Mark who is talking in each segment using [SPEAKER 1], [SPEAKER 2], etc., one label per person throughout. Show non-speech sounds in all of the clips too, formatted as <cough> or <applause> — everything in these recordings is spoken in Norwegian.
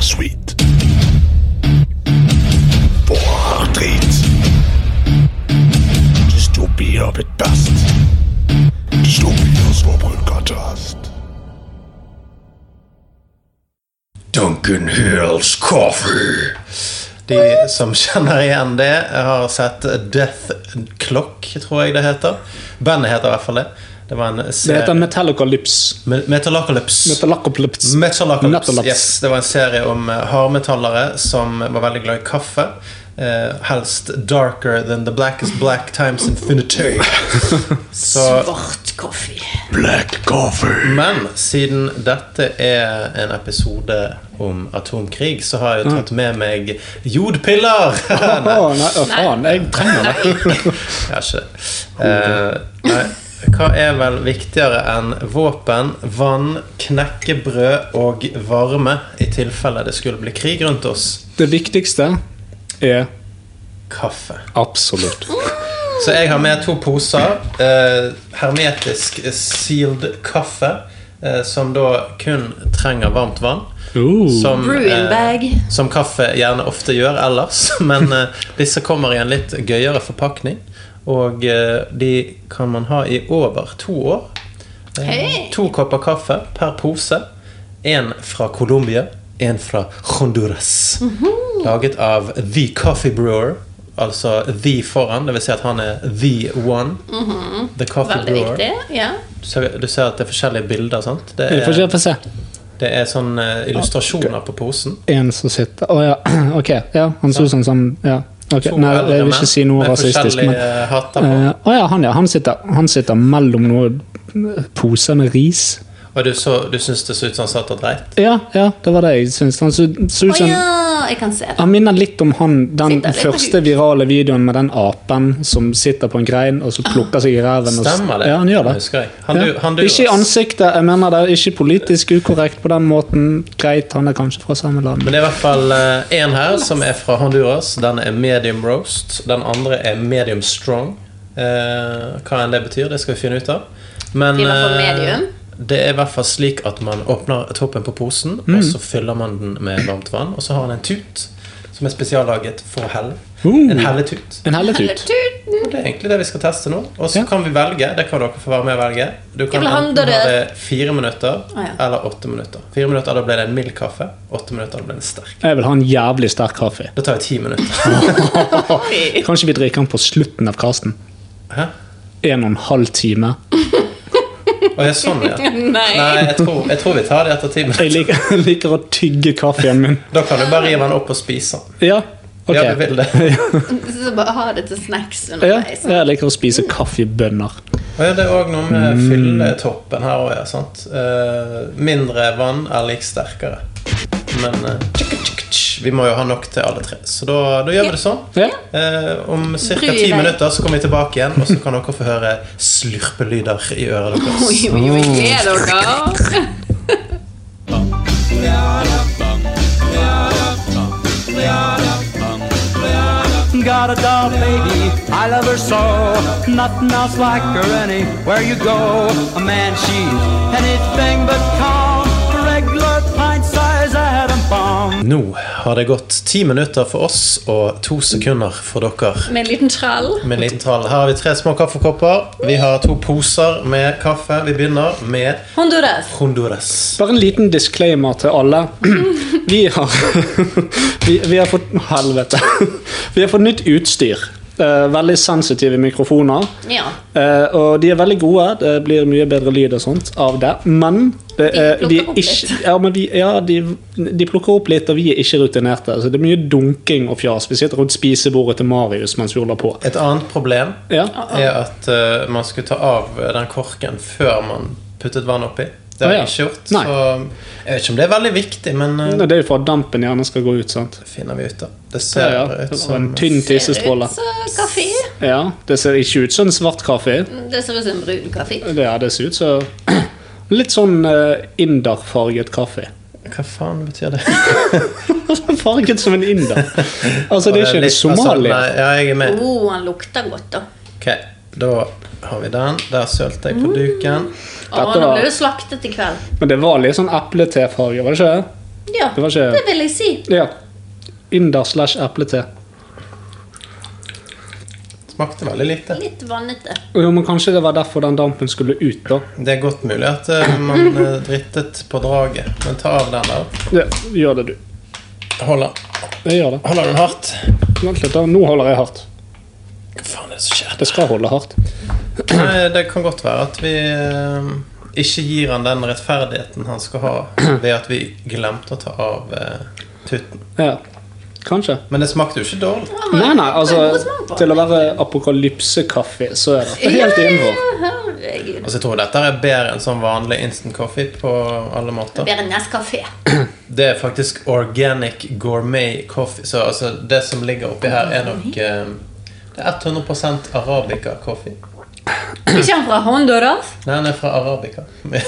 [SPEAKER 1] Sweet. Borddrit. Dystopier bedast. Dystopier som brukerdast. Duncan Hills Coffee.
[SPEAKER 2] De som kjenner igjen det, har sett Death Clock, tror jeg det heter. Bandet heter i hvert fall det. Det var en
[SPEAKER 3] Det heter
[SPEAKER 2] serie
[SPEAKER 3] Metallicalypse.
[SPEAKER 2] Me- Metalocalypse.
[SPEAKER 3] Metalocalypse.
[SPEAKER 2] Metalocalypse.
[SPEAKER 3] Metalocalypse.
[SPEAKER 2] Yes, det var en serie om eh, hardmetallere som var veldig glad i kaffe. Eh, helst darker than the blackest black times infinity. Så,
[SPEAKER 4] Svart kaffe.
[SPEAKER 1] Black Coffee.
[SPEAKER 2] men siden dette er en episode om atomkrig, så har jeg jo tatt med meg jodpiller.
[SPEAKER 3] Å, nei, å, faen. Jeg trenger det.
[SPEAKER 2] <laughs> Jeg har ikke det. Eh, nei. Hva er vel viktigere enn våpen, vann, knekkebrød og varme i tilfelle det skulle bli krig rundt oss?
[SPEAKER 3] Det viktigste er
[SPEAKER 2] Kaffe.
[SPEAKER 3] absolutt
[SPEAKER 2] Så jeg har med to poser eh, hermetisk sealed kaffe, eh, som da kun trenger varmt vann. Som, eh,
[SPEAKER 4] Brewing bag.
[SPEAKER 2] som kaffe gjerne ofte gjør ellers. <laughs> Men eh, disse kommer i en litt gøyere forpakning. Og eh, de kan man ha i over to år. Eh,
[SPEAKER 4] Hei!
[SPEAKER 2] To kopper kaffe per pose. Én fra Colombia, én fra Honduras.
[SPEAKER 4] Mhm.
[SPEAKER 2] Laget av The Coffee Brewer. Altså The foran, det vil Si at han er The One. The Coffee
[SPEAKER 4] Mhm. Veldig
[SPEAKER 2] Brewer.
[SPEAKER 4] viktig. Ja.
[SPEAKER 2] Så du ser at det er forskjellige bilder, sant? Det
[SPEAKER 3] Vi får
[SPEAKER 2] er,
[SPEAKER 3] se. Få se.
[SPEAKER 2] det er sånn eh, illustrasjoner på posen.
[SPEAKER 3] En som sitter Å ja, <clears throat> ok. Ja, han så ut som sånn Ja. Ok,
[SPEAKER 2] To
[SPEAKER 3] Nei,
[SPEAKER 2] eldre
[SPEAKER 3] jeg vil
[SPEAKER 2] menn
[SPEAKER 3] ikke si noe
[SPEAKER 2] med
[SPEAKER 3] rasistisk, men
[SPEAKER 2] forskjellige hatter på.
[SPEAKER 3] Eh, Å ja, han ja. Han sitter, han sitter mellom noen poser med ris.
[SPEAKER 2] Og du, så, du syns det så ut som han satt og dreit?
[SPEAKER 3] Ja, ja, det var det jeg syntes. Han så, så
[SPEAKER 4] Å
[SPEAKER 3] ut som
[SPEAKER 4] ja, jeg kan se det.
[SPEAKER 3] Han minner litt om han, den
[SPEAKER 4] Sitter litt på
[SPEAKER 3] første
[SPEAKER 4] huk.
[SPEAKER 3] virale videoen med den apen som sitter på en grein og så
[SPEAKER 4] Ah.
[SPEAKER 3] plukker seg i ræven. og s-
[SPEAKER 2] Stemmer det?
[SPEAKER 3] Ja, han gjør det.
[SPEAKER 2] Husker jeg. Han, du,
[SPEAKER 3] Ja.
[SPEAKER 2] han, du,
[SPEAKER 3] Ikke i ansiktet, jeg mener det. Ikke politisk ukorrekt på den måten. Greit, han er kanskje fra samme land.
[SPEAKER 2] Men det er i hvert fall én her som er fra Honduras. Den er medium roast. Den andre er medium strong. Eh, hva enn det betyr, det skal vi finne ut av. Men
[SPEAKER 4] I hvert fall
[SPEAKER 2] eh,
[SPEAKER 4] medium.
[SPEAKER 2] det er i hvert fall slik at man åpner toppen på posen,
[SPEAKER 3] Mm.
[SPEAKER 2] og så fyller man den med varmt vann. Og så har han en tut som er spesiallaget for hell.
[SPEAKER 3] Uh.
[SPEAKER 2] En helletut.
[SPEAKER 3] En hellet
[SPEAKER 4] Eller
[SPEAKER 3] ut.
[SPEAKER 4] tuten.
[SPEAKER 2] Og Det er egentlig det vi skal teste nå. Og så
[SPEAKER 3] Ja.
[SPEAKER 2] kan vi velge. Det kan dere få være med og velge. Du kan
[SPEAKER 4] vil ha den
[SPEAKER 2] enten ha
[SPEAKER 4] døde.
[SPEAKER 2] det fire minutter
[SPEAKER 4] Å, ja.
[SPEAKER 2] eller åtte minutter. Fire minutter, da ble det en mild kaffe. Åtte minutter, da ble det en sterk.
[SPEAKER 3] Jeg vil ha en jævlig sterk kaffe.
[SPEAKER 2] Da tar vi ti minutter.
[SPEAKER 4] Oi.
[SPEAKER 3] Kanskje vi drikker den på slutten av casten.
[SPEAKER 2] Hæ?
[SPEAKER 3] En og en halv time.
[SPEAKER 2] Å, ja, sånn,
[SPEAKER 4] <laughs>
[SPEAKER 2] ja.
[SPEAKER 4] Nei.
[SPEAKER 2] Nei, jeg tror, jeg tror vi tar det etter ti
[SPEAKER 3] Jeg
[SPEAKER 2] minutter.
[SPEAKER 3] liker, jeg liker å tygge kaffen min.
[SPEAKER 2] Da kan du bare rive den opp og spise den.
[SPEAKER 3] Ja, ok.
[SPEAKER 2] Ja, du vil
[SPEAKER 3] <laughs>
[SPEAKER 2] det.
[SPEAKER 4] Så bare ha det til snacks
[SPEAKER 3] Ja,
[SPEAKER 4] underveis.
[SPEAKER 3] jeg liker å spise kaffebønner.
[SPEAKER 2] Og ja, det er òg noe med
[SPEAKER 3] Mm.
[SPEAKER 2] fylletoppen her òg, ja. Sant? Eh, mindre vann er lik sterkere. Men eh, tsk, tsk, tsk, vi må jo ha nok til alle tre. Så da, da gjør vi det sånn.
[SPEAKER 3] Ja.
[SPEAKER 2] Eh, om ca.
[SPEAKER 4] Bry
[SPEAKER 2] ti
[SPEAKER 4] deg.
[SPEAKER 2] minutter så kommer vi tilbake igjen, og så kan dere få høre slurpelyder i øret
[SPEAKER 4] Oi,
[SPEAKER 2] deres.
[SPEAKER 4] oi,
[SPEAKER 3] Mm.
[SPEAKER 4] oi, gled dere.
[SPEAKER 5] Got a doll baby, I love her so. Nothing else like her anywhere you go. A man, she's anything but calm. A regular pint size atom bomb.
[SPEAKER 2] Nå har det gått ti minutter for oss og to sekunder for dere.
[SPEAKER 4] Med en liten trall.
[SPEAKER 2] Med en liten tall. Her har vi tre små kaffekopper. Vi har to poser med kaffe. Vi begynner med
[SPEAKER 4] Honduras.
[SPEAKER 2] Honduras.
[SPEAKER 3] Bare en liten disclaimer til alle. <clears throat> Vi har, <laughs> vi, vi har fått <laughs> Helvete. Vi har fått nytt utstyr. Eh, veldig sensitive mikrofoner.
[SPEAKER 4] Ja.
[SPEAKER 3] Eh, og de er veldig gode. Det blir mye bedre lyd og sånt av det. Men det,
[SPEAKER 4] De
[SPEAKER 3] er-
[SPEAKER 4] plukker opp
[SPEAKER 3] ikke,
[SPEAKER 4] litt.
[SPEAKER 3] ja, men de, ja, de, de plukker opp litt, og vi er ikke rutinerte. Så det er mye dunking og fjas. Vi sitter rundt spisebordet til Marius mens vi holder på.
[SPEAKER 2] Et annet problem
[SPEAKER 3] Ja.
[SPEAKER 4] Ah,
[SPEAKER 2] er at eh, man skulle ta av eh, den korken før man puttet vann oppi. Det har
[SPEAKER 3] Å,
[SPEAKER 2] jeg
[SPEAKER 3] ja.
[SPEAKER 2] ikke gjort.
[SPEAKER 3] Nei.
[SPEAKER 2] Så jeg vet ikke om det er veldig viktig, men eh,
[SPEAKER 3] Det er jo for at dampen gjerne skal gå ut. sant?
[SPEAKER 2] det finner vi ut av. Det sånn
[SPEAKER 3] Ja,
[SPEAKER 2] ser
[SPEAKER 3] ja.
[SPEAKER 2] ut
[SPEAKER 3] Og
[SPEAKER 2] som
[SPEAKER 3] En tynn tissestråle.
[SPEAKER 4] Så kaffe.
[SPEAKER 3] Ja, det ser ikke ut som en svart kaffe.
[SPEAKER 4] Det ser ut som brun kaffe.
[SPEAKER 3] Det, ja, det ser ut som <clears throat> litt sånn uh, inderfarget kaffe. <laughs> Altså,
[SPEAKER 2] Hva faen betyr det?
[SPEAKER 3] Farget som en inder. Altså, det er ikke en
[SPEAKER 2] Litt- Altså,
[SPEAKER 3] somalier.
[SPEAKER 2] nei, ja, jeg er
[SPEAKER 3] Mm.
[SPEAKER 2] med.
[SPEAKER 4] Oh, han lukter godt, da.
[SPEAKER 2] Ok, da har vi den. Der sølte jeg på duken.
[SPEAKER 4] Å,
[SPEAKER 3] Dette
[SPEAKER 4] nå
[SPEAKER 3] var-
[SPEAKER 4] blir du slaktet i kveld.
[SPEAKER 3] Men det var litt sånn epletefarge, var det ikke? det?
[SPEAKER 4] Ja,
[SPEAKER 3] Det var ikke-
[SPEAKER 4] det vil jeg si.
[SPEAKER 3] Ja. Inder slash eplete.
[SPEAKER 2] Smakte veldig lite.
[SPEAKER 4] Litt vannete.
[SPEAKER 3] Jo, men kanskje det var derfor den dampen skulle ut, da.
[SPEAKER 2] Det er godt mulig at eh, man eh, drittet på draget. Men ta av den der.
[SPEAKER 3] Ja, gjør det, du.
[SPEAKER 2] Holder,
[SPEAKER 3] Jeg gjør det.
[SPEAKER 2] holder den hardt?
[SPEAKER 3] Vent litt, da. Nå holder jeg hardt.
[SPEAKER 2] Hva faen er det som skjer?
[SPEAKER 3] Det skal holde hardt.
[SPEAKER 2] Nei, det kan godt være at vi eh, ikke gir han den rettferdigheten han skal ha ved at vi glemte å ta av eh, tutten.
[SPEAKER 3] Ja. Kanskje.
[SPEAKER 2] Men det smakte jo ikke dårlig.
[SPEAKER 3] Nei, nei,
[SPEAKER 4] god
[SPEAKER 3] altså
[SPEAKER 4] smak på.
[SPEAKER 3] Til å være apokalypsekaffe, så er dette helt innenfor.
[SPEAKER 4] Herregud.
[SPEAKER 2] Altså, jeg tror dette er bedre enn sånn vanlig instant coffee på alle måter.
[SPEAKER 4] Bedre enn Nescafé.
[SPEAKER 2] Det er faktisk organic gourmet coffee. Så altså, det som ligger oppi her, er nok eh, Det er 100 arabica coffee.
[SPEAKER 4] Ikke han fra Honduras?
[SPEAKER 2] Nei, den er fra arabica.
[SPEAKER 3] Og det,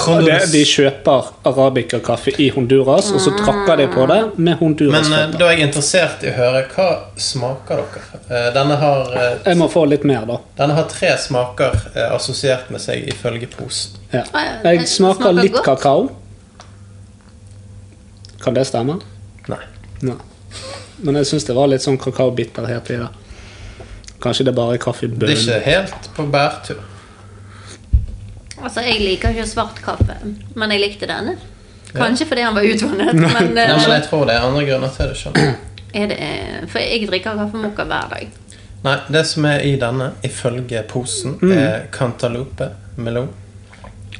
[SPEAKER 2] Honduras.
[SPEAKER 3] de kjøper arabikerkaffe i Honduras, og så
[SPEAKER 4] Mm.
[SPEAKER 3] trakker de på det med
[SPEAKER 2] Men eh,
[SPEAKER 3] Honduras-pepper.
[SPEAKER 2] da er jeg interessert i å høre hva smaker dere. Eh, Denne har eh,
[SPEAKER 3] Jeg må få litt mer, da.
[SPEAKER 2] Denne har tre smaker eh, assosiert med seg ifølge posen.
[SPEAKER 3] Ja.
[SPEAKER 4] Ah, ja, det
[SPEAKER 3] Jeg smaker
[SPEAKER 4] smaker
[SPEAKER 3] litt
[SPEAKER 4] godt.
[SPEAKER 3] kakao. Kan det stemme?
[SPEAKER 2] Nei.
[SPEAKER 3] Nei. Men jeg syns det var litt sånn kakaobitterhet i det. Kanskje det er
[SPEAKER 2] Det
[SPEAKER 3] bare
[SPEAKER 2] er ikke
[SPEAKER 3] kaffebønnen.
[SPEAKER 2] helt på bærtur.
[SPEAKER 4] Eh, Altså, Jeg liker ikke svart kaffe, men jeg likte denne. Kanskje fordi han var utvannet, men, eh,
[SPEAKER 2] Nei, men jeg tror det er andre grunner til det. skjønner du.
[SPEAKER 4] er det, eh, For jeg drikker kaffemokka hver dag.
[SPEAKER 2] Nei, Det som er i denne, ifølge posen, er cantaloupe melon.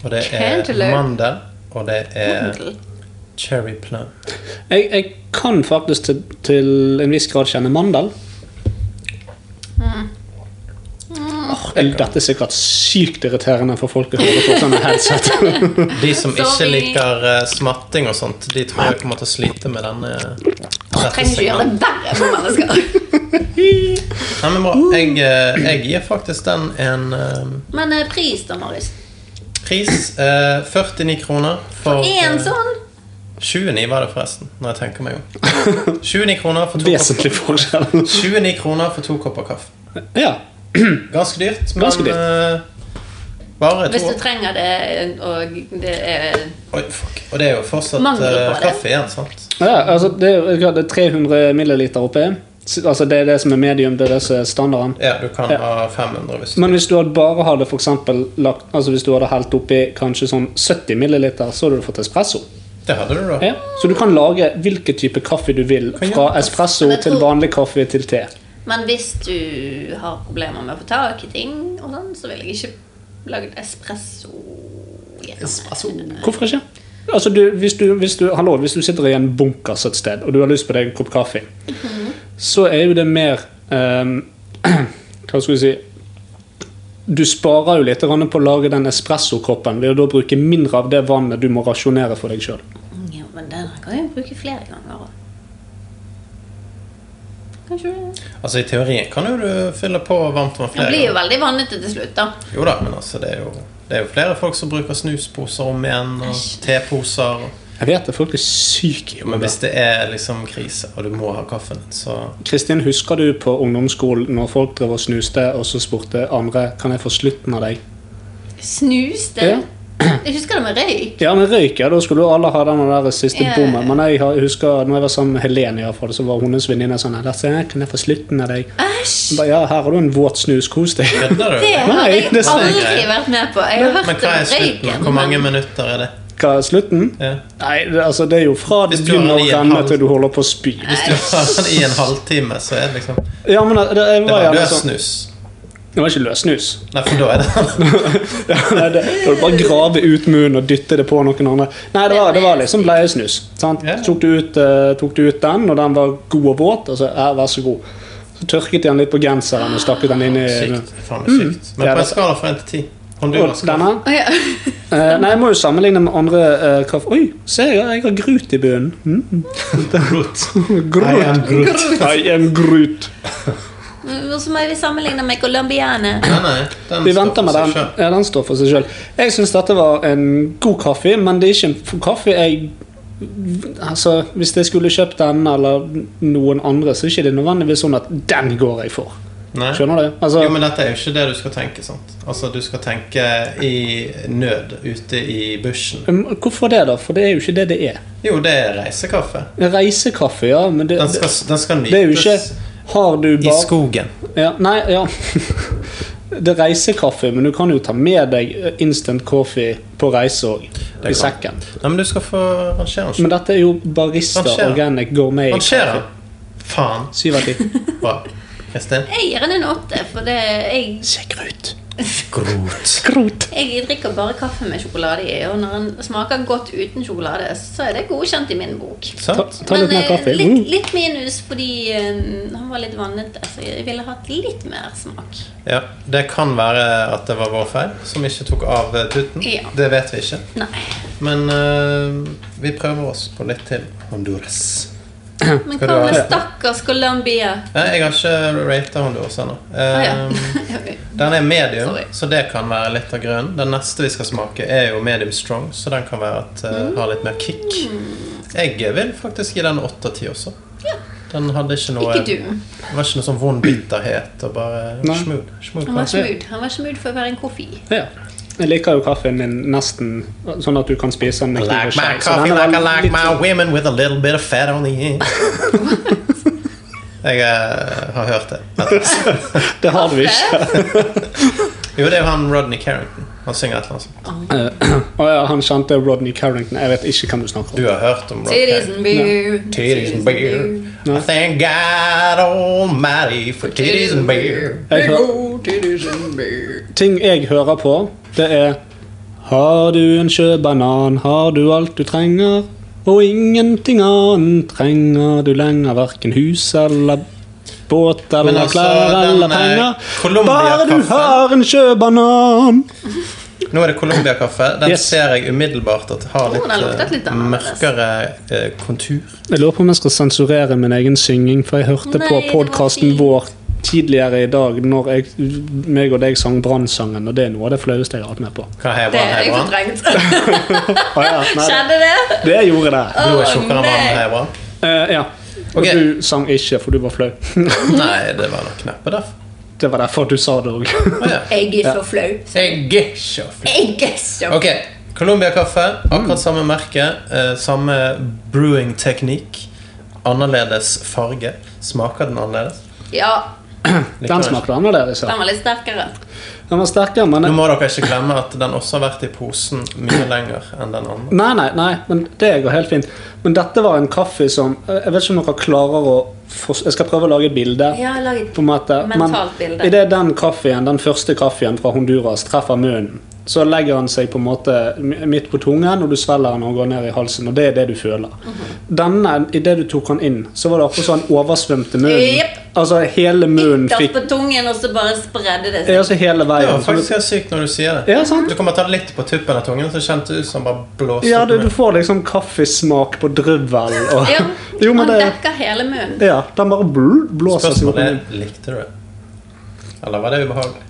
[SPEAKER 2] Og det er
[SPEAKER 4] Cantaloupe.
[SPEAKER 2] mandel. Og det er
[SPEAKER 4] Mandel.
[SPEAKER 2] cherry plum.
[SPEAKER 3] Jeg, jeg kan faktisk til, til en viss grad kjenne mandel.
[SPEAKER 2] Mm.
[SPEAKER 3] Åh, jeg- dette er sikkert sykt irriterende for folk å høre på sånne headset.
[SPEAKER 2] De som ikke
[SPEAKER 4] Sorry.
[SPEAKER 2] liker eh, smatting og sånt, de tror jeg kommer til å slite med denne. dette
[SPEAKER 4] Trenger ikke gjøre
[SPEAKER 2] segmentet.
[SPEAKER 4] det verre for mennesker.
[SPEAKER 2] Nei, men bra. Jeg, eh, jeg gir faktisk den en eh,
[SPEAKER 4] Men eh, pris, da, Marius.
[SPEAKER 2] pris. eh, 49 kroner for
[SPEAKER 4] Én
[SPEAKER 2] eh,
[SPEAKER 4] sånn
[SPEAKER 2] 29 var det forresten, når jeg tenker
[SPEAKER 3] <laughs>
[SPEAKER 2] meg om. 29 kroner for to, kopper,
[SPEAKER 3] Vesentlig forskjell.
[SPEAKER 2] 29 kroner for to kopper kaffe.
[SPEAKER 3] Ja.
[SPEAKER 2] Ganske dyrt, men
[SPEAKER 3] Ganske dyrt.
[SPEAKER 2] eh, bare
[SPEAKER 4] hvis
[SPEAKER 2] to.
[SPEAKER 4] du trenger det, og det er
[SPEAKER 2] Oi, fuck. Og det er jo fortsatt
[SPEAKER 4] Mangel på
[SPEAKER 2] eh,
[SPEAKER 4] det.
[SPEAKER 2] kaffe igjen, sant?
[SPEAKER 3] ja altså, det, er, jo- det er 300 milliliter oppi. S- Altså, det er det som er medium, det er det som er standarden.
[SPEAKER 2] Ja, du kan
[SPEAKER 3] Ja.
[SPEAKER 2] ha 500 hvis du
[SPEAKER 3] Men hvis du hadde bare hadde for eksempel, lagt, altså hvis du hadde helt oppi kanskje sånn 70 milliliter, så hadde du fått espresso.
[SPEAKER 2] Det hadde du, da.
[SPEAKER 3] Ja. Så du kan lage hvilken type kaffe du vil.
[SPEAKER 2] Kan jeg-
[SPEAKER 3] Fra espresso
[SPEAKER 4] Men jeg
[SPEAKER 3] til
[SPEAKER 4] tror-
[SPEAKER 3] vanlig kaffe til te.
[SPEAKER 4] Men hvis du har problemer med å få tak i ting, og sånn, så vil jeg ikke lage et espresso. gjennom det.
[SPEAKER 3] Hvorfor ikke? Altså, du, hvis, du, hvis, du, hallo, hvis du sitter i en bunkers et sted, og du har lyst på deg en kopp kaffe, så er jo det mer ehm, <clears throat> Hva skal vi si Du sparer jo litt grann på å lage den espressokoppen ved å da bruke mindre av det vannet du må rasjonere for deg sjøl.
[SPEAKER 4] Mm, Ja, men den her kan jeg bruke flere ganger. Kanskje du
[SPEAKER 2] Altså, I teorien kan jo du fylle på varmt vann
[SPEAKER 4] Den
[SPEAKER 2] flere
[SPEAKER 4] blir jo
[SPEAKER 2] ganger.
[SPEAKER 4] veldig vannete til slutt, da.
[SPEAKER 2] Jo da, men altså, det er jo, det er jo flere folk som bruker snusposer om igjen, og teposer og
[SPEAKER 3] Jeg vet det, folk er syke i
[SPEAKER 2] Men
[SPEAKER 3] hodet.
[SPEAKER 2] hvis det er liksom krise, og du må ha kaffen, så
[SPEAKER 3] Kristin, husker du på ungdomsskolen når folk drev og snuste, og så spurte andre kan jeg få slutten av deg?
[SPEAKER 4] Snus det.
[SPEAKER 3] Ja.
[SPEAKER 4] Jeg husker det med røyk.
[SPEAKER 3] Ja, men røyk, ja, da skulle jo alle ha den der siste
[SPEAKER 4] Ja.
[SPEAKER 3] bommen. Men jeg har- jeg husker når jeg var sammen med Helene, i hvert fall, så var hennes venninne sånn «Lasse, Kan jeg få slutten av deg?
[SPEAKER 4] Æsj!
[SPEAKER 3] Ba, ja, her har du en våt snus, kos deg.
[SPEAKER 2] Kødder du?
[SPEAKER 4] Det har jeg
[SPEAKER 3] det er sånn
[SPEAKER 4] aldri
[SPEAKER 2] greie.
[SPEAKER 4] vært med på. Jeg har
[SPEAKER 2] Men
[SPEAKER 4] hørt
[SPEAKER 2] hva
[SPEAKER 4] om
[SPEAKER 2] er slutten?
[SPEAKER 4] røyken.
[SPEAKER 2] Hvor mange
[SPEAKER 4] men-
[SPEAKER 2] minutter er det?
[SPEAKER 3] Hva er slutten?
[SPEAKER 2] Ja.
[SPEAKER 3] Nei, det, altså, det er jo fra det
[SPEAKER 2] Hvis du har
[SPEAKER 3] begynner
[SPEAKER 2] den i
[SPEAKER 3] å
[SPEAKER 2] en
[SPEAKER 3] renne
[SPEAKER 2] halv-
[SPEAKER 3] til du holder på å spy.
[SPEAKER 2] Hvis du har den i en halvtime, så er det liksom
[SPEAKER 3] Ja, men eh, det, det,
[SPEAKER 2] Det
[SPEAKER 3] var,
[SPEAKER 2] var
[SPEAKER 3] gjerne
[SPEAKER 2] løs
[SPEAKER 3] sånn
[SPEAKER 2] snus.
[SPEAKER 3] Det var ikke løs snus. <laughs>
[SPEAKER 2] Nei, for da er det
[SPEAKER 3] Ja, nei, det, det var bare grave ut munnen og dytte det på noen andre. Nei, det var, det var liksom bleiesnus. Sant?
[SPEAKER 2] Ja.
[SPEAKER 3] Så tok, du ut, eh, tok du ut den, og den var god og våt, og så ja, vær så god. Så tørket de den litt på genseren og stakket den inn i
[SPEAKER 2] sykt. Faen meg sykt. Men
[SPEAKER 3] Mm. Ja,
[SPEAKER 2] på en
[SPEAKER 3] det-
[SPEAKER 2] skala fra 1 til 10
[SPEAKER 3] Og
[SPEAKER 2] Honduras
[SPEAKER 3] denne?
[SPEAKER 4] Å, ja.
[SPEAKER 3] Eh, nei, jeg må jo sammenligne med andre eh, kaffe... Oi, se, jeg, har- jeg har grut i bunnen. Mm.
[SPEAKER 2] I am
[SPEAKER 3] <laughs> Grut.
[SPEAKER 2] Groot.
[SPEAKER 3] I am grut.
[SPEAKER 4] Og så må vi sammenligne med colombiane.
[SPEAKER 2] Nei, nei, den
[SPEAKER 3] Vi
[SPEAKER 2] står
[SPEAKER 3] venter
[SPEAKER 2] for
[SPEAKER 3] med
[SPEAKER 2] seg
[SPEAKER 3] den.
[SPEAKER 2] selv.
[SPEAKER 3] Ja, den står for seg sjøl. Jeg syns dette var en god kaffe, men det er ikke en f- kaffe jeg Altså, Hvis jeg skulle kjøpt den eller noen andre, så er det ikke nødvendigvis sånn at den går jeg for.
[SPEAKER 2] Nei.
[SPEAKER 3] Skjønner du? Altså,
[SPEAKER 2] Jo, men dette er jo ikke det du skal tenke, sant? Altså, du skal tenke i nød ute i bushen.
[SPEAKER 3] um, hvorfor det, da? For det er jo ikke det det er.
[SPEAKER 2] Jo, det er reisekaffe.
[SPEAKER 3] Reisekaffe, ja, men det,
[SPEAKER 2] Den skal, den skal nytes
[SPEAKER 3] det er jo ikke Har du
[SPEAKER 2] i
[SPEAKER 3] bare
[SPEAKER 2] skogen.
[SPEAKER 3] Ja, nei, ja. <laughs> Det er reisekaffe, men du kan jo ta med deg instant coffee på reise òg.
[SPEAKER 2] kan.
[SPEAKER 3] I sekken.
[SPEAKER 2] Nei, men du skal få rangere den.
[SPEAKER 3] Men dette er jo barista
[SPEAKER 2] Rangerer.
[SPEAKER 3] organic gourmet.
[SPEAKER 2] Rangere den! Faen.
[SPEAKER 3] Syv av <laughs> ti.
[SPEAKER 2] Bra. Kristin?
[SPEAKER 4] Jeg gir den en åtte, for det jeg
[SPEAKER 3] Skrut.
[SPEAKER 2] Grot.
[SPEAKER 3] Skrut.
[SPEAKER 4] Jeg drikker bare kaffe med sjokolade i, og når den smaker godt uten sjokolade, så er det godkjent i min bok.
[SPEAKER 3] Ta,
[SPEAKER 2] Sant?
[SPEAKER 3] ta litt
[SPEAKER 4] Men
[SPEAKER 3] mer
[SPEAKER 4] eh,
[SPEAKER 3] kaffe.
[SPEAKER 4] litt,
[SPEAKER 3] Mm.
[SPEAKER 4] litt minus fordi eh, han var litt vannete, så jeg ville hatt litt mer smak.
[SPEAKER 2] Ja, det kan være at det var vår feil som ikke tok av eh, tuten.
[SPEAKER 4] Ja.
[SPEAKER 2] Det vet vi ikke.
[SPEAKER 4] Nei.
[SPEAKER 2] Men eh, vi prøver oss på litt til Honduras.
[SPEAKER 4] Men
[SPEAKER 2] Skal
[SPEAKER 4] hva
[SPEAKER 2] du ha-
[SPEAKER 4] med stakkars Colombia?
[SPEAKER 2] Nei, jeg har ikke rata Honduras ennå.
[SPEAKER 4] Å
[SPEAKER 2] Eh,
[SPEAKER 4] <laughs> ja. Ok.
[SPEAKER 2] Den er medium,
[SPEAKER 4] Sorry.
[SPEAKER 2] så det kan være litt av grunnen. Den neste vi skal smake, er jo medium strong, så den kan være at eh,
[SPEAKER 4] Mm.
[SPEAKER 2] har litt mer kick. Jeg vil faktisk gi den 8 av 10 også. Den hadde ikke noe
[SPEAKER 4] Ikke du.
[SPEAKER 2] Det var ikke noe sånn vond bitterhet og bare
[SPEAKER 3] Nei.
[SPEAKER 2] smooth. smooth
[SPEAKER 4] Han var
[SPEAKER 2] kaffe.
[SPEAKER 4] smooth. Han var smooth for å være en koffi.
[SPEAKER 3] Ja. Jeg liker jo kaffen min nesten sånn at du kan spise den. med kniv og
[SPEAKER 2] Like my
[SPEAKER 3] skjær, så
[SPEAKER 2] coffee
[SPEAKER 3] den
[SPEAKER 2] like
[SPEAKER 3] er
[SPEAKER 2] I
[SPEAKER 3] vel
[SPEAKER 2] like
[SPEAKER 3] litt
[SPEAKER 2] my
[SPEAKER 3] sånn-
[SPEAKER 2] women with a little bit of fat on the
[SPEAKER 4] <laughs>
[SPEAKER 2] end. Jeg eh, har hørt
[SPEAKER 4] <laughs>
[SPEAKER 2] det.
[SPEAKER 3] Det har du ikke.
[SPEAKER 2] Jo, det er jo han Rodney Carrington. Han synger et eller annet. sånt.
[SPEAKER 3] Å ja, han kjente Rodney Carrington. Jeg vet ikke hvem du snakker om.
[SPEAKER 2] Du har hørt om Rodney
[SPEAKER 4] Titties
[SPEAKER 2] Carrington.
[SPEAKER 4] and beer.
[SPEAKER 2] Titties and beer. I thank God almighty for titties and beer.
[SPEAKER 3] Jeg hø- Ting jeg hører på, det er Har du en sjøbanan, har du alt du trenger? Og ingenting annet trenger du lenger, hverken hus eller båt eller
[SPEAKER 2] altså,
[SPEAKER 3] klær
[SPEAKER 2] den,
[SPEAKER 3] eller
[SPEAKER 2] eh,
[SPEAKER 3] penger.
[SPEAKER 2] Colombia-kaffen-
[SPEAKER 3] Bare du har en sjøbanan!
[SPEAKER 2] Nå er det Colombia-kaffe. Den
[SPEAKER 3] Yes.
[SPEAKER 2] ser jeg umiddelbart at har litt,
[SPEAKER 4] den har luktet
[SPEAKER 2] eh,
[SPEAKER 4] litt annerledes.
[SPEAKER 2] mørkere eh, kontur.
[SPEAKER 3] Jeg lurer på om jeg skal sensurere min egen synging, for jeg hørte
[SPEAKER 4] Nei,
[SPEAKER 3] på
[SPEAKER 4] det var
[SPEAKER 3] podkasten
[SPEAKER 4] fint.
[SPEAKER 3] vår tidligere i dag når jeg, meg og deg sang Brannsangen, og det er noe av det flaueste jeg har vært med på.
[SPEAKER 2] Hva er
[SPEAKER 4] Det
[SPEAKER 2] bra?
[SPEAKER 4] er
[SPEAKER 2] Hei,
[SPEAKER 4] jeg
[SPEAKER 2] bra.
[SPEAKER 4] fortrengt.
[SPEAKER 3] Å ja, nei,
[SPEAKER 4] Skjedde det?
[SPEAKER 3] det gjorde det.
[SPEAKER 2] Blod er
[SPEAKER 4] Å,
[SPEAKER 2] tjukkere enn vann.
[SPEAKER 4] nei.
[SPEAKER 2] Hei, bra.
[SPEAKER 3] Eh, ja. Og
[SPEAKER 2] Ok.
[SPEAKER 3] du sang ikke, for du var flau. <laughs>
[SPEAKER 2] Nei, det var nok neppe derfor.
[SPEAKER 3] Det var derfor du sa det òg.
[SPEAKER 2] Å ja.
[SPEAKER 4] Jeg er så flau.
[SPEAKER 2] Jeg er så flink.
[SPEAKER 4] Jeg er så
[SPEAKER 2] Ok, Colombia-kaffe. Akkurat samme merke. eh, Samme brewing-teknikk. Annerledes farge. Smaker den annerledes?
[SPEAKER 4] Ja,
[SPEAKER 2] Liker
[SPEAKER 3] Den
[SPEAKER 2] den ikke.
[SPEAKER 3] smakte annerledes.
[SPEAKER 4] den
[SPEAKER 3] Ja.
[SPEAKER 4] var litt sterkere.
[SPEAKER 3] Den var sterkere, men
[SPEAKER 2] Nå må dere ikke glemme at den også har vært i posen mye lenger enn den andre.
[SPEAKER 3] Nei, nei, nei, men det går helt fint. Men dette var en kaffe som eh, Jeg vet ikke om dere klarer å for... Jeg skal prøve å lage et bilde.
[SPEAKER 4] Ja, lag et
[SPEAKER 3] på en måte.
[SPEAKER 4] mentalt
[SPEAKER 3] Men
[SPEAKER 4] bilde.
[SPEAKER 3] idet den kaffen, den første kaffen fra Honduras treffer munnen, så legger han seg på en måte mi- midt på tungen, og du svelger den og går ned i halsen. Og det er det du føler.
[SPEAKER 4] Mhm.
[SPEAKER 3] Denne, idet du tok den inn, så var det akkurat som han oversvømte munnen.
[SPEAKER 4] Jep.
[SPEAKER 3] Altså hele munnen
[SPEAKER 4] Ytterst
[SPEAKER 3] fikk
[SPEAKER 4] på tungen, og så bare spredde det
[SPEAKER 3] Ja,
[SPEAKER 4] seg.
[SPEAKER 3] Altså hele
[SPEAKER 2] Det
[SPEAKER 3] veien.
[SPEAKER 2] var faktisk helt sykt når du sier det.
[SPEAKER 3] Ja, sant?
[SPEAKER 2] Du kommer til å ta litt på tuppen av tungen, så kjente det ut som bare blåste
[SPEAKER 3] Ja,
[SPEAKER 2] opp
[SPEAKER 3] du,
[SPEAKER 2] med-
[SPEAKER 3] du får liksom kaffesmak på drøvel og
[SPEAKER 4] Ja,
[SPEAKER 3] Jo, men
[SPEAKER 4] han
[SPEAKER 3] det
[SPEAKER 4] dekker hele munnen.
[SPEAKER 3] Ja, den bare bl blåser seg opp.
[SPEAKER 2] Spørsmålet er likte du det. Eller var det ubehagelig?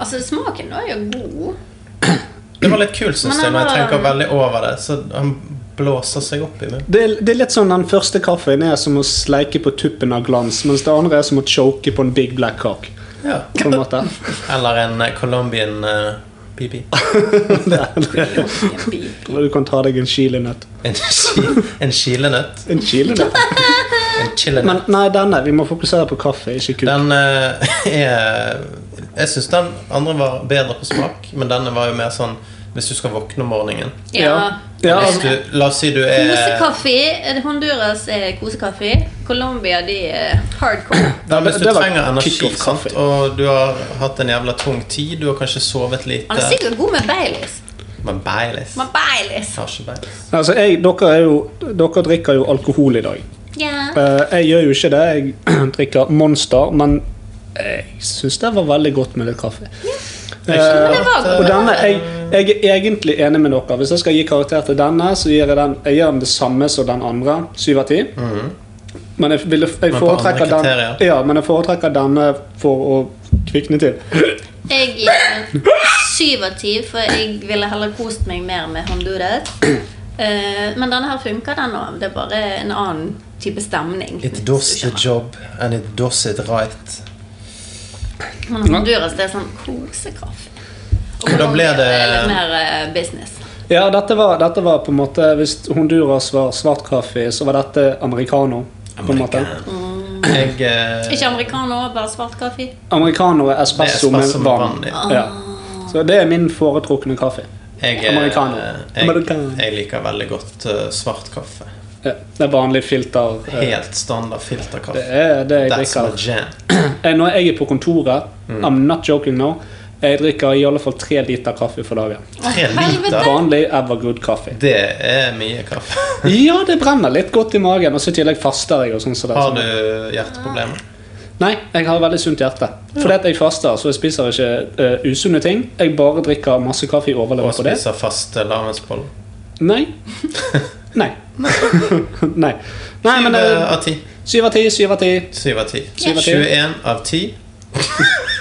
[SPEAKER 4] Altså, smaken var jo god.
[SPEAKER 2] Det var litt kult, syns
[SPEAKER 4] Men
[SPEAKER 2] jeg, når jeg
[SPEAKER 4] han
[SPEAKER 2] tenker
[SPEAKER 4] var-
[SPEAKER 2] veldig over det. Så han blåser seg opp i munnen.
[SPEAKER 3] Det er, det er litt sånn Den første kaffen er som å sleike på tuppen av glans, mens det andre er som å choke på en big black cock.
[SPEAKER 2] Ja.
[SPEAKER 3] På en
[SPEAKER 2] <laughs>
[SPEAKER 3] måte.
[SPEAKER 2] Eller en eh, Colombian eh, pipi.
[SPEAKER 3] Eller du kan ta deg en chilinøtt.
[SPEAKER 2] En, chi- en chilenøtt.
[SPEAKER 3] En chilinøtt?
[SPEAKER 2] En chilenøtt.
[SPEAKER 3] Men nei, denne. Vi må fokusere på kaffe, ikke kuk.
[SPEAKER 2] Den eh, <laughs> er Jeg syns den andre var bedre på smak, men denne var jo mer sånn hvis du skal våkne om morgenen.
[SPEAKER 4] Ja.
[SPEAKER 3] ja
[SPEAKER 2] Hvis
[SPEAKER 3] altså,
[SPEAKER 2] du, la oss si du er
[SPEAKER 4] Kosekaffe. eh, Honduras er kosekaffe. Colombia, de er hardcore.
[SPEAKER 2] Nei, Hvis du
[SPEAKER 3] Det var
[SPEAKER 2] trenger energi,
[SPEAKER 3] kick-off-kaffe.
[SPEAKER 2] sant, og du har hatt en jævla tung tid, du har kanskje sovet
[SPEAKER 4] Han er
[SPEAKER 2] lite
[SPEAKER 4] sikkert god med Baileys.
[SPEAKER 2] Men Baileys
[SPEAKER 4] Med Baileys.
[SPEAKER 2] Jeg har ikke Baileys.
[SPEAKER 3] altså jeg, dere, er jo, dere drikker jo alkohol i dag.
[SPEAKER 4] Ja.
[SPEAKER 3] Eh, jeg gjør jo ikke det. Jeg <clears throat> drikker Monster, men jeg syns det var veldig godt med litt kaffe.
[SPEAKER 2] skjønner
[SPEAKER 3] Eh,
[SPEAKER 4] det var godt.
[SPEAKER 3] og denne, jeg, jeg er egentlig enig med dere. Hvis jeg skal gi karakter til denne, så gir jeg den, jeg gir den det samme som den andre. Syv av ti. Men jeg, ville- jeg
[SPEAKER 2] Mhm. på
[SPEAKER 3] foretrekker
[SPEAKER 2] andre
[SPEAKER 3] den,
[SPEAKER 2] kriterier.
[SPEAKER 3] ja, men jeg foretrekker denne for å kvikne
[SPEAKER 2] <laughs>
[SPEAKER 3] til.
[SPEAKER 4] Jeg gir den syv av ti, for jeg ville heller kost meg mer med Honduras. Eh, men denne her funker, den òg. Det er bare en annen type stemning.
[SPEAKER 2] It does the job, and it does it right.
[SPEAKER 4] Men Honduras det er sånn kosekaffe. Og
[SPEAKER 2] Da blir det-
[SPEAKER 4] er litt mer eh, business.
[SPEAKER 3] Ja, dette var, dette var på en måte Hvis Honduras var svart kaffe, så var dette americano. På en måte.
[SPEAKER 2] Jeg eh,
[SPEAKER 4] Ikke americano, bare svart kaffe.
[SPEAKER 3] Americano er espresso,
[SPEAKER 2] Det er espresso
[SPEAKER 3] med vann.
[SPEAKER 2] med
[SPEAKER 3] ja. Så det er min foretrukne kaffe.
[SPEAKER 2] jeg, eh,
[SPEAKER 3] Americano.
[SPEAKER 2] jeg,
[SPEAKER 3] Americano.
[SPEAKER 2] jeg liker veldig godt eh, svart kaffe.
[SPEAKER 3] Ja, det er vanlig filter. eh,
[SPEAKER 2] Helt standard filterkaffe.
[SPEAKER 3] Det er det jeg
[SPEAKER 2] That's my
[SPEAKER 3] drikker.
[SPEAKER 2] jam.
[SPEAKER 3] Eh, Når jeg er på kontoret,
[SPEAKER 2] Mm.
[SPEAKER 3] I'm not joking now, jeg drikker i alle fall tre liter kaffe for dagen.
[SPEAKER 4] Å,
[SPEAKER 2] Tre
[SPEAKER 4] helvete!
[SPEAKER 2] liter.
[SPEAKER 3] Vanlig Evergood kaffe.
[SPEAKER 2] Det er mye kaffe.
[SPEAKER 3] Ja, det brenner litt godt i magen, og så i tillegg faster jeg. og sånn. Så det er
[SPEAKER 2] Har
[SPEAKER 3] sånn.
[SPEAKER 2] du hjerteproblemer?
[SPEAKER 3] Nei, jeg har veldig sunt hjerte. Fordi at jeg faster, så jeg spiser ikke eh, usunne ting. Jeg bare drikker masse kaffe i
[SPEAKER 2] Og
[SPEAKER 3] overlever på det.
[SPEAKER 2] spiser faste lavensboller? <laughs>
[SPEAKER 3] Nei. Nei. <laughs> Nei. Nei, men
[SPEAKER 2] Syv
[SPEAKER 3] eh,
[SPEAKER 2] av ti.
[SPEAKER 3] Syv av ti, syv av ti.
[SPEAKER 2] Syv av ti.
[SPEAKER 3] Syv av ti.
[SPEAKER 2] 21 av 10.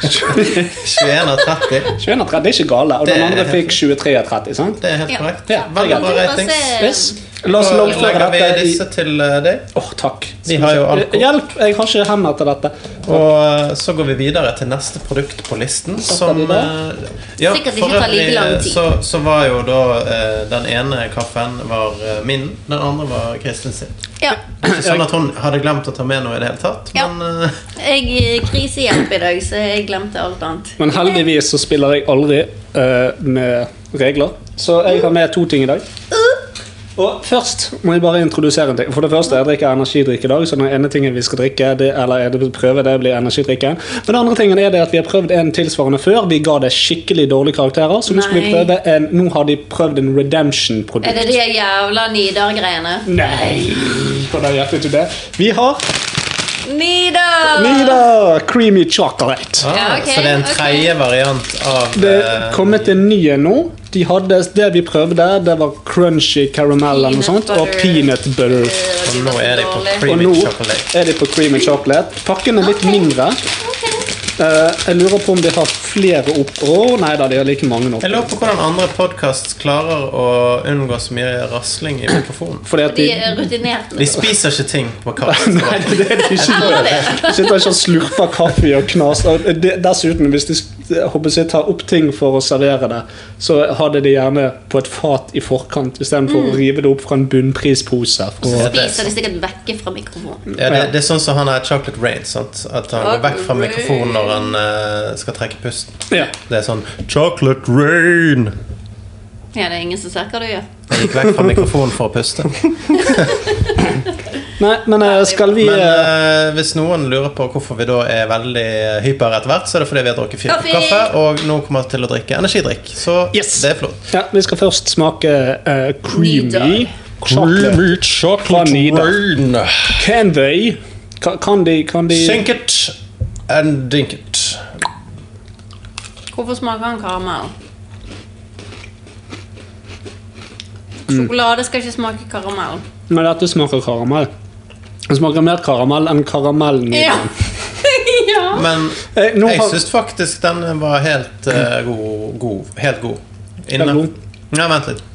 [SPEAKER 2] 21 av 30.
[SPEAKER 3] 21 av 30 er ikke gale. Og
[SPEAKER 2] Det
[SPEAKER 3] den
[SPEAKER 2] er
[SPEAKER 3] andre
[SPEAKER 2] helt
[SPEAKER 3] fikk 23 av 30, sant?
[SPEAKER 2] Det er helt
[SPEAKER 4] Ja.
[SPEAKER 2] korrekt.
[SPEAKER 3] Ja,
[SPEAKER 2] Veldig bra
[SPEAKER 4] Honduras
[SPEAKER 2] ratings.
[SPEAKER 4] er-
[SPEAKER 3] Yes. La
[SPEAKER 2] Eh,
[SPEAKER 3] oss
[SPEAKER 2] Så
[SPEAKER 3] longføre
[SPEAKER 2] legger vi
[SPEAKER 3] dette i
[SPEAKER 2] disse til eh, deg,
[SPEAKER 3] Åh, takk.
[SPEAKER 2] Vi har jo alkohol.
[SPEAKER 3] Eh, Hjelp! Jeg har ikke hender til dette.
[SPEAKER 2] og eh, så går vi videre til neste produkt på listen. Som
[SPEAKER 3] vi
[SPEAKER 2] eh, ja,
[SPEAKER 4] Sikkert ikke
[SPEAKER 2] for
[SPEAKER 4] tar like
[SPEAKER 2] øvrig,
[SPEAKER 4] lang
[SPEAKER 2] eh,
[SPEAKER 4] tid.
[SPEAKER 2] så, så var jo da eh, Den ene kaffen var eh, min, den andre var Kristin sin.
[SPEAKER 4] Ja.
[SPEAKER 2] Ikke sånn at hun hadde glemt å ta med noe i det hele tatt,
[SPEAKER 4] Ja.
[SPEAKER 2] men eh,
[SPEAKER 4] Jeg er krisehjelp i dag, så jeg glemte alt annet.
[SPEAKER 3] Men heldigvis så spiller jeg aldri eh, med regler, så jeg har med to ting i dag. Og først må jeg bare introdusere en ting. For det første, jeg drikker energidrikk i dag, så den ene tingen vi skal drikke, det, eller er det vi prøver, det blir energidrikken. Men den andre tingen er det at vi har prøvd en tilsvarende før. Vi ga det skikkelig dårlige karakterer, så nå skal vi
[SPEAKER 4] Nei.
[SPEAKER 3] prøve en Nå har de prøvd en
[SPEAKER 4] Er det
[SPEAKER 3] redemption-produkt.
[SPEAKER 4] de jævla Nidar-greiene?
[SPEAKER 3] Nei! Hvordan gjør vi ikke det? Vi har
[SPEAKER 4] Nidar!
[SPEAKER 3] Nida creamy chocolate.
[SPEAKER 2] ah,
[SPEAKER 4] Ja, ok,
[SPEAKER 2] Så det er en
[SPEAKER 4] ok.
[SPEAKER 2] tredje variant av
[SPEAKER 3] Det
[SPEAKER 2] eh,
[SPEAKER 3] er kommet en ny en nå. De hadde, det vi prøvde, det var crunchy caramel eller noe sånt, og peanut butter.
[SPEAKER 4] Øh, de
[SPEAKER 2] Og nå
[SPEAKER 4] var så
[SPEAKER 2] er de på
[SPEAKER 4] dårlige.
[SPEAKER 3] Og
[SPEAKER 2] creamy
[SPEAKER 3] nå
[SPEAKER 2] chocolate.
[SPEAKER 3] er de på cream and chocolate. Pakken er litt
[SPEAKER 4] Ok.
[SPEAKER 3] mindre.
[SPEAKER 4] Ok.
[SPEAKER 3] Eh, Jeg lurer på om de har flere opp... Å nei da, de har like mange nå.
[SPEAKER 2] Jeg lurer på hvordan andre podkast klarer å unngå så mye rasling i mikrofonen.
[SPEAKER 3] Fordi at
[SPEAKER 4] De
[SPEAKER 3] de eh,
[SPEAKER 4] er rutinerte.
[SPEAKER 2] De spiser ikke ting på kaffe.
[SPEAKER 3] <laughs> Nei, <laughs> det er de ikke. De Sitter ikke og slurper kaffe og knas. Og det- Dessuten, hvis de jeg håper jeg, tar opp ting for å servere det, så har de det gjerne på et fat i forkant istedenfor å rive det opp fra en bunnprispose. For å
[SPEAKER 2] det er
[SPEAKER 4] Spiser de sikkert vekk fra mikrofonen.
[SPEAKER 2] Ja, det, det er sånn som han er Chocolate Rain. sant? At han går vekk fra
[SPEAKER 4] Rain.
[SPEAKER 2] mikrofonen når han eh, skal trekke pusten.
[SPEAKER 3] Ja.
[SPEAKER 2] Det er sånn Chocolate Rain!
[SPEAKER 4] Ja, det er ingen som ser hva du gjør.
[SPEAKER 2] Jeg gikk vekk fra mikrofonen for å puste.
[SPEAKER 3] <laughs> Nei, men eh, skal vi
[SPEAKER 2] Men
[SPEAKER 3] eh,
[SPEAKER 2] eh, hvis noen lurer på hvorfor vi da er veldig hyper etter hvert, så er det fordi vi har drukket fire
[SPEAKER 4] Kaffe!
[SPEAKER 2] kopper kaffe, og nå kommer vi til å drikke energidrikk. Så
[SPEAKER 3] Yes.
[SPEAKER 2] det er flott.
[SPEAKER 3] Ja, vi skal først smake eh, creamy
[SPEAKER 4] Nidar.
[SPEAKER 3] chocolate. Fra Nidar.
[SPEAKER 2] Rain.
[SPEAKER 3] Can they? Ka- Kan de, kan de
[SPEAKER 2] Sink it and dink it.
[SPEAKER 4] Hvorfor smaker han karamell?
[SPEAKER 2] Mm.
[SPEAKER 4] Sjokolade skal ikke smake karamell.
[SPEAKER 3] Men dette smaker karamell. Det smaker mer karamell enn karamell.
[SPEAKER 4] Ja. <laughs> ja.
[SPEAKER 2] Men
[SPEAKER 3] Eh, nå
[SPEAKER 2] jeg
[SPEAKER 3] har-
[SPEAKER 2] syns faktisk den var helt eh, god, god. Helt god. Inne.
[SPEAKER 3] Helt god.
[SPEAKER 2] Nei, vent litt.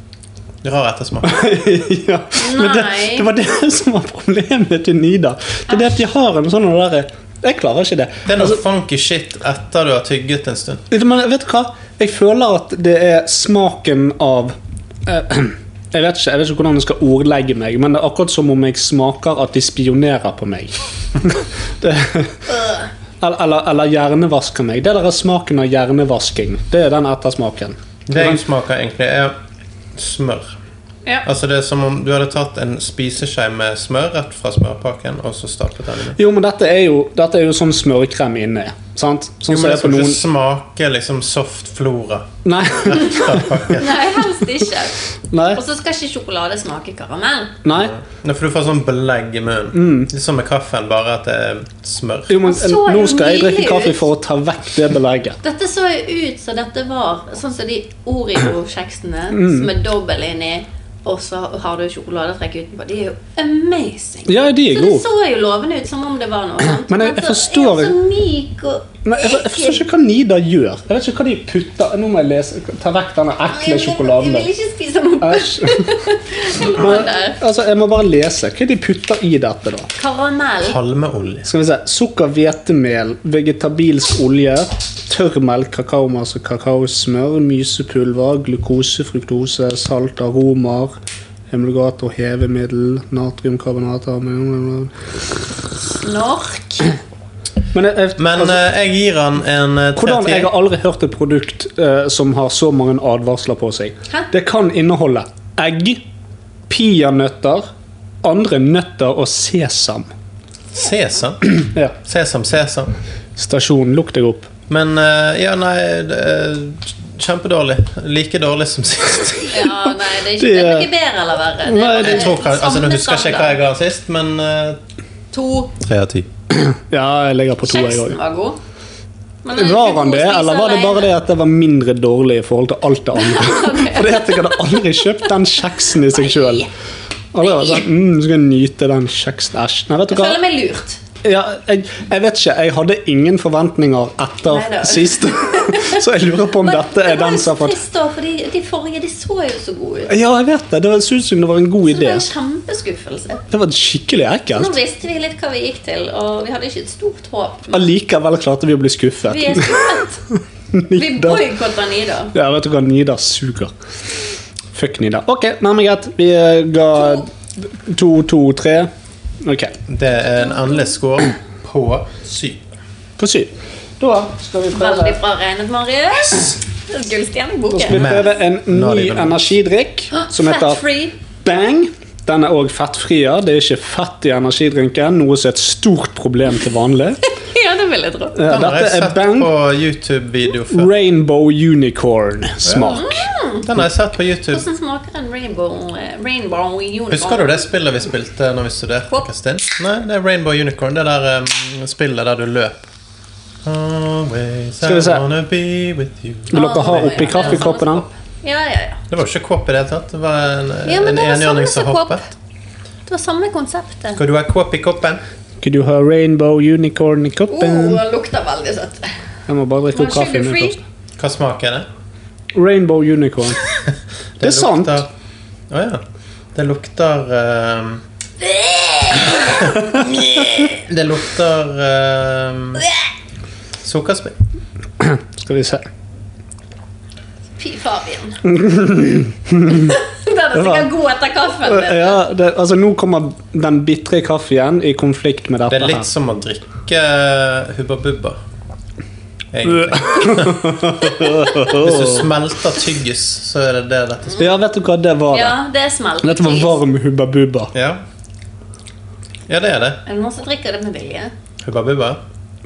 [SPEAKER 2] Rar
[SPEAKER 3] <laughs>
[SPEAKER 2] ettersmak.
[SPEAKER 3] <laughs> ja. Men det,
[SPEAKER 4] Nei.
[SPEAKER 3] det var det <laughs> som var problemet til Nida. Det er det at de har en sånn derre Jeg klarer ikke det.
[SPEAKER 2] Det er noe
[SPEAKER 3] Altså,
[SPEAKER 2] funky shit etter du har tygget en stund.
[SPEAKER 3] men vet du hva? Jeg føler at det er smaken av eh, <clears throat> jeg vet, ikke, jeg vet ikke hvordan jeg skal ordlegge meg, men det er akkurat som om jeg smaker at de spionerer på meg. det, eller, eller, eller hjernevasker meg. Det der er smaken av hjernevasking. Det er den ettersmaken.
[SPEAKER 2] Det jeg smaker egentlig, er smør.
[SPEAKER 4] ja.
[SPEAKER 2] Altså Det er som om du hadde tatt en spiseskje med smør rett fra smørpakken, og så staplet den i munnen.
[SPEAKER 3] Jo, men dette er jo, dette er jo sånn smørkrem inne. Sant? Sånn
[SPEAKER 2] Jo,
[SPEAKER 3] som
[SPEAKER 2] men
[SPEAKER 3] det
[SPEAKER 2] det
[SPEAKER 3] er på
[SPEAKER 2] skal
[SPEAKER 3] noen
[SPEAKER 2] ikke smake liksom soft flora.
[SPEAKER 3] Nei. <laughs>
[SPEAKER 2] fra pakken.
[SPEAKER 4] Nei, helst ikke.
[SPEAKER 3] Nei.
[SPEAKER 4] Og så skal ikke sjokolade smake karamell.
[SPEAKER 3] Nei.
[SPEAKER 2] Nå får du få sånn belegg i munnen. Litt som med kaffen, bare at det er smør.
[SPEAKER 3] Mm. Jo, men
[SPEAKER 4] Han så
[SPEAKER 3] nå
[SPEAKER 4] jo
[SPEAKER 3] skal jeg drikke
[SPEAKER 4] nydelig
[SPEAKER 3] kaffe
[SPEAKER 4] ut.
[SPEAKER 3] for å ta vekk det belegget.
[SPEAKER 4] Dette så jo ut som dette var sånn som de Oreo-kjeksene
[SPEAKER 2] Mm.
[SPEAKER 4] som er dobbel inni, og så har du sjokoladetrekk utenpå. De er jo amazing.
[SPEAKER 3] Ja, de er
[SPEAKER 4] Så det
[SPEAKER 3] gode.
[SPEAKER 4] så jo lovende ut, som om det var noe sånt.
[SPEAKER 3] Men jeg- jeg
[SPEAKER 4] så er
[SPEAKER 3] forstår-
[SPEAKER 4] den så myk og
[SPEAKER 3] Men jeg, jeg forstår ikke hva Nida gjør. Jeg vet ikke hva de putter Nå må jeg lese Ta vekk denne ekle sjokoladen
[SPEAKER 4] Jeg
[SPEAKER 3] der.
[SPEAKER 4] vil ikke spise noe
[SPEAKER 3] Æsj.
[SPEAKER 4] <laughs> den der.
[SPEAKER 3] Altså, jeg må bare lese. Hva er det de putter i dette, da? <laughs>
[SPEAKER 4] Karamell.
[SPEAKER 2] Palmeolje.
[SPEAKER 3] Skal vi se. Sukker, hvetemel, vegetabilsk olje, tørrmelk, kakaomasse, kakaosmør, mysepulver, glukose, fruktose, salt, aromer, emulgator, hevemiddel, natriumkarbonater Men
[SPEAKER 4] Snork.
[SPEAKER 3] jeg, jeg,
[SPEAKER 2] Men
[SPEAKER 3] altså,
[SPEAKER 2] eh, jeg gir han en eh,
[SPEAKER 3] hvordan,
[SPEAKER 2] 30.
[SPEAKER 3] jeg har aldri hørt et produkt eh, som har så mange advarsler på seg.
[SPEAKER 4] Hæ?
[SPEAKER 3] Det kan inneholde egg, peanøtter, andre nøtter og sesam.
[SPEAKER 2] Sesam.
[SPEAKER 3] Ja.
[SPEAKER 2] Sesam, sesam.
[SPEAKER 3] Stasjon, lukk deg opp.
[SPEAKER 2] Men eh, ja, nei det er Kjempedårlig. Like dårlig som sist.
[SPEAKER 4] <laughs> Ja, nei, det er
[SPEAKER 3] Det
[SPEAKER 4] ikke, det er
[SPEAKER 3] er-
[SPEAKER 4] ikke bedre eller verre.
[SPEAKER 3] Nei,
[SPEAKER 4] bare
[SPEAKER 2] Jeg tror, ka- altså, Nå
[SPEAKER 4] samme
[SPEAKER 2] husker jeg ikke hva jeg ga sist, men eh,
[SPEAKER 4] standard. To.
[SPEAKER 2] Tre av ti.
[SPEAKER 3] Ja, jeg ligger på to, jeg òg.
[SPEAKER 4] Kjeksen var god. Men den
[SPEAKER 3] Var
[SPEAKER 4] er
[SPEAKER 3] han
[SPEAKER 4] ikke god å
[SPEAKER 3] det,
[SPEAKER 4] spise
[SPEAKER 3] eller var det
[SPEAKER 4] alene.
[SPEAKER 3] bare det at det var mindre dårlig i forhold til alt det
[SPEAKER 4] <laughs>
[SPEAKER 3] andre? For det at jeg hadde aldri kjøpt den kjeksen i seg sjøl. Aldri vært sånn, mm, skal jeg nyte den kjeksen, æsj. Nei, vet du
[SPEAKER 4] Jeg
[SPEAKER 3] hva?
[SPEAKER 4] føler meg lurt.
[SPEAKER 3] Ja, jeg, jeg vet ikke, jeg hadde ingen forventninger etter
[SPEAKER 4] Neida. <laughs>
[SPEAKER 3] sist. Så jeg lurer på om
[SPEAKER 4] Men
[SPEAKER 3] dette
[SPEAKER 4] det
[SPEAKER 3] er
[SPEAKER 4] var
[SPEAKER 3] den
[SPEAKER 4] jo
[SPEAKER 3] som har
[SPEAKER 4] så
[SPEAKER 3] fått
[SPEAKER 4] trist da, fordi de forrige de så jo så gode ut.
[SPEAKER 3] Ja, jeg vet det. Det var- synes som det var en god
[SPEAKER 4] Så det
[SPEAKER 3] idé.
[SPEAKER 4] var en kjempeskuffelse.
[SPEAKER 3] Det var skikkelig
[SPEAKER 4] Nå
[SPEAKER 3] ekkelt.
[SPEAKER 4] visste vi litt hva vi gikk til, og vi hadde ikke et stort håp. men
[SPEAKER 3] Allikevel klarte vi å bli skuffet.
[SPEAKER 4] Vi er skuffet. Vi
[SPEAKER 3] Nidda.
[SPEAKER 4] boikotter Nida.
[SPEAKER 3] Ja, vet du hva, Nida suger. Fuck Nida. Ok, nei, men greit. Vi eh, ga to, to, tre. Ok,
[SPEAKER 2] Det er en endelig score på syv.
[SPEAKER 3] på syv. Da skal vi prøve,
[SPEAKER 4] Veldig bra regnet, Marius.
[SPEAKER 3] da skal vi
[SPEAKER 4] Gullstjerneboken.
[SPEAKER 3] prøve en
[SPEAKER 2] Nå er
[SPEAKER 3] ny
[SPEAKER 2] det vel-
[SPEAKER 3] energidrikk som
[SPEAKER 4] Ah, Fat
[SPEAKER 3] heter
[SPEAKER 4] free. <laughs>
[SPEAKER 3] Bang. Den er òg fettfri. ja. Det er ikke fett i energidrinken, noe som er et stort problem til vanlig.
[SPEAKER 2] <laughs>
[SPEAKER 4] Ja, det vil jeg tro.
[SPEAKER 3] Eh,
[SPEAKER 2] Den har
[SPEAKER 3] Dette
[SPEAKER 2] jeg
[SPEAKER 3] er
[SPEAKER 2] sett
[SPEAKER 3] Bang
[SPEAKER 2] på YouTube-video før.
[SPEAKER 3] Rainbow Unicorn-smak.
[SPEAKER 2] Den har jeg sett på YouTube.
[SPEAKER 4] Mm, Hvordan smaker en rainbow, eh, rainbow unicorn?
[SPEAKER 2] Husker du det spillet vi spilte når vi studerte?
[SPEAKER 4] Hopp.
[SPEAKER 2] Kristin? Nei, det er Rainbow Unicorn. Det der um, spillet der du løp. Always
[SPEAKER 3] Skal vi se.
[SPEAKER 2] I wanna be with you.
[SPEAKER 3] Vil dere ha oppi
[SPEAKER 4] Ja,
[SPEAKER 3] kaffekoppen? den?
[SPEAKER 4] samme kopp. Ja, ja, ja.
[SPEAKER 2] Det var jo ikke kåp i det hele tatt. Det var en,
[SPEAKER 4] Ja, men
[SPEAKER 2] en
[SPEAKER 4] det var
[SPEAKER 2] enhjørning
[SPEAKER 4] samme
[SPEAKER 2] som
[SPEAKER 4] som kopp.
[SPEAKER 2] hoppet.
[SPEAKER 4] Det var samme konseptet.
[SPEAKER 2] Skal du ha kåp i koppen?
[SPEAKER 3] Kan du ha Rainbow Unicorn i
[SPEAKER 4] Åh,
[SPEAKER 3] koppen?
[SPEAKER 4] den Oh, lukter veldig søtt.
[SPEAKER 3] Jeg må bare drikke
[SPEAKER 4] Var
[SPEAKER 3] opp kaffen
[SPEAKER 4] sugar
[SPEAKER 3] min
[SPEAKER 4] free?
[SPEAKER 3] først.
[SPEAKER 2] Hva smak er det?
[SPEAKER 3] Rainbow
[SPEAKER 2] <laughs>
[SPEAKER 3] Unicorn. Det, er sant.
[SPEAKER 2] lukter- Å ja. Det lukter
[SPEAKER 4] <laughs>
[SPEAKER 2] ehm, <laughs> Det lukter ehm, Sukkerspinn.
[SPEAKER 3] Skal vi se.
[SPEAKER 4] Fy
[SPEAKER 3] <laughs>
[SPEAKER 4] Fabian. <laughs> Den er sikkert god etter kaffen. din.
[SPEAKER 3] Ja, det, altså Nå kommer den bitre kaffen i konflikt med
[SPEAKER 2] Det
[SPEAKER 3] dette
[SPEAKER 2] er litt som å drikke Hubba Bubba. Egentlig. Hvis du smelter tyggis, så er det det dette smaker.
[SPEAKER 3] her. Ja, vet du hva det var?
[SPEAKER 4] Ja,
[SPEAKER 3] det?
[SPEAKER 4] det er smelt.
[SPEAKER 3] Dette var varm Hubba Bubba.
[SPEAKER 2] Ja. ja, det er det.
[SPEAKER 4] Er det noen som drikker det med vilje?
[SPEAKER 2] Hubba Bubba.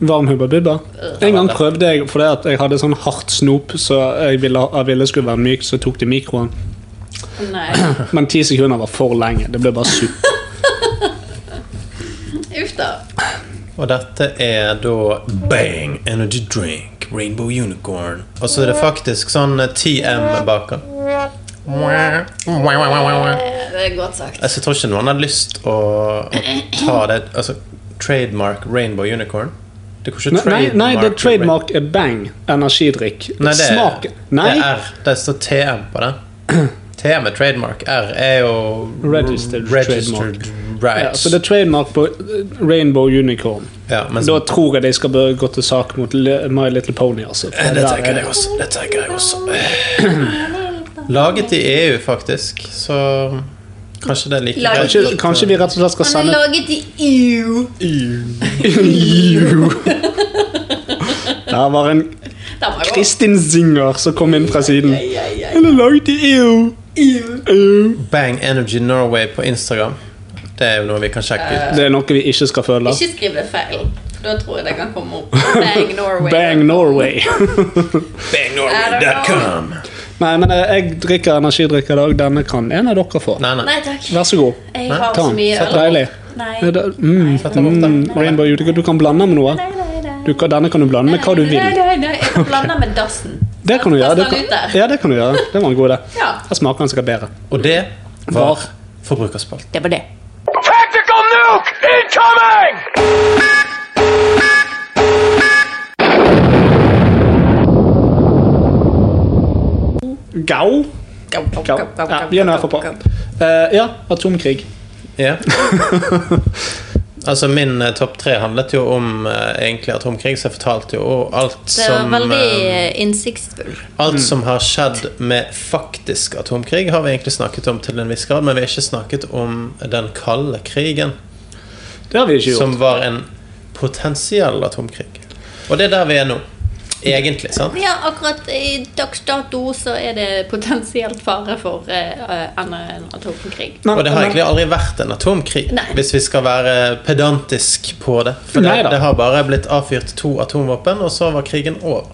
[SPEAKER 3] Varm Hubba
[SPEAKER 2] Øh,
[SPEAKER 3] Bubba. En gang prøvde jeg fordi at jeg hadde sånn hardt snop, så jeg ville, jeg ville skulle være myk, så tok det i mikroen.
[SPEAKER 4] Nei.
[SPEAKER 3] Men ti sekunder var for lenge. Det ble bare
[SPEAKER 2] <laughs>
[SPEAKER 3] suppe.
[SPEAKER 4] Uff da.
[SPEAKER 2] Og dette er da Bang Energy Drink Rainbow Unicorn. Og så er det faktisk sånn eh, TM baker. Altså,
[SPEAKER 4] Eh, Det er godt sagt.
[SPEAKER 2] jeg tror ikke noen har lyst å ta det Altså, trademark Rainbow Unicorn. Det går ikke
[SPEAKER 3] Nei, nei, det er
[SPEAKER 2] Rainbow-
[SPEAKER 3] trademark er bang. Energidrikk.
[SPEAKER 2] Nei, det,
[SPEAKER 3] Smak
[SPEAKER 2] det
[SPEAKER 3] Nei,
[SPEAKER 2] er R. Det står TM på
[SPEAKER 3] <clears throat>
[SPEAKER 2] den. TM er trademark. R er jo
[SPEAKER 3] Registered
[SPEAKER 2] registered
[SPEAKER 3] ja,
[SPEAKER 2] rights.
[SPEAKER 3] så det er trademark på eh, Rainbow Unicorn.
[SPEAKER 2] Ja, men
[SPEAKER 3] Da tror jeg de skal bør- gå til sak mot Le- My Little Pony. Altså. For
[SPEAKER 2] det
[SPEAKER 3] der
[SPEAKER 2] tenker
[SPEAKER 3] er-
[SPEAKER 2] jeg også. Det tenker jeg også. <clears throat> Laget i EU, faktisk, så kanskje det er like
[SPEAKER 4] Laget-
[SPEAKER 2] greit.
[SPEAKER 3] Kanskje, kanskje vi rett og slett skal
[SPEAKER 4] Han er
[SPEAKER 3] <laughs> sende
[SPEAKER 4] laget i EU. <laughs>
[SPEAKER 3] Der var en
[SPEAKER 4] Den var god.
[SPEAKER 3] Kristin Zinger som kom inn fra siden. Han er laget i EU. EU.
[SPEAKER 2] Bang Energy Norway på Instagram. Det er jo noe vi kan sjekke ut.
[SPEAKER 3] Det er noe vi ikke skal følge.
[SPEAKER 4] Ikke skriv det feil, for da tror jeg det kan komme
[SPEAKER 3] <laughs>
[SPEAKER 4] opp. Bang Norway.
[SPEAKER 3] Bang Norway. <laughs>
[SPEAKER 2] Bangnorway.com.
[SPEAKER 3] Nei, men eh, jeg drikker energidrikk i dag. Denne kan en av dere få.
[SPEAKER 2] Nei, nei.
[SPEAKER 4] Nei takk.
[SPEAKER 3] Vær så god.
[SPEAKER 4] Jeg har
[SPEAKER 3] Ta
[SPEAKER 4] så
[SPEAKER 3] den.
[SPEAKER 4] mye
[SPEAKER 3] Så deilig.
[SPEAKER 4] Nei.
[SPEAKER 3] Ja, da- Mm,
[SPEAKER 2] den opp, da.
[SPEAKER 3] mm, Rainbow Unicorn. Du kan blande med noe.
[SPEAKER 4] Nei, nei, nei.
[SPEAKER 3] Du kan, denne kan du blande med hva du
[SPEAKER 4] Nei,
[SPEAKER 3] vil.
[SPEAKER 4] nei, nei. Jeg kan blande med dassen.
[SPEAKER 3] Det kan du gjøre. Du
[SPEAKER 4] Pass den ut
[SPEAKER 3] kan,
[SPEAKER 4] der.
[SPEAKER 3] ja, det kan du gjøre. Det var en god idé.
[SPEAKER 4] Ja.
[SPEAKER 3] Her smaker den sikkert bedre.
[SPEAKER 2] Og det
[SPEAKER 3] Var.
[SPEAKER 2] var Forbrukerspalt.
[SPEAKER 4] Det var det.
[SPEAKER 6] Tactical nuke incoming!
[SPEAKER 3] Gau.
[SPEAKER 4] Go, go,
[SPEAKER 3] Gau.
[SPEAKER 4] go, go,
[SPEAKER 3] Ja,
[SPEAKER 4] go,
[SPEAKER 3] vi er nær for
[SPEAKER 4] go, go.
[SPEAKER 3] prat. Eh, ja, atomkrig.
[SPEAKER 2] Ja. <laughs> altså, min eh, topp tre handlet jo om eh, egentlig atomkrig, så jeg fortalte jo og alt
[SPEAKER 4] Det var
[SPEAKER 2] som
[SPEAKER 4] veldig
[SPEAKER 2] eh,
[SPEAKER 4] eh, innsiktsfull.
[SPEAKER 3] Mm.
[SPEAKER 2] Alt som har skjedd med faktisk atomkrig, har vi egentlig snakket om til en viss grad, men vi har ikke snakket om den kalde krigen,
[SPEAKER 3] Det har vi ikke gjort.
[SPEAKER 2] som var en potensiell atomkrig. Og det er der vi er nå. Egentlig, sant?
[SPEAKER 4] Ja, akkurat i dags dato så er det potensielt fare for eh, enda en atomkrig.
[SPEAKER 3] Men-
[SPEAKER 2] Og det har
[SPEAKER 3] men-
[SPEAKER 2] egentlig aldri vært en atomkrig,
[SPEAKER 4] Nei.
[SPEAKER 2] hvis vi skal være pedantisk på det. For det,
[SPEAKER 3] Neida.
[SPEAKER 2] det har bare blitt avfyrt to atomvåpen, og så var krigen over.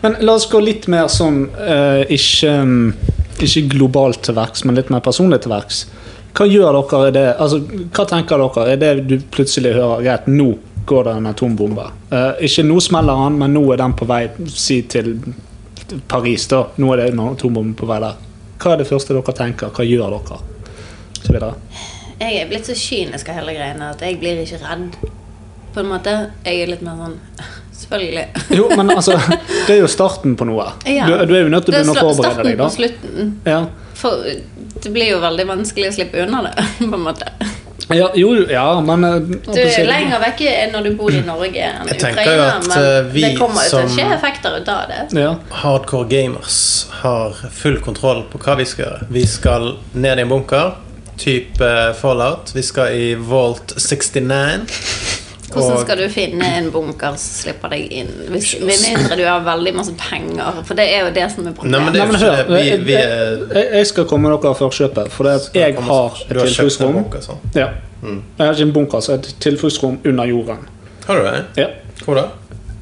[SPEAKER 3] Men la oss gå litt mer sånn eh, ikke, mm, ikke globalt til verks, men litt mer personlig til verks. Hva gjør dere i det? Altså, hva tenker dere? Er det du plutselig hører greit, nå går det en atombombe? Eh, ikke nå smeller han, men nå er den på vei si til Paris. da. Nå er det en atombombe på vei der. Hva er det første dere tenker? Hva gjør dere? Så videre.
[SPEAKER 4] Jeg er blitt så kynisk av hele greiene at jeg blir ikke redd. På en måte. Jeg er litt mer sånn Selvfølgelig.
[SPEAKER 3] Jo, men
[SPEAKER 4] <laughs>
[SPEAKER 3] altså, <laughs> det er jo starten på noe.
[SPEAKER 4] Ja.
[SPEAKER 3] Du, du er jo nødt til å
[SPEAKER 4] Det er
[SPEAKER 3] begynne å
[SPEAKER 4] sla-
[SPEAKER 3] forberede deg. da.
[SPEAKER 4] Starten på slutten.
[SPEAKER 3] Ja.
[SPEAKER 4] For det blir jo veldig vanskelig å slippe unna det, <laughs> på en måte.
[SPEAKER 3] Ja, jo, ja, men eh,
[SPEAKER 4] Du er lenger vekke enn når du bor i Norge enn i
[SPEAKER 2] Jeg tenker
[SPEAKER 4] Ukraina,
[SPEAKER 2] jo at,
[SPEAKER 4] men
[SPEAKER 2] eh, vi
[SPEAKER 4] det kommer jo til
[SPEAKER 2] som-
[SPEAKER 4] å skje effekter ut av det.
[SPEAKER 3] Ja.
[SPEAKER 2] Hardcore gamers har full kontroll på hva vi skal gjøre. Vi skal ned i en bunker, type eh, Fallout. Vi skal i Vault 69.
[SPEAKER 4] Hvordan
[SPEAKER 2] Og-
[SPEAKER 4] skal du finne en bunker som slipper deg inn? Hvis, med mindre du har veldig masse penger, for det er jo det som er
[SPEAKER 2] Nei, men
[SPEAKER 4] problemet.
[SPEAKER 2] det er jo ikke
[SPEAKER 3] Men hør,
[SPEAKER 2] det. Vi, vi er
[SPEAKER 3] jeg, jeg- jeg skal komme dere før kjøpet, for det at jeg
[SPEAKER 2] Kommer-
[SPEAKER 3] har et
[SPEAKER 2] Du har kjøpt en
[SPEAKER 3] tilfluktsrom.
[SPEAKER 2] bunker, sånn.
[SPEAKER 3] Ja. Jeg har ikke en bunker, så et tilfluktsrom under jorden.
[SPEAKER 2] Har du det?
[SPEAKER 3] Ja.
[SPEAKER 2] Hvor da?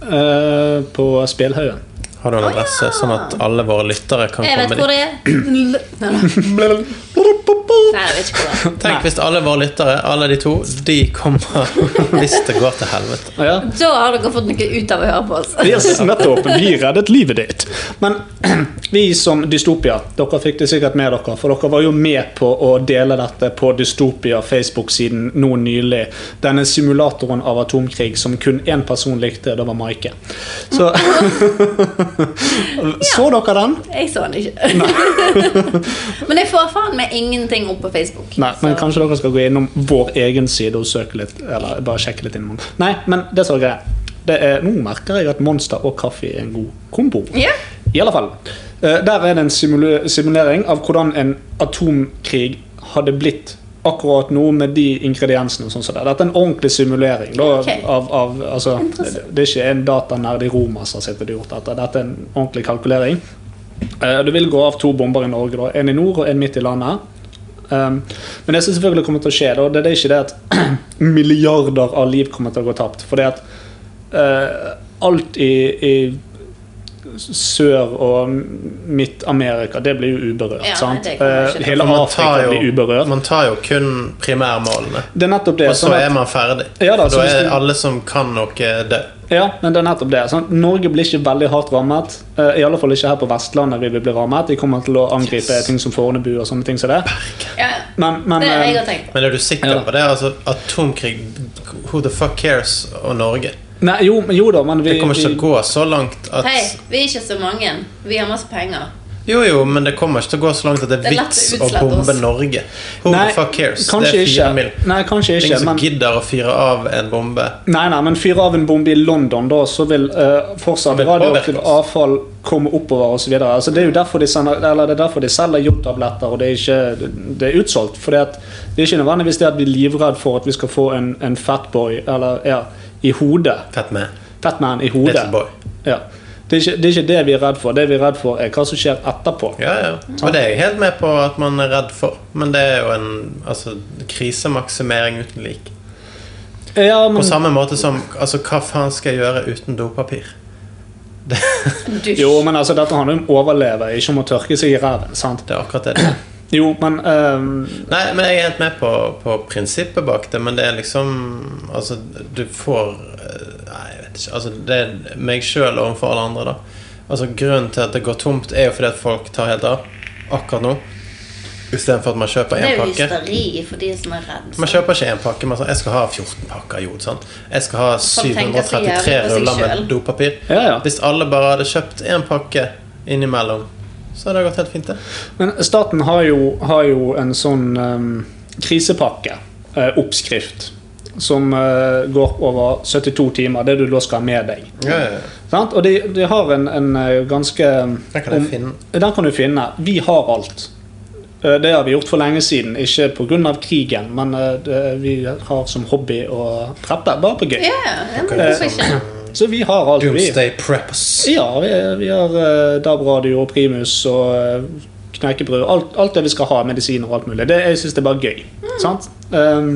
[SPEAKER 3] Eh, på Spelhaugen.
[SPEAKER 2] Har du en adresse, sånn at alle våre lyttere kan
[SPEAKER 4] Ah, Jeg vet
[SPEAKER 2] komme
[SPEAKER 4] hvor
[SPEAKER 2] dit?
[SPEAKER 4] det er. Nei, nei. Nei, jeg vet ikke hvor det er.
[SPEAKER 2] Tenk hvis alle våre lyttere, alle de to, de kommer <laughs> hvis det går til helvete.
[SPEAKER 3] Ja.
[SPEAKER 4] Da har dere fått noe ut av å høre på altså. oss.
[SPEAKER 3] Yes, nettopp. Vi reddet livet ditt. Men <clears throat> vi som Dystopia, dere fikk det sikkert med dere, for dere var jo med på å dele dette på Dystopia Facebook-siden nå nylig. Denne simulatoren av atomkrig som kun én person likte, det var Maike.
[SPEAKER 4] <laughs>
[SPEAKER 3] Så Så dere den?
[SPEAKER 4] Jeg så den ikke. <laughs> men jeg får faen meg ingenting opp på Facebook.
[SPEAKER 3] Nei, men
[SPEAKER 4] så-
[SPEAKER 3] kanskje dere skal gå innom vår egen side og søke litt, eller bare sjekke litt innom. den. Nei, men det som er greia, det er, nå merker jeg at Monster og kaffe er en god kombo.
[SPEAKER 4] Ja.
[SPEAKER 3] I alle fall. Eh, Der er det en simule- simulering av hvordan en atomkrig hadde blitt akkurat nå med de ingrediensene. og sånn som det. Dette er en ordentlig simulering. Da,
[SPEAKER 4] Ok.
[SPEAKER 3] av, av, altså, det, det er ikke en datanerd i Roma som har sittet og gjort dette. Dette er en ordentlig kalkulering. Eh, Det vil gå av to bomber i Norge. Da. En i nord og en midt i landet. Um, men det som selvfølgelig kommer til å skje, da, det er ikke det at <clears throat> milliarder av liv kommer til å gå tapt. For det at eh, alt i, i Sør- og Midt-Amerika, det blir jo uberørt.
[SPEAKER 4] Ja,
[SPEAKER 3] sant?
[SPEAKER 4] det kommer ikke
[SPEAKER 3] Eh,
[SPEAKER 4] til å-
[SPEAKER 3] Hele
[SPEAKER 2] Man
[SPEAKER 3] Afrika
[SPEAKER 2] tar,
[SPEAKER 3] blir
[SPEAKER 2] jo,
[SPEAKER 3] uberørt.
[SPEAKER 2] man tar jo kun primærmålene,
[SPEAKER 3] Det er nettopp det.
[SPEAKER 2] og så
[SPEAKER 3] sånn at-
[SPEAKER 2] er man ferdig.
[SPEAKER 3] Ja da,
[SPEAKER 2] For
[SPEAKER 3] så
[SPEAKER 2] da
[SPEAKER 3] hvis
[SPEAKER 2] er
[SPEAKER 3] du-
[SPEAKER 2] alle som kan noe, død.
[SPEAKER 3] Ja, men det er nettopp det. Sant? Norge blir ikke veldig hardt rammet. Eh, I alle fall ikke her på Vestlandet vi vil bli rammet. Vi kommer til å angripe ting som Fornebu og sånne ting som det.
[SPEAKER 4] ja.
[SPEAKER 3] Men, men
[SPEAKER 4] Det er det
[SPEAKER 3] eh,
[SPEAKER 4] jeg har tenkt på.
[SPEAKER 2] Men er du sikker
[SPEAKER 3] Ja da.
[SPEAKER 2] på det? Altså, atomkrig Who the fuck cares? Og Norge.
[SPEAKER 3] Nei, jo, men- jo da, men vi,
[SPEAKER 2] Det kommer ikke til å
[SPEAKER 3] vi
[SPEAKER 2] gå så langt at
[SPEAKER 4] Hei, vi er ikke så mange. Vi har masse penger.
[SPEAKER 2] Jo, jo, men det kommer ikke til å gå så langt at det
[SPEAKER 4] Det
[SPEAKER 2] er
[SPEAKER 4] er lett å
[SPEAKER 2] vits å
[SPEAKER 4] utslette
[SPEAKER 2] bombe
[SPEAKER 4] oss.
[SPEAKER 2] Norge. Who
[SPEAKER 3] Nei,
[SPEAKER 2] the fuck cares? Det
[SPEAKER 3] kanskje
[SPEAKER 2] er fire mil.
[SPEAKER 3] ikke. Nei, kanskje
[SPEAKER 2] Det er
[SPEAKER 3] ikke.
[SPEAKER 2] ingen som
[SPEAKER 3] Men,
[SPEAKER 2] gidder å fyre av en bombe.
[SPEAKER 3] nei, nei, men fyre av en bombe i London, da, så vil eh, fortsatt
[SPEAKER 2] Vil påvirke
[SPEAKER 3] radioaktivt
[SPEAKER 2] oss.
[SPEAKER 3] avfall komme oppover osv. Altså, det er jo derfor de, sender, eller, det er derfor de selger jodtabletter, og det er, ikke, det er utsolgt. For det er ikke nødvendigvis det at vi er livredd for at vi skal få en, en fatboy eller, ja, i hodet.
[SPEAKER 2] Fett med.
[SPEAKER 3] Fatman i
[SPEAKER 2] Little
[SPEAKER 3] hodet.
[SPEAKER 2] boy.
[SPEAKER 3] Ja. Det, er ikke, det er ikke det vi er redd for. Det vi er redd for, er hva som skjer etterpå.
[SPEAKER 2] Ja, ja. Og det er jeg helt med på at man er redd for, men det er jo en altså, krisemaksimering uten lik.
[SPEAKER 3] Ja, men,
[SPEAKER 2] På samme måte som altså, Hva faen skal jeg gjøre uten dopapir?
[SPEAKER 4] Dusj.
[SPEAKER 3] jo, men altså, dette handler om å overleve, ikke om å tørke seg i ræven. sant?
[SPEAKER 2] Det er akkurat det.
[SPEAKER 3] Jo, men ehm,
[SPEAKER 2] Nei, men jeg er helt med på, på prinsippet bak det, men det er liksom Altså, du får eh, Nei, jeg vet ikke. Altså, det er meg sjøl overfor alle andre, da. Altså, Grunnen til at det går tomt, er jo fordi at folk tar helt av akkurat nå. Istedenfor at man kjøper én
[SPEAKER 4] Det er jo
[SPEAKER 2] pakke.
[SPEAKER 4] hysteri for de som er redde.
[SPEAKER 2] Man kjøper ikke én pakke, men sånn, jeg skal ha 14 pakker jod. sant? Jeg skal ha
[SPEAKER 4] Folk tenker så jævlig
[SPEAKER 2] 733
[SPEAKER 4] på seg
[SPEAKER 2] ruller med
[SPEAKER 4] selv.
[SPEAKER 2] dopapir.
[SPEAKER 3] Ja, ja.
[SPEAKER 2] Hvis alle bare hadde kjøpt én pakke innimellom Så har det gått helt fint, det.
[SPEAKER 3] Men staten har jo, har jo en sånn ehm, krisepakke, eh, oppskrift, som eh, går over 72 timer. Det du da skal ha med deg.
[SPEAKER 2] Ja, ja, ja.
[SPEAKER 3] Sant? Og de, de har en, en eh, ganske
[SPEAKER 2] Den kan jeg finne.
[SPEAKER 3] Den kan du finne. Vi har alt. Eh, Det har vi gjort for lenge siden. Ikke pga. krigen, men eh, det, vi har som hobby å preppe. Bare på gøy.
[SPEAKER 4] Ja, ja, men
[SPEAKER 2] sånn.
[SPEAKER 4] hvorfor ikke?
[SPEAKER 3] Så vi har alt. vi.
[SPEAKER 2] Doomsday Preps.
[SPEAKER 3] Ja, vi, vi har eh, DAB-radio og primus og eh, knekkebrød. Alt, alt det vi skal ha, medisiner og alt mulig. Det, jeg syns det er bare gøy.
[SPEAKER 4] Mm.
[SPEAKER 3] Sant? Um,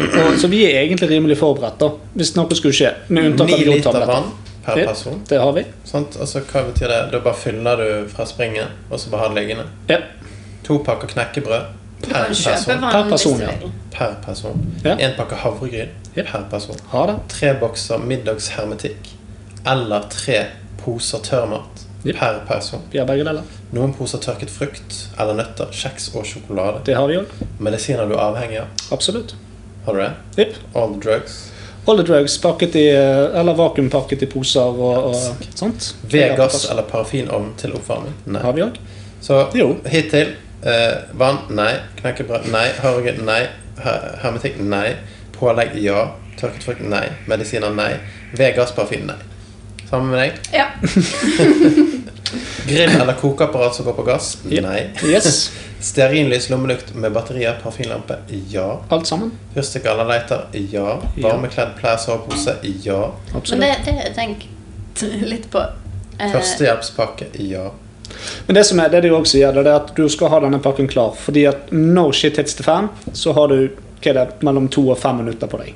[SPEAKER 3] og, så vi er egentlig rimelig forberedt, da, hvis noe skulle skje. Med unntak
[SPEAKER 2] Ni
[SPEAKER 3] av
[SPEAKER 2] liter
[SPEAKER 3] jodtabletter.
[SPEAKER 2] vann per
[SPEAKER 3] Det,
[SPEAKER 2] person.
[SPEAKER 3] det har vi.
[SPEAKER 2] Sant? Altså, hva betyr det? Da bare fyller du fra springen, og så bare har det liggende.
[SPEAKER 3] Ja.
[SPEAKER 2] To pakker knekkebrød
[SPEAKER 4] Du kan
[SPEAKER 2] per
[SPEAKER 4] kjøpe
[SPEAKER 2] person.
[SPEAKER 4] vann hvis du
[SPEAKER 3] person, ja.
[SPEAKER 4] vil.
[SPEAKER 2] Per person.
[SPEAKER 3] Ja.
[SPEAKER 2] En pakke havregryn
[SPEAKER 3] Ja.
[SPEAKER 2] per person.
[SPEAKER 3] Ha det.
[SPEAKER 2] Tre bokser middagshermetikk eller tre poser tørrmat
[SPEAKER 3] Ja.
[SPEAKER 2] per person.
[SPEAKER 3] Vi har begge deler.
[SPEAKER 2] Noen poser tørket frukt eller nøtter, kjeks og sjokolade.
[SPEAKER 3] Det har vi òg.
[SPEAKER 2] Medisiner du er avhengig av.
[SPEAKER 3] Absolutt.
[SPEAKER 2] Har du det?
[SPEAKER 3] Yep.
[SPEAKER 2] All the drugs.
[SPEAKER 3] All the drugs pakket i eh, Eller vakuumpakket i poser og, og sånt.
[SPEAKER 2] Vegass eller parafinovn til oppvarming? Nei.
[SPEAKER 3] Har vi òg.
[SPEAKER 2] Så
[SPEAKER 3] Jo.
[SPEAKER 2] hittil eh, vann, nei. Knekkebrød, nei. Havregryn, nei. Her- Hermetikk, nei. Pålegg, ja. Tørket frukt, nei. Medisiner, nei. Vegas parfyme, nei. Sammen med deg.
[SPEAKER 4] Ja.
[SPEAKER 2] Grill eller kokeapparat som går på gass?
[SPEAKER 3] Ja.
[SPEAKER 2] Nei.
[SPEAKER 3] Yes.
[SPEAKER 2] Stearinlys, lommelykt med batterier, parfymelampe? Ja.
[SPEAKER 3] Alt sammen.
[SPEAKER 2] Fyrstikk eller leiter? Ja.
[SPEAKER 3] Ja.
[SPEAKER 2] Varmekledd plær, sovepose? Ja.
[SPEAKER 4] Men
[SPEAKER 3] Absolutt.
[SPEAKER 4] det, det jeg tenker <laughs> litt på eh,
[SPEAKER 2] Førstehjelpspakke? Ja.
[SPEAKER 3] Men det som er, det de også sier, det er at du skal ha denne pakken klar. Fordi at når shit hits the fan, så har du hva er det, mellom to og fem minutter på deg.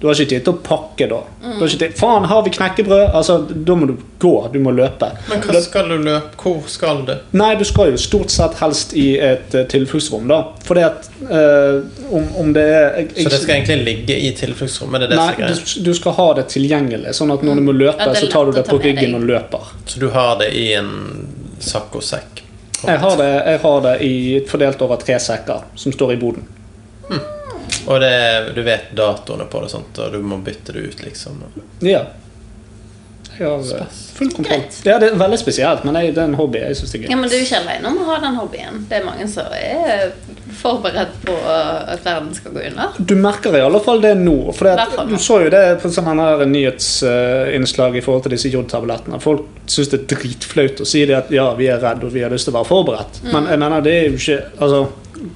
[SPEAKER 3] Du har ikke tid til å pakke da. Du har ikke tid, Faen, har vi knekkebrød? Altså, Da må du gå. Du må løpe.
[SPEAKER 2] Men hva skal du løpe? Hvor skal du?
[SPEAKER 3] Nei, du skal jo stort sett helst i et eh, tilfluktsrom, da. Fordi at eh, om, om det er jeg,
[SPEAKER 2] Så det
[SPEAKER 3] jeg-
[SPEAKER 2] skal egentlig ligge i tilfluktsrommet? Det er det som er
[SPEAKER 3] Nei,
[SPEAKER 2] greia.
[SPEAKER 3] du, du skal ha det tilgjengelig, sånn at når du må løpe,
[SPEAKER 4] Mm. Ja, det er
[SPEAKER 3] så tar du
[SPEAKER 4] lett å
[SPEAKER 3] det
[SPEAKER 4] ta
[SPEAKER 3] på
[SPEAKER 4] med
[SPEAKER 3] ryggen
[SPEAKER 4] deg.
[SPEAKER 3] og løper.
[SPEAKER 2] Så du har det i en saccosekk?
[SPEAKER 3] Jeg har det, jeg har det i, fordelt over tre sekker som står i boden.
[SPEAKER 2] Og det, du vet datoene på det, sant? og du må bytte det ut, liksom.
[SPEAKER 3] Ja. Jeg har eh, full kontroll.
[SPEAKER 4] Greit.
[SPEAKER 3] Ja, det er veldig spesielt, men jeg, det er en hobby. Jeg synes det er
[SPEAKER 4] Ja,
[SPEAKER 3] gøy.
[SPEAKER 4] men Du er ikke alene om å ha den hobbyen. Det er mange som er forberedt på at verden skal gå under.
[SPEAKER 3] Du merker i alle fall det nå. For det
[SPEAKER 4] Hvertfall
[SPEAKER 3] at,
[SPEAKER 4] nå.
[SPEAKER 3] du så jo det på sånne her nyhetsinnslag i forhold til disse jodtablettene. Folk syns det er dritflaut å si det at ja, vi er redd og vi har lyst til å være forberedt.
[SPEAKER 4] Mm.
[SPEAKER 3] Men jeg mener, det er jo ikke Altså,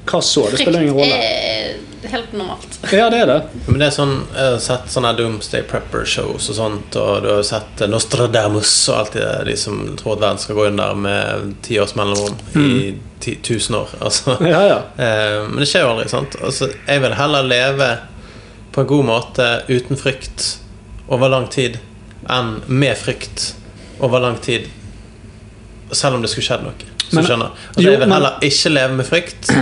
[SPEAKER 3] hva så? Det spiller ingen rolle.
[SPEAKER 4] er helt normalt.
[SPEAKER 3] Ja, det er det.
[SPEAKER 2] Men det er sånn, Jeg har sett sånne Doomsday Prepper-shows og sånt, og du har sett Nostradamus og alt det der, de som tror at verden skal gå under med ti års mellomrom i ti, tusen år. Altså.
[SPEAKER 3] Mm. Ja, ja.
[SPEAKER 2] Eh, Men det skjer jo aldri, sant? Altså, jeg vil heller leve på en god måte uten frykt over lang tid enn med frykt over lang tid, selv om det skulle skjedd noe. Så
[SPEAKER 3] Men-
[SPEAKER 2] skjønner altså,
[SPEAKER 3] jo,
[SPEAKER 2] Jeg vil
[SPEAKER 3] men-
[SPEAKER 2] heller ikke leve med frykt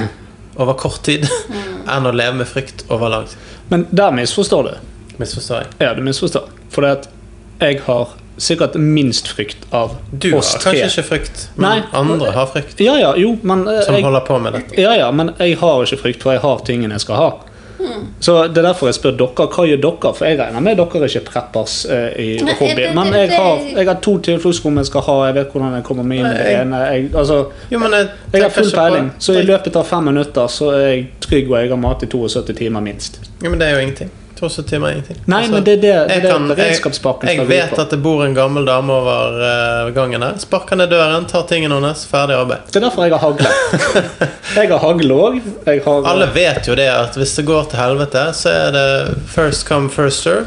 [SPEAKER 2] over kort tid enn å leve med frykt over lang tid.
[SPEAKER 3] Men der misforstår du.
[SPEAKER 2] Misforstår jeg.
[SPEAKER 3] Ja, du misforstår. For det at jeg har sikkert minst frykt av
[SPEAKER 2] Du
[SPEAKER 3] oss
[SPEAKER 2] har
[SPEAKER 3] tre.
[SPEAKER 2] kanskje ikke frykt, men
[SPEAKER 3] Nei.
[SPEAKER 2] andre har frykt.
[SPEAKER 3] Ja, ja, jo, men eh,
[SPEAKER 2] Som
[SPEAKER 3] jeg,
[SPEAKER 2] holder på med dette.
[SPEAKER 3] Ja, ja, men jeg har ikke frykt, for jeg har tingene jeg skal ha.
[SPEAKER 4] Hmm.
[SPEAKER 3] Så Det er derfor jeg spør dere hva gjør dere for jeg regner med dere er ikke preppers eh, i
[SPEAKER 4] Nei,
[SPEAKER 3] hobby.
[SPEAKER 4] det- det-
[SPEAKER 3] Men jeg
[SPEAKER 4] det-
[SPEAKER 3] har, jeg har to tilfluktsrom jeg skal ha, jeg vet hvordan jeg kommer meg inn i det
[SPEAKER 2] Jeg-
[SPEAKER 3] ene. Jeg, altså,
[SPEAKER 2] Jo, men jeg,
[SPEAKER 3] jeg har
[SPEAKER 2] tenker
[SPEAKER 3] full
[SPEAKER 2] ikke på-
[SPEAKER 3] peiling, så i løpet av fem minutter så er jeg trygg, og jeg har mat i 72 timer minst.
[SPEAKER 2] Ja, men det er jo ingenting. 72 timer er ingenting. Altså,
[SPEAKER 3] Nei, men det er det- det er det beredskapspakken
[SPEAKER 2] jeg,
[SPEAKER 3] skal
[SPEAKER 2] jeg
[SPEAKER 3] gå ut
[SPEAKER 2] vet
[SPEAKER 3] på.
[SPEAKER 2] at det bor en gammel dame over eh, gangen her. Sparker ned døren, tar tingene hennes, ferdig arbeid.
[SPEAKER 3] Det er derfor jeg har
[SPEAKER 4] <laughs>
[SPEAKER 3] hagle. jeg har hagle òg. Jeg har
[SPEAKER 2] Alle vet jo det at hvis det går til helvete, så er det first come, first serve.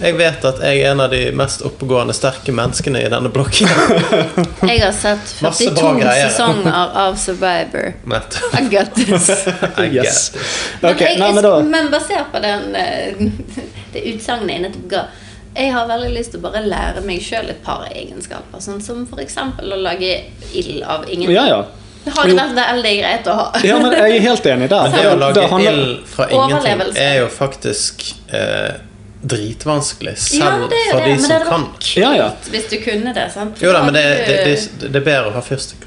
[SPEAKER 2] Jeg vet at jeg er en av de mest oppegående, sterke menneskene i denne
[SPEAKER 3] <laughs>
[SPEAKER 2] blokken.
[SPEAKER 4] Jeg har sett
[SPEAKER 2] Masse bra
[SPEAKER 4] 42
[SPEAKER 2] greier.
[SPEAKER 4] sesonger av Survivor.
[SPEAKER 2] Nettopp.
[SPEAKER 4] I got this.
[SPEAKER 2] I
[SPEAKER 3] Yes.
[SPEAKER 2] get it.
[SPEAKER 3] <laughs>
[SPEAKER 4] Men,
[SPEAKER 3] Ok,
[SPEAKER 4] jeg,
[SPEAKER 3] nei,
[SPEAKER 4] jeg-
[SPEAKER 3] men da
[SPEAKER 4] men basert på den, eh, <laughs> det utsagnet jeg nettopp ga Jeg har veldig lyst til å bare lære meg sjøl et par egenskaper. Sånn som f.eks. å lage ild av ingenting.
[SPEAKER 3] Ja, ja.
[SPEAKER 4] Det har
[SPEAKER 3] Jo.
[SPEAKER 4] jo vært veldig greit å ha.
[SPEAKER 3] Ja,
[SPEAKER 4] <laughs>
[SPEAKER 3] men jeg er helt enig der.
[SPEAKER 2] Men det å lage
[SPEAKER 3] Det handler-
[SPEAKER 2] ild fra ingenting
[SPEAKER 4] Overlevelse.
[SPEAKER 2] er jo faktisk eh, dritvanskelig,
[SPEAKER 4] Ja,
[SPEAKER 2] selv
[SPEAKER 4] det er jo
[SPEAKER 2] for de
[SPEAKER 4] det, men det
[SPEAKER 2] som
[SPEAKER 4] hadde
[SPEAKER 2] kan.
[SPEAKER 4] vært kult
[SPEAKER 3] Ja, ja.
[SPEAKER 4] hvis du kunne det. sant?
[SPEAKER 2] Jo da, men det,
[SPEAKER 4] Da hadde
[SPEAKER 2] det,
[SPEAKER 4] du-
[SPEAKER 2] det, det er bedre å ha fyrstikker.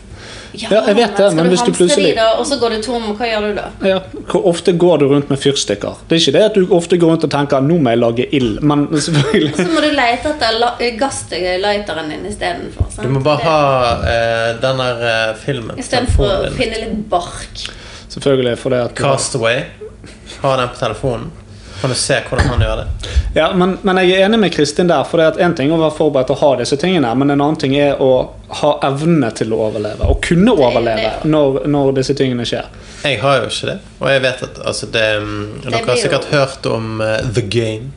[SPEAKER 3] Ja, jeg vet det, men hvis du
[SPEAKER 4] Skal du hamstre
[SPEAKER 3] plutselig-
[SPEAKER 4] de da, og så går du tom, hva gjør du da?
[SPEAKER 3] Ja, Hvor ofte går du rundt med fyrstikker? Det er ikke det at du ofte går rundt og tenker 'nå må jeg lage ild', men <laughs> selvfølgelig
[SPEAKER 4] Så må du lete etter la- gass til lighteren din istedenfor.
[SPEAKER 2] Du må bare ha eh, den der eh, filmen. på
[SPEAKER 4] Istedenfor å
[SPEAKER 2] telefonen din.
[SPEAKER 4] finne litt bark.
[SPEAKER 3] Selvfølgelig fordi at du-
[SPEAKER 2] Castaway. Ha den på telefonen. Kan du se hvordan han gjør det?
[SPEAKER 3] Ja, men, men jeg er enig med Kristin der, for det at en ting er å være forberedt til å ha disse tingene, men en annen ting er å ha evne til å overleve, og kunne overleve
[SPEAKER 4] det, ja.
[SPEAKER 3] når, når disse tingene skjer.
[SPEAKER 2] Jeg har jo ikke det. Og jeg vet at altså, det, mm, Dere har
[SPEAKER 4] blir jo-
[SPEAKER 2] sikkert hørt om eh, The Game.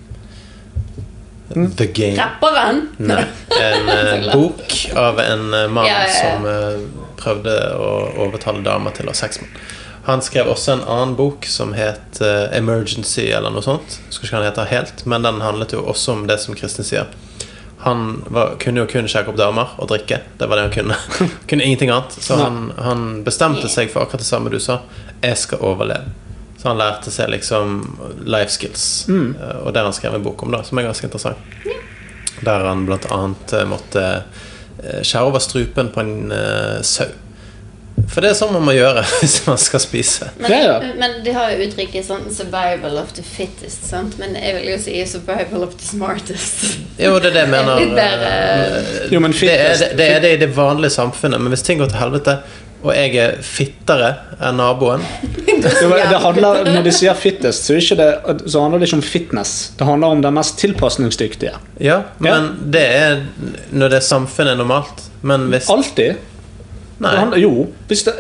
[SPEAKER 2] The Game.
[SPEAKER 4] Rapperen!
[SPEAKER 2] Nei.
[SPEAKER 4] <laughs>
[SPEAKER 2] En eh, bok av en eh, mann
[SPEAKER 4] Ja, ja, ja.
[SPEAKER 2] som eh, prøvde å overtale damer til å ha sex med. Han skrev også en annen bok som het eh, Emergency eller noe sånt. Jeg husker ikke hva den heter helt, men den handlet jo også om det som Kristin sier. Han var, kunne jo kun sjekke opp damer og drikke. Det var det han kunne. kunne ingenting annet. Så han, han bestemte seg for akkurat det samme du sa. Jeg skal overleve. Så han lærte seg liksom life skills. eh, Og det har han skrevet en bok om, da, som er ganske interessant. Der han blant annet eh, måtte eh, skjære over strupen på en eh, sau. For det er sånn man må gjøre <laughs> hvis man skal spise.
[SPEAKER 4] Men,
[SPEAKER 3] Ja, ja.
[SPEAKER 4] men de har jo uttrykket sånn 'survival of the fittest', sant? men jeg vil jo si 'survival of the smartest'.
[SPEAKER 2] Jo, det er det jeg mener.
[SPEAKER 4] Litt bedre.
[SPEAKER 2] eh,
[SPEAKER 3] Jo, men
[SPEAKER 2] det, er, det,
[SPEAKER 3] fittest-
[SPEAKER 2] det er det i det vanlige samfunnet, men hvis ting går til helvete, og jeg er fittere enn naboen
[SPEAKER 3] Det, var- det handler, når de sier fittest, så, er ikke det, så handler det ikke om fitness. Det handler om den mest tilpasningsdyktige.
[SPEAKER 2] Ja, men
[SPEAKER 3] Ja.
[SPEAKER 2] det er når det samfunnet er normalt. Men hvis
[SPEAKER 3] Alltid.
[SPEAKER 2] Nei.
[SPEAKER 3] Det handler, jo. Hvis det,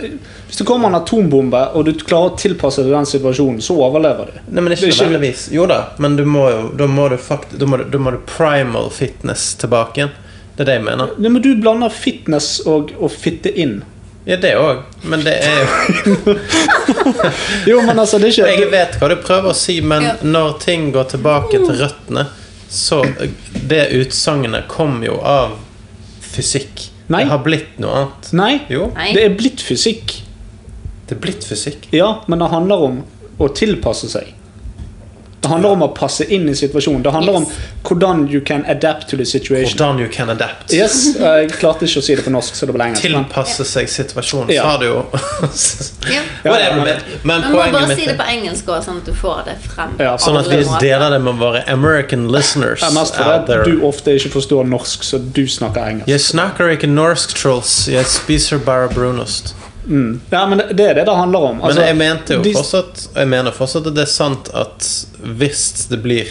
[SPEAKER 3] hvis det kommer en atombombe, og du klarer å tilpasse deg den situasjonen, så overlever du.
[SPEAKER 2] Nei, men ikke
[SPEAKER 3] Det er ikke-
[SPEAKER 2] nødvendigvis. Jo da, men du må jo, da må du, fakt, da må du, da må du primal fitness tilbake igjen. Det er det jeg mener.
[SPEAKER 3] Nei, men du blander fitness og å fitte inn.
[SPEAKER 2] Ja, det òg, men det er jo
[SPEAKER 3] <laughs>
[SPEAKER 2] <laughs>
[SPEAKER 3] Jo, men altså, det er
[SPEAKER 2] Jeg
[SPEAKER 3] ikke
[SPEAKER 2] vet hva du prøver å si, men
[SPEAKER 4] Ja.
[SPEAKER 2] når ting går tilbake til røttene, så Det utsagnet kom jo av fysikk.
[SPEAKER 3] Nei.
[SPEAKER 2] Det har blitt noe annet.
[SPEAKER 3] Nei.
[SPEAKER 2] Jo,
[SPEAKER 4] Nei.
[SPEAKER 3] Det er blitt fysikk.
[SPEAKER 2] det er blitt fysikk.
[SPEAKER 3] Ja, men det handler om å tilpasse seg. Det handler om å passe inn i situasjonen. Det handler om
[SPEAKER 4] Yes.
[SPEAKER 3] hvordan you can adapt to the situation.
[SPEAKER 2] Hvordan you can adapt.
[SPEAKER 3] Yes, Jeg klarte ikke å si det på norsk, så det ble engelsk. men-
[SPEAKER 2] Tilpasse seg situasjonen,
[SPEAKER 3] Ja.
[SPEAKER 2] så har du jo
[SPEAKER 4] <laughs> Ja.
[SPEAKER 2] Whatever, men- Men
[SPEAKER 4] Man må
[SPEAKER 2] poenget
[SPEAKER 4] bare
[SPEAKER 2] mitt
[SPEAKER 4] si det
[SPEAKER 2] er
[SPEAKER 4] på engelsk også, sånn at du får det frem.
[SPEAKER 3] Ja,
[SPEAKER 2] Sånn at
[SPEAKER 4] Alle
[SPEAKER 2] vi
[SPEAKER 4] måter.
[SPEAKER 2] deler det med våre American listeners
[SPEAKER 3] Det er mest
[SPEAKER 2] out
[SPEAKER 3] fordi
[SPEAKER 2] there.
[SPEAKER 3] at du ofte ikke forstår norsk, så du snakker engelsk.
[SPEAKER 2] Jeg snakker ikke norsk, Trolls. Jeg spiser bare brunost.
[SPEAKER 3] Ja, men det det er det det handler om. Altså,
[SPEAKER 2] Men jeg mente jo
[SPEAKER 3] de-
[SPEAKER 2] fortsatt og Jeg mener fortsatt at det er sant at hvis det blir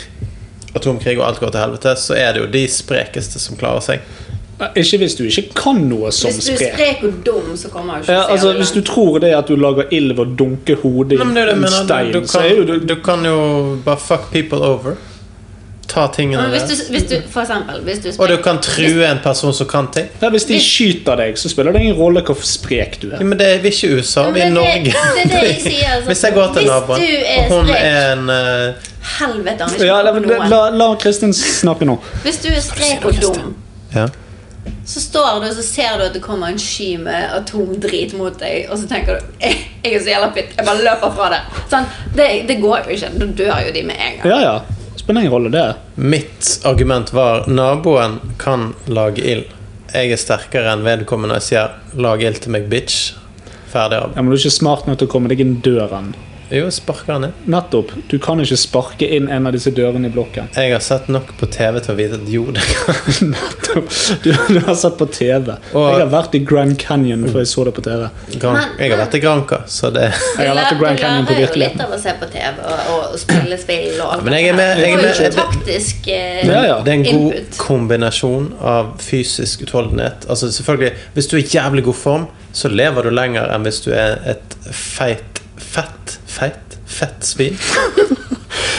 [SPEAKER 2] atomkrig og alt går til helvete, så er det jo de sprekeste som klarer seg.
[SPEAKER 3] Ikke hvis du ikke kan noe som
[SPEAKER 4] Hvis du er
[SPEAKER 3] sprer.
[SPEAKER 4] sprek og dum, så kommer du ikke
[SPEAKER 3] Ja,
[SPEAKER 4] så
[SPEAKER 3] altså,
[SPEAKER 4] jævlig
[SPEAKER 3] hvis du
[SPEAKER 4] langt.
[SPEAKER 3] tror det at du lager ild ved å dunke hodet i
[SPEAKER 2] Nei, men det er jo det jeg
[SPEAKER 3] en
[SPEAKER 2] mener.
[SPEAKER 3] stein,
[SPEAKER 2] Du, du,
[SPEAKER 3] så er jo du
[SPEAKER 2] kan, du kan jo bare fuck people over. Ta tingene
[SPEAKER 4] Men hvis
[SPEAKER 2] der.
[SPEAKER 4] du, hvis du, for eksempel, hvis du er
[SPEAKER 2] Og du
[SPEAKER 4] sprek-
[SPEAKER 2] kan true en person som kan ting.
[SPEAKER 3] ja, Hvis de
[SPEAKER 4] Hvis-
[SPEAKER 3] skyter deg, så spiller det ingen rolle hvor sprek du
[SPEAKER 2] Ja,
[SPEAKER 3] er.
[SPEAKER 2] men det er vi er ikke i USA,
[SPEAKER 4] Ja,
[SPEAKER 2] vi er i
[SPEAKER 4] men det-
[SPEAKER 2] Norge.
[SPEAKER 4] det er
[SPEAKER 2] <laughs>
[SPEAKER 4] det jeg sier, altså.
[SPEAKER 2] Hvis jeg går til
[SPEAKER 4] Hvis
[SPEAKER 2] naboen,
[SPEAKER 4] du er
[SPEAKER 2] og hun
[SPEAKER 4] sprek.
[SPEAKER 2] er en eh,
[SPEAKER 4] Helvete, han er ikke
[SPEAKER 3] Ja, la,
[SPEAKER 4] på
[SPEAKER 3] la,
[SPEAKER 4] noen.
[SPEAKER 3] la, la Kristin snakke nå.
[SPEAKER 4] Hvis du er sprek og dum,
[SPEAKER 2] ja.
[SPEAKER 4] så står du og så ser du at det kommer en sky med atomdrit mot deg, og så tenker du Jeg, jeg er så jævla pitt, jeg bare løper fra det. Sånn, det, det går jo ikke. Da dør jo de med en gang.
[SPEAKER 3] Ja, ja. Spiller ingen rolle, det.
[SPEAKER 2] Mitt argument var naboen kan lage ild. Jeg er sterkere enn vedkommende og sier 'lag ild til meg, bitch'. Ferdig av.
[SPEAKER 3] Ja, men du er ikke smart nok til å komme deg inn døren.
[SPEAKER 2] Jo, sparker han inn.
[SPEAKER 3] Nettopp. Du kan ikke sparke inn en av disse dørene i blokken. <laughs>
[SPEAKER 2] Jeg har sett nok på TV til å vite at jo, det kan
[SPEAKER 3] Nettopp. Du, du har sett på TV. Jeg har vært i Grand Canyon før jeg så det på TV.
[SPEAKER 2] Gran- Jeg har vært i Granca, så det
[SPEAKER 3] Jeg har vært i
[SPEAKER 4] Du lærer-
[SPEAKER 3] Grand Canyon på
[SPEAKER 4] du lærer jo litt
[SPEAKER 3] virkeligheten.
[SPEAKER 4] av å se på TV og, og spille spill og alt
[SPEAKER 2] Men jeg er med- jeg er
[SPEAKER 4] Det er
[SPEAKER 2] med-
[SPEAKER 4] jo taktisk eh,
[SPEAKER 3] Ja, ja.
[SPEAKER 2] Det er en god
[SPEAKER 4] input.
[SPEAKER 2] kombinasjon av fysisk utholdenhet. Altså selvfølgelig, Hvis du er i jævlig god form, så lever du lenger enn hvis du er et feit Fett? Feit? Fett svin?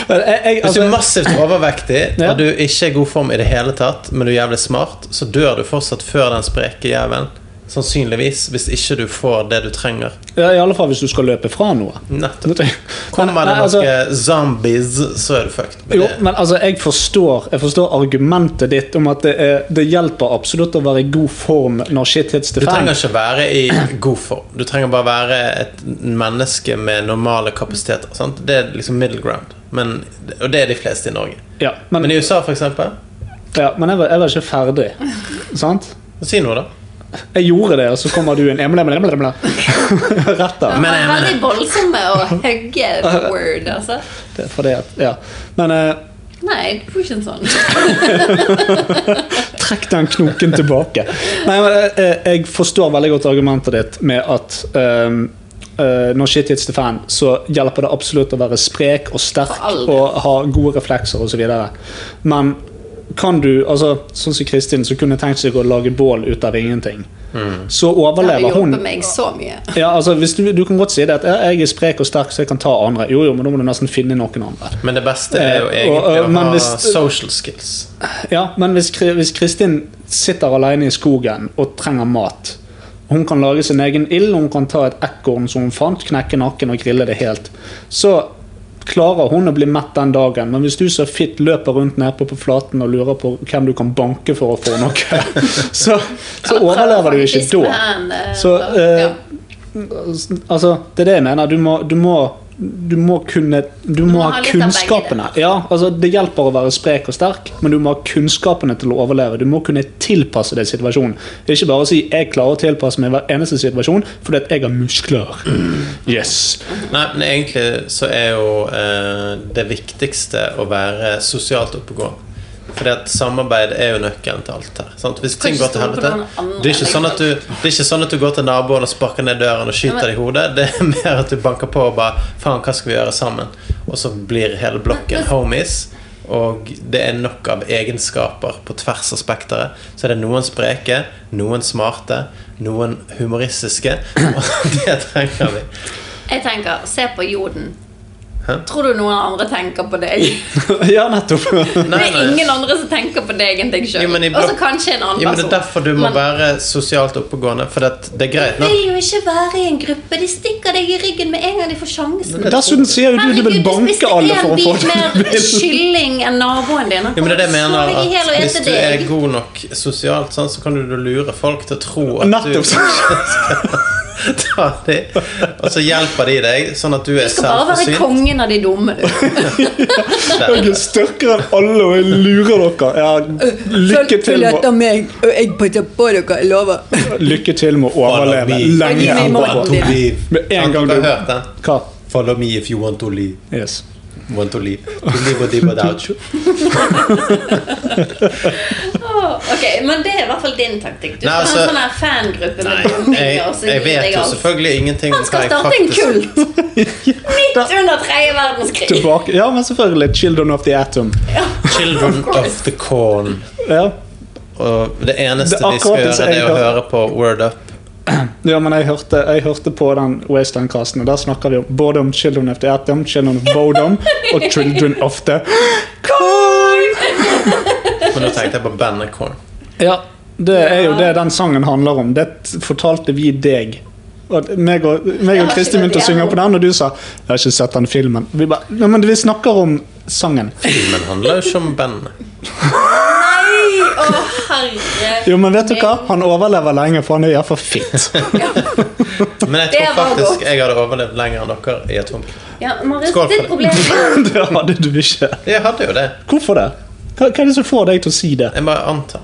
[SPEAKER 3] Men jeg- jeg-
[SPEAKER 2] Hvis du er
[SPEAKER 3] altså-
[SPEAKER 2] massivt overvektig
[SPEAKER 3] <laughs> Ja.
[SPEAKER 2] og du ikke er i god form i det hele tatt, men du er jævlig smart, så dør du fortsatt før den spreke jævelen. Sannsynligvis, hvis ikke du får det du trenger.
[SPEAKER 3] Ja, I alle fall hvis du skal løpe fra noe.
[SPEAKER 2] Nettopp.
[SPEAKER 3] Men-
[SPEAKER 2] Kommer det
[SPEAKER 3] nei, altså-
[SPEAKER 2] noen zombies, så er du fucked. Men
[SPEAKER 3] Jo,
[SPEAKER 2] det-
[SPEAKER 3] men altså, jeg forstår, jeg forstår argumentet ditt om at det, er, det hjelper absolutt å være i god form når shit hits the
[SPEAKER 2] du trenger
[SPEAKER 3] fan.
[SPEAKER 2] ikke være i god form. Du trenger bare være et menneske med normale kapasiteter. Sant? Det er liksom middle ground. Men, og det er de fleste i Norge.
[SPEAKER 3] Ja, men,
[SPEAKER 2] Men i USA, for eksempel <laughs>
[SPEAKER 3] ja, men jeg, var, jeg var ikke ferdig. Sant?
[SPEAKER 2] Si noe, da.
[SPEAKER 3] Jeg gjorde det, og så kommer du inn emle, emle, emle, emle. <laughs> Rett av.
[SPEAKER 4] Det
[SPEAKER 2] Men-
[SPEAKER 4] var veldig voldsomme å hugge the word, altså.
[SPEAKER 3] Det er fordi at, ja. Men eh,
[SPEAKER 4] Nei, det var ikke en sånn.
[SPEAKER 3] trekk den knoken tilbake. Nei, men eh, Jeg forstår veldig godt argumentet ditt med at ehm, eh, når shit hits the fan, så hjelper det absolutt å være sprek og sterk
[SPEAKER 4] For all del.
[SPEAKER 3] og ha gode reflekser osv. Men kan du, altså, sånn som Kristin, som kunne tenkt seg å lage bål ut av ingenting, så
[SPEAKER 4] Det hadde
[SPEAKER 3] overlever hun
[SPEAKER 4] hjulpet meg så mye.
[SPEAKER 3] ja, altså, hvis du, du kan godt si det at "Ja, jeg er sprek og sterk, så jeg kan ta andre. Jo, jo, men da må du nesten finne noen andre.
[SPEAKER 2] Men det beste er jo
[SPEAKER 3] Eh, og,
[SPEAKER 2] egentlig
[SPEAKER 3] eh,
[SPEAKER 2] å
[SPEAKER 3] men
[SPEAKER 2] ha
[SPEAKER 3] hvis-
[SPEAKER 2] social skills.
[SPEAKER 3] Ja, men hvis, Kri- hvis Kristin sitter alene i skogen og trenger mat Hun kan lage sin egen ild, hun kan ta et ekorn som hun fant, knekke nakken og grille det helt. Så klarer hun å bli mett den dagen, men hvis du så fitt løper rundt nedpå på flaten og lurer på hvem du kan banke for å få noe, <laughs> så, så overlever du ikke da. Så, eh, Altså, det er det jeg mener. Du må, du må, du må kunne Du må,
[SPEAKER 4] må ha
[SPEAKER 3] ha
[SPEAKER 4] litt av begge
[SPEAKER 3] kunnskapene. Ja, altså, det hjelper å være sprek og sterk, men du må ha kunnskapene til å overleve. Du må kunne tilpasse deg situasjonen. Ikke bare si 'jeg klarer å tilpasse meg hver eneste situasjon fordi at jeg har muskler'. Yes.
[SPEAKER 2] Nei, men egentlig så er jo eh, det viktigste å være sosialt oppegående. Fordi at samarbeid er jo nøkkelen til alt her. Sant? Hvis ting går til
[SPEAKER 4] stole på
[SPEAKER 2] helvete
[SPEAKER 4] noen andre, liksom.
[SPEAKER 2] det er, ikke sånn at du, det er ikke sånn at du går til naboen og sparker ned døren og skyter deg i hodet. Det er <laughs> mer at du banker på og bare Faen, hva skal vi gjøre sammen? Og så blir hele blokken homies. Og det er nok av egenskaper på tvers av spekteret. Så er det noen spreke, noen smarte, noen humoristiske. Og <laughs> det trenger vi.
[SPEAKER 4] Jeg tenker, se på jorden.
[SPEAKER 2] Hæ?
[SPEAKER 4] Tror du noen andre tenker på deg?
[SPEAKER 3] <laughs> ja, nettopp.
[SPEAKER 4] <laughs> Det
[SPEAKER 2] Nei,
[SPEAKER 4] er
[SPEAKER 2] nei.
[SPEAKER 4] ingen andre som tenker på deg enn deg
[SPEAKER 2] Jo,
[SPEAKER 4] sjøl.
[SPEAKER 2] men i
[SPEAKER 4] Og så
[SPEAKER 2] blokk-
[SPEAKER 4] kanskje en annen
[SPEAKER 2] Jo, men Det
[SPEAKER 4] person.
[SPEAKER 2] er derfor du må
[SPEAKER 4] Altså, Men-
[SPEAKER 2] være sosialt oppegående. For det, det er greit
[SPEAKER 4] De
[SPEAKER 2] nok.
[SPEAKER 4] vil jo ikke være i en gruppe. De stikker deg i ryggen med en gang de får sjansen.
[SPEAKER 3] Dessuten sier jo du du vil banke alle for å få
[SPEAKER 4] det
[SPEAKER 3] <laughs>
[SPEAKER 4] du vil. Mer kylling enn naboen din.
[SPEAKER 2] Jo, men det er det jeg mener
[SPEAKER 4] Slå deg i hjel
[SPEAKER 2] at
[SPEAKER 4] og
[SPEAKER 2] Hvis
[SPEAKER 4] ete
[SPEAKER 2] du er
[SPEAKER 4] deg.
[SPEAKER 2] god nok sosialt, sånn, så kan du lure folk til å tro at du <laughs>
[SPEAKER 3] Nettopp.
[SPEAKER 2] tar dem. Og så hjelper de deg, sånn at du er
[SPEAKER 4] Du skal bare være
[SPEAKER 2] selvforsynt.
[SPEAKER 4] kongen av de dumme, <laughs> du.
[SPEAKER 3] Jeg er sterkere enn alle, og jeg lurer dere. Ja, lykke til med å-
[SPEAKER 6] meg, og jeg passer på dere, jeg lover.
[SPEAKER 3] lykke til med å overleve lenge
[SPEAKER 6] Gi meg
[SPEAKER 3] etterpå.
[SPEAKER 6] maten din.
[SPEAKER 3] Med en gang
[SPEAKER 2] du
[SPEAKER 3] du
[SPEAKER 2] har hørt den.
[SPEAKER 3] Hva?
[SPEAKER 2] Follow me if you want to leave.
[SPEAKER 3] Yes.
[SPEAKER 2] Want to leave. To live or die
[SPEAKER 4] <laughs>
[SPEAKER 2] without you.
[SPEAKER 4] Åh, ok, Men det er i hvert fall din taktikk. Du
[SPEAKER 2] Nei,
[SPEAKER 4] skal ha
[SPEAKER 2] altså-
[SPEAKER 4] en sånn her fangruppe
[SPEAKER 2] Nei,
[SPEAKER 4] med dumminger.
[SPEAKER 2] jeg,
[SPEAKER 4] og så
[SPEAKER 2] jeg
[SPEAKER 4] gir
[SPEAKER 2] vet
[SPEAKER 4] deg
[SPEAKER 2] jo
[SPEAKER 4] alt.
[SPEAKER 2] selvfølgelig ingenting om
[SPEAKER 4] Han skal
[SPEAKER 2] hva jeg
[SPEAKER 4] starte en
[SPEAKER 2] faktisk-
[SPEAKER 3] <laughs>
[SPEAKER 4] kult midt under tredje verdenskrig.
[SPEAKER 3] Tilbake. Ja, men selvfølgelig. 'Children of the Atom'.
[SPEAKER 2] Children of the corn.
[SPEAKER 3] Ja,
[SPEAKER 2] Og det eneste
[SPEAKER 3] Det er
[SPEAKER 2] de skal
[SPEAKER 3] akkurat det som
[SPEAKER 2] gjøre, det er
[SPEAKER 3] jeg
[SPEAKER 2] å
[SPEAKER 3] hører.
[SPEAKER 2] høre på Word Up.
[SPEAKER 3] ja men jeg hørte, jeg hørte på den Wasteland-kasten, og der snakker vi om, både om 'Children of the Atom', 'Children of Bodom' og 'Children of the
[SPEAKER 2] Men nå tenkte jeg på bandet Corn.
[SPEAKER 3] Ja, det er jo det den sangen handler om. Det fortalte vi deg. Og meg og, meg
[SPEAKER 4] Jeg
[SPEAKER 3] og
[SPEAKER 4] har
[SPEAKER 3] Kristin
[SPEAKER 4] ikke
[SPEAKER 3] begynte å
[SPEAKER 4] sett
[SPEAKER 3] synge
[SPEAKER 4] det.
[SPEAKER 3] på den, og du sa 'Jeg har ikke sett den filmen'. Vi bare, Nei, men vi snakker om sangen.
[SPEAKER 2] Filmen handler jo ikke om bandet.
[SPEAKER 4] Nei, å herre
[SPEAKER 3] Jo, men vet du hva? Han overlever lenge, for han er iallfall fit.
[SPEAKER 2] Men jeg
[SPEAKER 4] Det
[SPEAKER 2] tror
[SPEAKER 4] var
[SPEAKER 2] faktisk
[SPEAKER 4] godt.
[SPEAKER 2] jeg hadde overlevd lenger enn dere i et hump.
[SPEAKER 4] Ja, Marius,
[SPEAKER 2] Skål for
[SPEAKER 4] ditt
[SPEAKER 2] det.
[SPEAKER 3] <laughs>
[SPEAKER 4] problem er
[SPEAKER 3] Det hadde du ikke.
[SPEAKER 2] Jeg hadde jo det.
[SPEAKER 3] Hvorfor det? Hva, hva er det som får deg til å si det?
[SPEAKER 2] Jeg bare antar.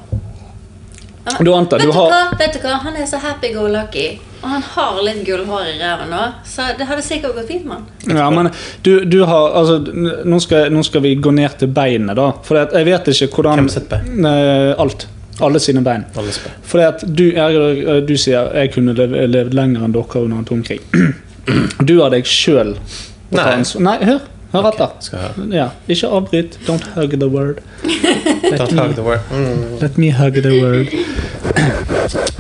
[SPEAKER 3] Du antar,
[SPEAKER 4] vet
[SPEAKER 3] du
[SPEAKER 4] du,
[SPEAKER 3] har-
[SPEAKER 4] hva? vet du hva, han er så happy-go-lucky. Og han har litt gullhår i ræven òg, så det hadde sikkert gått fint med han.
[SPEAKER 3] Ja, men du, du har Altså, n- nå skal, nå skal vi gå ned til beinet, da. For at jeg vet ikke hvordan
[SPEAKER 2] Hvem sitt bein?
[SPEAKER 3] Eh, alt. Alle sine bein.
[SPEAKER 2] Alle spør.
[SPEAKER 3] Fordi at du, jeg, du sier jeg kunne lev- levd lenger enn dere under en atomkrig. <clears throat> Du har deg sjøl
[SPEAKER 2] Nei.
[SPEAKER 3] Nei, hør. Hør etter.
[SPEAKER 2] Skal jeg
[SPEAKER 3] Ja, ikke avbryt. Don't hug the word.
[SPEAKER 2] høre. Don't hug the word. Mm.
[SPEAKER 3] Let me hug the word. <clears throat>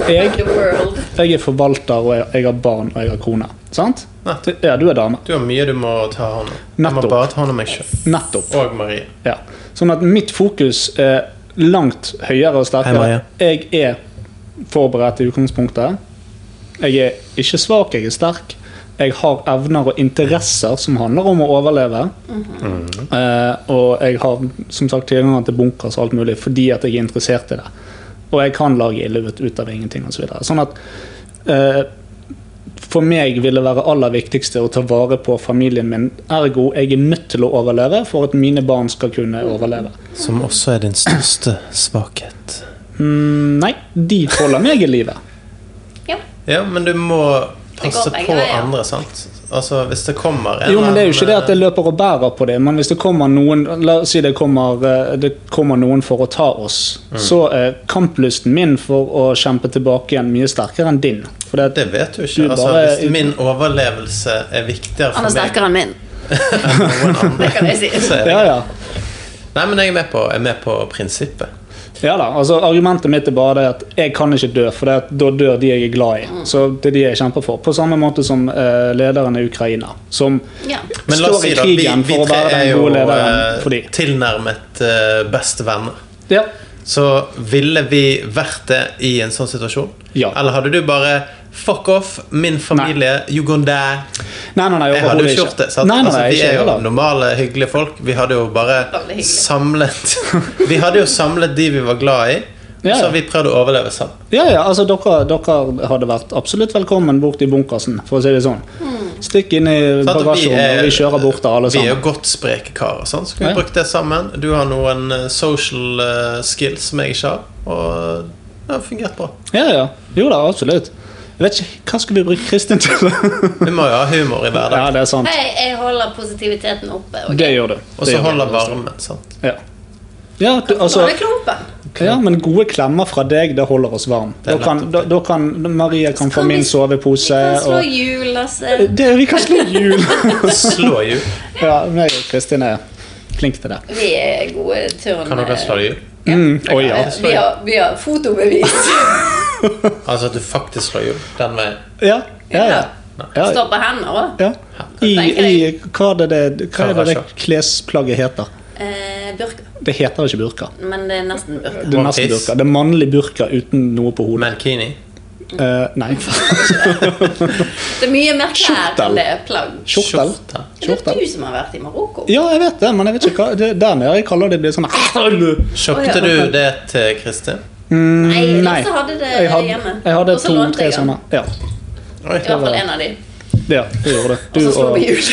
[SPEAKER 3] Jeg,
[SPEAKER 4] The world.
[SPEAKER 3] jeg er forvalter, og jeg, jeg har barn, og jeg har kone. Sant?
[SPEAKER 2] Nei.
[SPEAKER 3] Ja, du er dame.
[SPEAKER 2] Du har mye du må ta hånd om. Jeg må
[SPEAKER 3] Nettopp.
[SPEAKER 2] bare ta hånd om meg sjøl.
[SPEAKER 3] Nettopp.
[SPEAKER 2] Og Marie.
[SPEAKER 3] Ja. Sånn at mitt fokus er langt høyere og
[SPEAKER 2] Hei,
[SPEAKER 3] sterkere.
[SPEAKER 2] Maria.
[SPEAKER 3] jeg er forberedt i utgangspunktet. Jeg er ikke svak, jeg er sterk. Jeg har evner og interesser som handler om å overleve.
[SPEAKER 2] Mhm.
[SPEAKER 3] eh, og jeg har som sagt tilgang til bunkers og alt mulig fordi at jeg er interessert i det. Og jeg kan lage ille ut- ut av ingenting osv. Så videre. sånn at eh, for meg vil det være aller viktigste å ta vare på familien min. Ergo jeg er nødt til å overleve for at mine barn skal kunne overleve.
[SPEAKER 2] Som også er din største svakhet. <laughs>
[SPEAKER 3] Mm, nei, de holder meg i livet.
[SPEAKER 2] Ja, men du må passe
[SPEAKER 4] går begge
[SPEAKER 2] på
[SPEAKER 4] veier.
[SPEAKER 2] andre, sant? Altså, hvis det kommer en
[SPEAKER 3] Jo, men det er jo ikke det at
[SPEAKER 2] eller
[SPEAKER 3] jeg løper og bærer på det, men hvis det kommer noen La oss si det kommer, eh, det kommer noen for å ta oss,
[SPEAKER 2] Mm.
[SPEAKER 3] så er kamplysten min for å kjempe tilbake igjen mye sterkere enn din. For det,
[SPEAKER 2] annen- Det vet du ikke.
[SPEAKER 3] Du
[SPEAKER 2] altså,
[SPEAKER 3] bare-
[SPEAKER 2] hvis min overlevelse er viktigere
[SPEAKER 4] Han
[SPEAKER 2] for
[SPEAKER 4] er
[SPEAKER 2] meg
[SPEAKER 4] sterkere enn
[SPEAKER 3] <laughs>
[SPEAKER 4] min.
[SPEAKER 2] enn noen
[SPEAKER 4] Det
[SPEAKER 2] andre,
[SPEAKER 4] kan jeg si.
[SPEAKER 2] så er det
[SPEAKER 3] ja, ja.
[SPEAKER 2] Nei, men jeg er med på, jeg er med på prinsippet.
[SPEAKER 3] ja da. Altså, argumentet mitt er bare det at jeg kan ikke dø, for det at da dør de jeg er glad i. Så det er de jeg kjemper for. På samme måte som eh, lederen i Ukraina, som
[SPEAKER 4] Ja.
[SPEAKER 2] Men la oss
[SPEAKER 3] Står i
[SPEAKER 2] si da,
[SPEAKER 3] krigen
[SPEAKER 2] vi, vi
[SPEAKER 3] for å
[SPEAKER 2] tre
[SPEAKER 3] være den
[SPEAKER 2] er jo
[SPEAKER 3] gode lederen
[SPEAKER 2] eh,
[SPEAKER 3] for de.
[SPEAKER 2] tilnærmet eh, beste venner.
[SPEAKER 3] Ja.
[SPEAKER 2] Så ville vi vært det i en sånn situasjon?
[SPEAKER 3] Ja.
[SPEAKER 2] Eller hadde du bare Fuck off, min familie, you gonna die.
[SPEAKER 3] Nei, nei, nei,
[SPEAKER 2] Jeg hadde jo
[SPEAKER 3] overhodet
[SPEAKER 2] ikke gjort det. Sant?
[SPEAKER 3] Nei, nei, nei,
[SPEAKER 2] altså, vi
[SPEAKER 3] ikke
[SPEAKER 2] er
[SPEAKER 3] jeg
[SPEAKER 2] jo
[SPEAKER 3] heller.
[SPEAKER 2] normale, hyggelige folk. Vi hadde jo bare
[SPEAKER 4] Veldig hyggelig.
[SPEAKER 2] samlet
[SPEAKER 3] <laughs>
[SPEAKER 2] Vi hadde jo samlet de vi var glad i, og
[SPEAKER 3] Ja,
[SPEAKER 2] så
[SPEAKER 3] ja.
[SPEAKER 2] har vi prøvd å overleve sammen.
[SPEAKER 3] Ja, ja, altså dere, dere hadde vært absolutt velkommen bort i bunkersen, for å si det sånn. Stikk inn i
[SPEAKER 2] Sant? Og
[SPEAKER 3] bagasjerommet, og vi kjører bort der alle
[SPEAKER 2] eh, Vi er jo
[SPEAKER 3] sammen.
[SPEAKER 2] godt spreke karer, sant? så kan vi
[SPEAKER 3] Ja.
[SPEAKER 2] bruke det sammen. Du har noen eh, social eh, skills som jeg ikke har, og eh, det har fungert bra.
[SPEAKER 3] Ja, ja. Jo da, absolutt. Jeg vet ikke, Hva skal vi bruke Kristin til?
[SPEAKER 2] Vi må jo ha humor i
[SPEAKER 3] <laughs> ja,
[SPEAKER 2] hverdagen.
[SPEAKER 3] det er sant.
[SPEAKER 4] Hei, jeg holder positiviteten oppe. ok?
[SPEAKER 3] Det gjør du.
[SPEAKER 2] Og
[SPEAKER 3] Det
[SPEAKER 2] så
[SPEAKER 3] gjør altså.
[SPEAKER 2] holder
[SPEAKER 3] du.
[SPEAKER 2] varmen. sant?
[SPEAKER 3] Ja. Ja, du, altså,
[SPEAKER 4] Nå er det klumpen.
[SPEAKER 3] ja, men gode klemmer fra deg, det holder oss varm.
[SPEAKER 2] er
[SPEAKER 3] Da kan, da, da kan Maria kan få
[SPEAKER 4] Kan vi-
[SPEAKER 3] min sovepose.
[SPEAKER 4] Vi kan slå
[SPEAKER 3] Og, Eh,
[SPEAKER 4] hjul, altså.
[SPEAKER 3] det, vi kan
[SPEAKER 4] <laughs>
[SPEAKER 3] slå hjul!
[SPEAKER 2] Slå hjul.
[SPEAKER 3] <laughs> ja, meg og Kristin er flinke til det.
[SPEAKER 4] Vi er gode eh, turn...
[SPEAKER 2] Kan dere slå hjul?
[SPEAKER 3] Mm, å ja.
[SPEAKER 2] slå
[SPEAKER 4] Vi
[SPEAKER 2] hjul?
[SPEAKER 4] har, vi har fotobevis.
[SPEAKER 2] Altså at du faktisk slår hjul den veien.
[SPEAKER 3] Ja, ja, ja. <laughs> ja.
[SPEAKER 4] Står på hender òg.
[SPEAKER 3] Ja. I,
[SPEAKER 4] tenker
[SPEAKER 3] i, hva er det, det, hva er det, det
[SPEAKER 2] Karasjok.
[SPEAKER 3] klesplagget heter?
[SPEAKER 4] Eh, burka.
[SPEAKER 3] Det heter ikke burka.
[SPEAKER 4] Men det er nesten burka.
[SPEAKER 3] Det er nesten
[SPEAKER 2] One piece.
[SPEAKER 3] burka. Det er mannlig burka uten noe på hodet.
[SPEAKER 2] Mankini.
[SPEAKER 3] Eh, nei. <laughs>
[SPEAKER 4] Det er mye mer klær
[SPEAKER 3] Skjortel.
[SPEAKER 4] enn det er plagg.
[SPEAKER 3] Kjortel.
[SPEAKER 2] Skjorte.
[SPEAKER 4] Det er
[SPEAKER 3] Kjortel.
[SPEAKER 4] du som har vært i Marokko.
[SPEAKER 3] Ja, jeg vet det, men jeg vet ikke hva det, Der nede jeg kaller det blir sånn <laughs>
[SPEAKER 2] Kjøpte du det til Kristin?
[SPEAKER 4] Nei,
[SPEAKER 3] Mm, Nei.
[SPEAKER 4] Lasse hadde
[SPEAKER 3] Jeg
[SPEAKER 4] det
[SPEAKER 3] hadde,
[SPEAKER 4] hjemme.
[SPEAKER 3] jeg hadde
[SPEAKER 4] Og så lånte
[SPEAKER 3] to-tre
[SPEAKER 4] jeg den.
[SPEAKER 3] sånne. Ja,
[SPEAKER 2] Oi,
[SPEAKER 4] I hvert fall en av de.
[SPEAKER 3] ja, du gjorde det. Du
[SPEAKER 4] Og så slo
[SPEAKER 3] og,
[SPEAKER 4] vi hjul.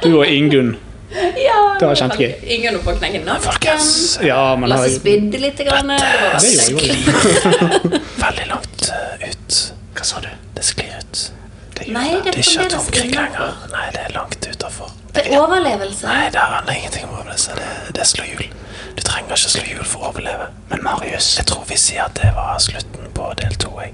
[SPEAKER 3] du og Ingunn.
[SPEAKER 4] <laughs> ja,
[SPEAKER 3] Det var kjempegøy.
[SPEAKER 4] Ingen oppå knekken. Nakken.
[SPEAKER 3] Ja, men
[SPEAKER 4] Lasse
[SPEAKER 3] jeg,
[SPEAKER 4] spydde litt. Grann. Det var
[SPEAKER 3] det gjorde jeg jo.
[SPEAKER 2] Veldig langt eh, ut.
[SPEAKER 3] Hva sa du?
[SPEAKER 2] Det sklir ut.
[SPEAKER 4] Nei, det er fremdeles innafor.
[SPEAKER 2] Nei, det er langt utafor.
[SPEAKER 4] Det er overlevelse.
[SPEAKER 2] Nei, det handler ingenting om overlevelse. Det, det er slå hjul. Du trenger ikke slå hjul for å overleve. Men Marius Jeg tror vi sier at det var slutten på del to, jeg.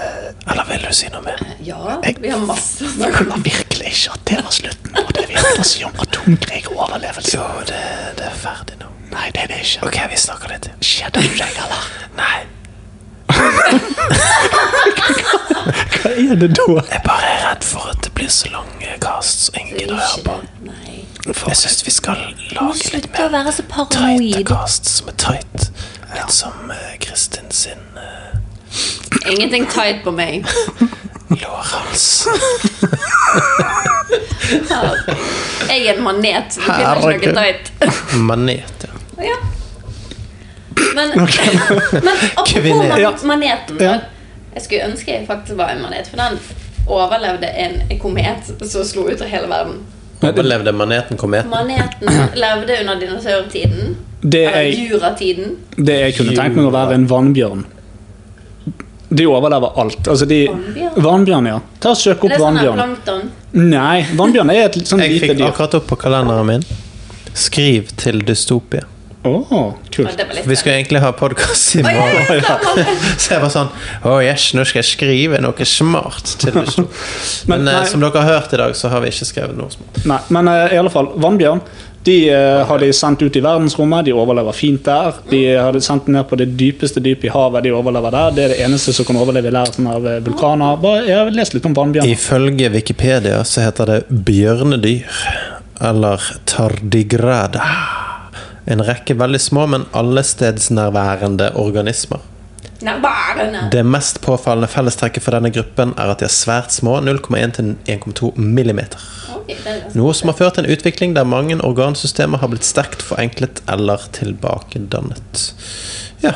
[SPEAKER 4] Eh,
[SPEAKER 2] Eller vil du si noe mer?
[SPEAKER 4] Ja, vi har masse å snakke om.
[SPEAKER 2] Virkelig ikke at det var slutten på det vi hadde å si om atomkrig og overlevelse. Jo, det, det er ferdig nå. Nei, det er det ikke. Ok, vi snakker litt. Kjeder du deg, eller? Nei.
[SPEAKER 3] Hva er <laughs> det da?
[SPEAKER 2] Jeg bare er redd for at det blir så lang eh, cast, så ingen
[SPEAKER 4] Det
[SPEAKER 2] gidder å
[SPEAKER 4] er
[SPEAKER 2] høre
[SPEAKER 4] ikke
[SPEAKER 2] på.
[SPEAKER 4] det. Nei.
[SPEAKER 2] Jeg syns vi skal lage litt
[SPEAKER 4] Slutt å
[SPEAKER 2] mer
[SPEAKER 4] være så
[SPEAKER 2] tighte
[SPEAKER 4] paranoid.
[SPEAKER 2] cast som er tight. Litt som eh, Kristin sin eh,
[SPEAKER 4] Ingenting tight på meg.
[SPEAKER 2] lårhals.
[SPEAKER 4] Jeg er en manet. Du finner ikke noe tight.
[SPEAKER 2] Manet, ja.
[SPEAKER 4] Ja. Men, men apropos
[SPEAKER 2] Kvinne.
[SPEAKER 4] man maneten
[SPEAKER 3] Ja.
[SPEAKER 4] Jeg skulle ønske jeg faktisk var en manet, for den overlevde en komet som slo ut av hele verden.
[SPEAKER 2] Overlevde maneten kometen? <clears throat>
[SPEAKER 4] Maneten levde under dinosaurtiden.
[SPEAKER 3] Det
[SPEAKER 4] Eller
[SPEAKER 3] jeg,
[SPEAKER 4] juratiden.
[SPEAKER 3] det jeg kunne tenkt meg å være en vannbjørn. De overlever alt. Altså de,
[SPEAKER 4] Vannbjørn?
[SPEAKER 3] vannbjørn, ja. Ta og Søk
[SPEAKER 4] Det
[SPEAKER 3] opp
[SPEAKER 4] er sånn her
[SPEAKER 3] vannbjørn.
[SPEAKER 4] plankton.
[SPEAKER 3] Nei, vannbjørn er et litt sånn
[SPEAKER 2] Jeg
[SPEAKER 3] lite
[SPEAKER 2] fikk
[SPEAKER 3] dyr.
[SPEAKER 2] akkurat opp på kalenderen min Skriv til dystopia
[SPEAKER 3] Åh,
[SPEAKER 4] Ja,
[SPEAKER 3] kult.
[SPEAKER 4] det var litt
[SPEAKER 2] Vi skulle egentlig ha podcast i morgen <laughs>
[SPEAKER 4] <laughs>
[SPEAKER 2] Så jeg var sånn Åh, yes, nå skal jeg skrive noe smart
[SPEAKER 3] <laughs>
[SPEAKER 2] til dystopia Men,
[SPEAKER 3] Men
[SPEAKER 2] eh,
[SPEAKER 3] nei.
[SPEAKER 2] som dere har hørt i dag så har vi ikke skrevet noe smart
[SPEAKER 3] Nei, men eh, i alle fall, vannbjørn de eh, har de sendt ut i verdensrommet, de overlever fint der. De har de sendt ned på det dypeste dypet i havet, de overlever der. Det er det eneste som kan overleve i lærheten av eh, vulkaner. Bare, jeg har lest litt om vannbjørn.
[SPEAKER 2] Ifølge Wikipedia så heter det bjørnedyr Eller tardigrada En rekke veldig små, men allestedsnærværende organismer
[SPEAKER 4] Nærværende.
[SPEAKER 2] Det mest påfallende fellestrekket for denne gruppen er at de er svært små 0,1 til 1,2 millimeter
[SPEAKER 4] Ok, det er det.
[SPEAKER 2] Noe som har ført til en utvikling der mange organsystemer har blitt sterkt forenklet eller tilbakedannet. Ja,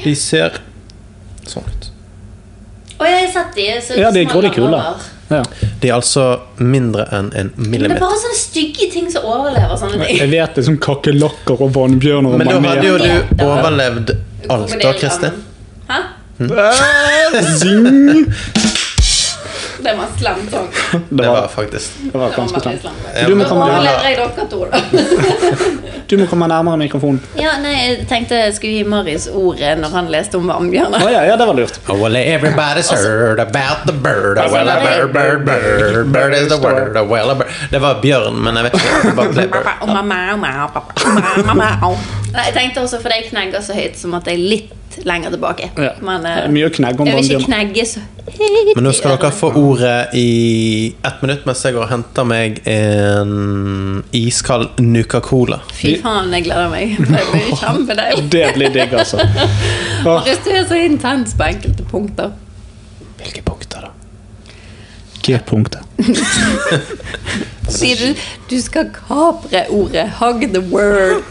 [SPEAKER 2] de ser sånn ut.
[SPEAKER 4] Og jeg har sett de. Så
[SPEAKER 3] Ja, de er
[SPEAKER 4] små
[SPEAKER 3] grådig kule.
[SPEAKER 4] lammer.
[SPEAKER 3] Ja.
[SPEAKER 2] De er altså mindre enn en
[SPEAKER 4] Men det er
[SPEAKER 2] millimeter.
[SPEAKER 4] bare sånne stygge ting som overlever
[SPEAKER 2] <laughs>
[SPEAKER 4] sånne ting.
[SPEAKER 3] Jeg vet det som kakerlakker og vannbjørner og
[SPEAKER 2] Men da hadde jo
[SPEAKER 3] maneter.
[SPEAKER 2] du overlevd alt da, Kristin.
[SPEAKER 4] Hæ?
[SPEAKER 3] Zing!
[SPEAKER 4] Det var en slem sang.
[SPEAKER 3] Det
[SPEAKER 2] Det var
[SPEAKER 3] var,
[SPEAKER 2] faktisk
[SPEAKER 3] det var
[SPEAKER 4] Det var
[SPEAKER 3] ganske
[SPEAKER 4] veldig
[SPEAKER 3] slemt.
[SPEAKER 4] slem.
[SPEAKER 3] Du må
[SPEAKER 4] Nå
[SPEAKER 3] komme nærmere,
[SPEAKER 4] overlever jeg dere to, da.
[SPEAKER 3] du må komme nærmere mikrofonen.
[SPEAKER 4] <laughs> Ja, nei, jeg tenkte jeg skulle gi Marius ordet når han leste om
[SPEAKER 3] Å
[SPEAKER 4] vannbjørner.
[SPEAKER 3] ja, ja, det var lurt.
[SPEAKER 2] Oh, well, everybody's heard about the bird. Oh, well, a bird, bird, bird, bird is the word. Oh, well, a bird. Det var bjørn, men jeg vet ikke. om det var ble bird.
[SPEAKER 4] Og mamma, og mamma, og pappa, og mamma, og mamma, og- Nei, Jeg tenkte også, fordi jeg knegger så høyt, så måtte jeg litt lenger tilbake.
[SPEAKER 3] Ja.
[SPEAKER 4] Men eh,
[SPEAKER 3] Det er mye å knegge om
[SPEAKER 4] jeg vil ikke
[SPEAKER 3] vannbjørn.
[SPEAKER 4] knegge så høyt.
[SPEAKER 2] Men nå
[SPEAKER 4] i
[SPEAKER 2] skal dere
[SPEAKER 4] ørene.
[SPEAKER 2] få ordet i ett minutt mens jeg går og henter meg en iskald Nuca-Cola.
[SPEAKER 4] Fy faen, jeg gleder meg. Det blir kjempedeilig.
[SPEAKER 3] Det blir digg, altså. Åh,
[SPEAKER 4] Marius, du er så intens på enkelte punkter.
[SPEAKER 2] Hvilke punkter, da?
[SPEAKER 3] G-punktet.
[SPEAKER 4] Sier du du skal kapre ordet 'hug the world'.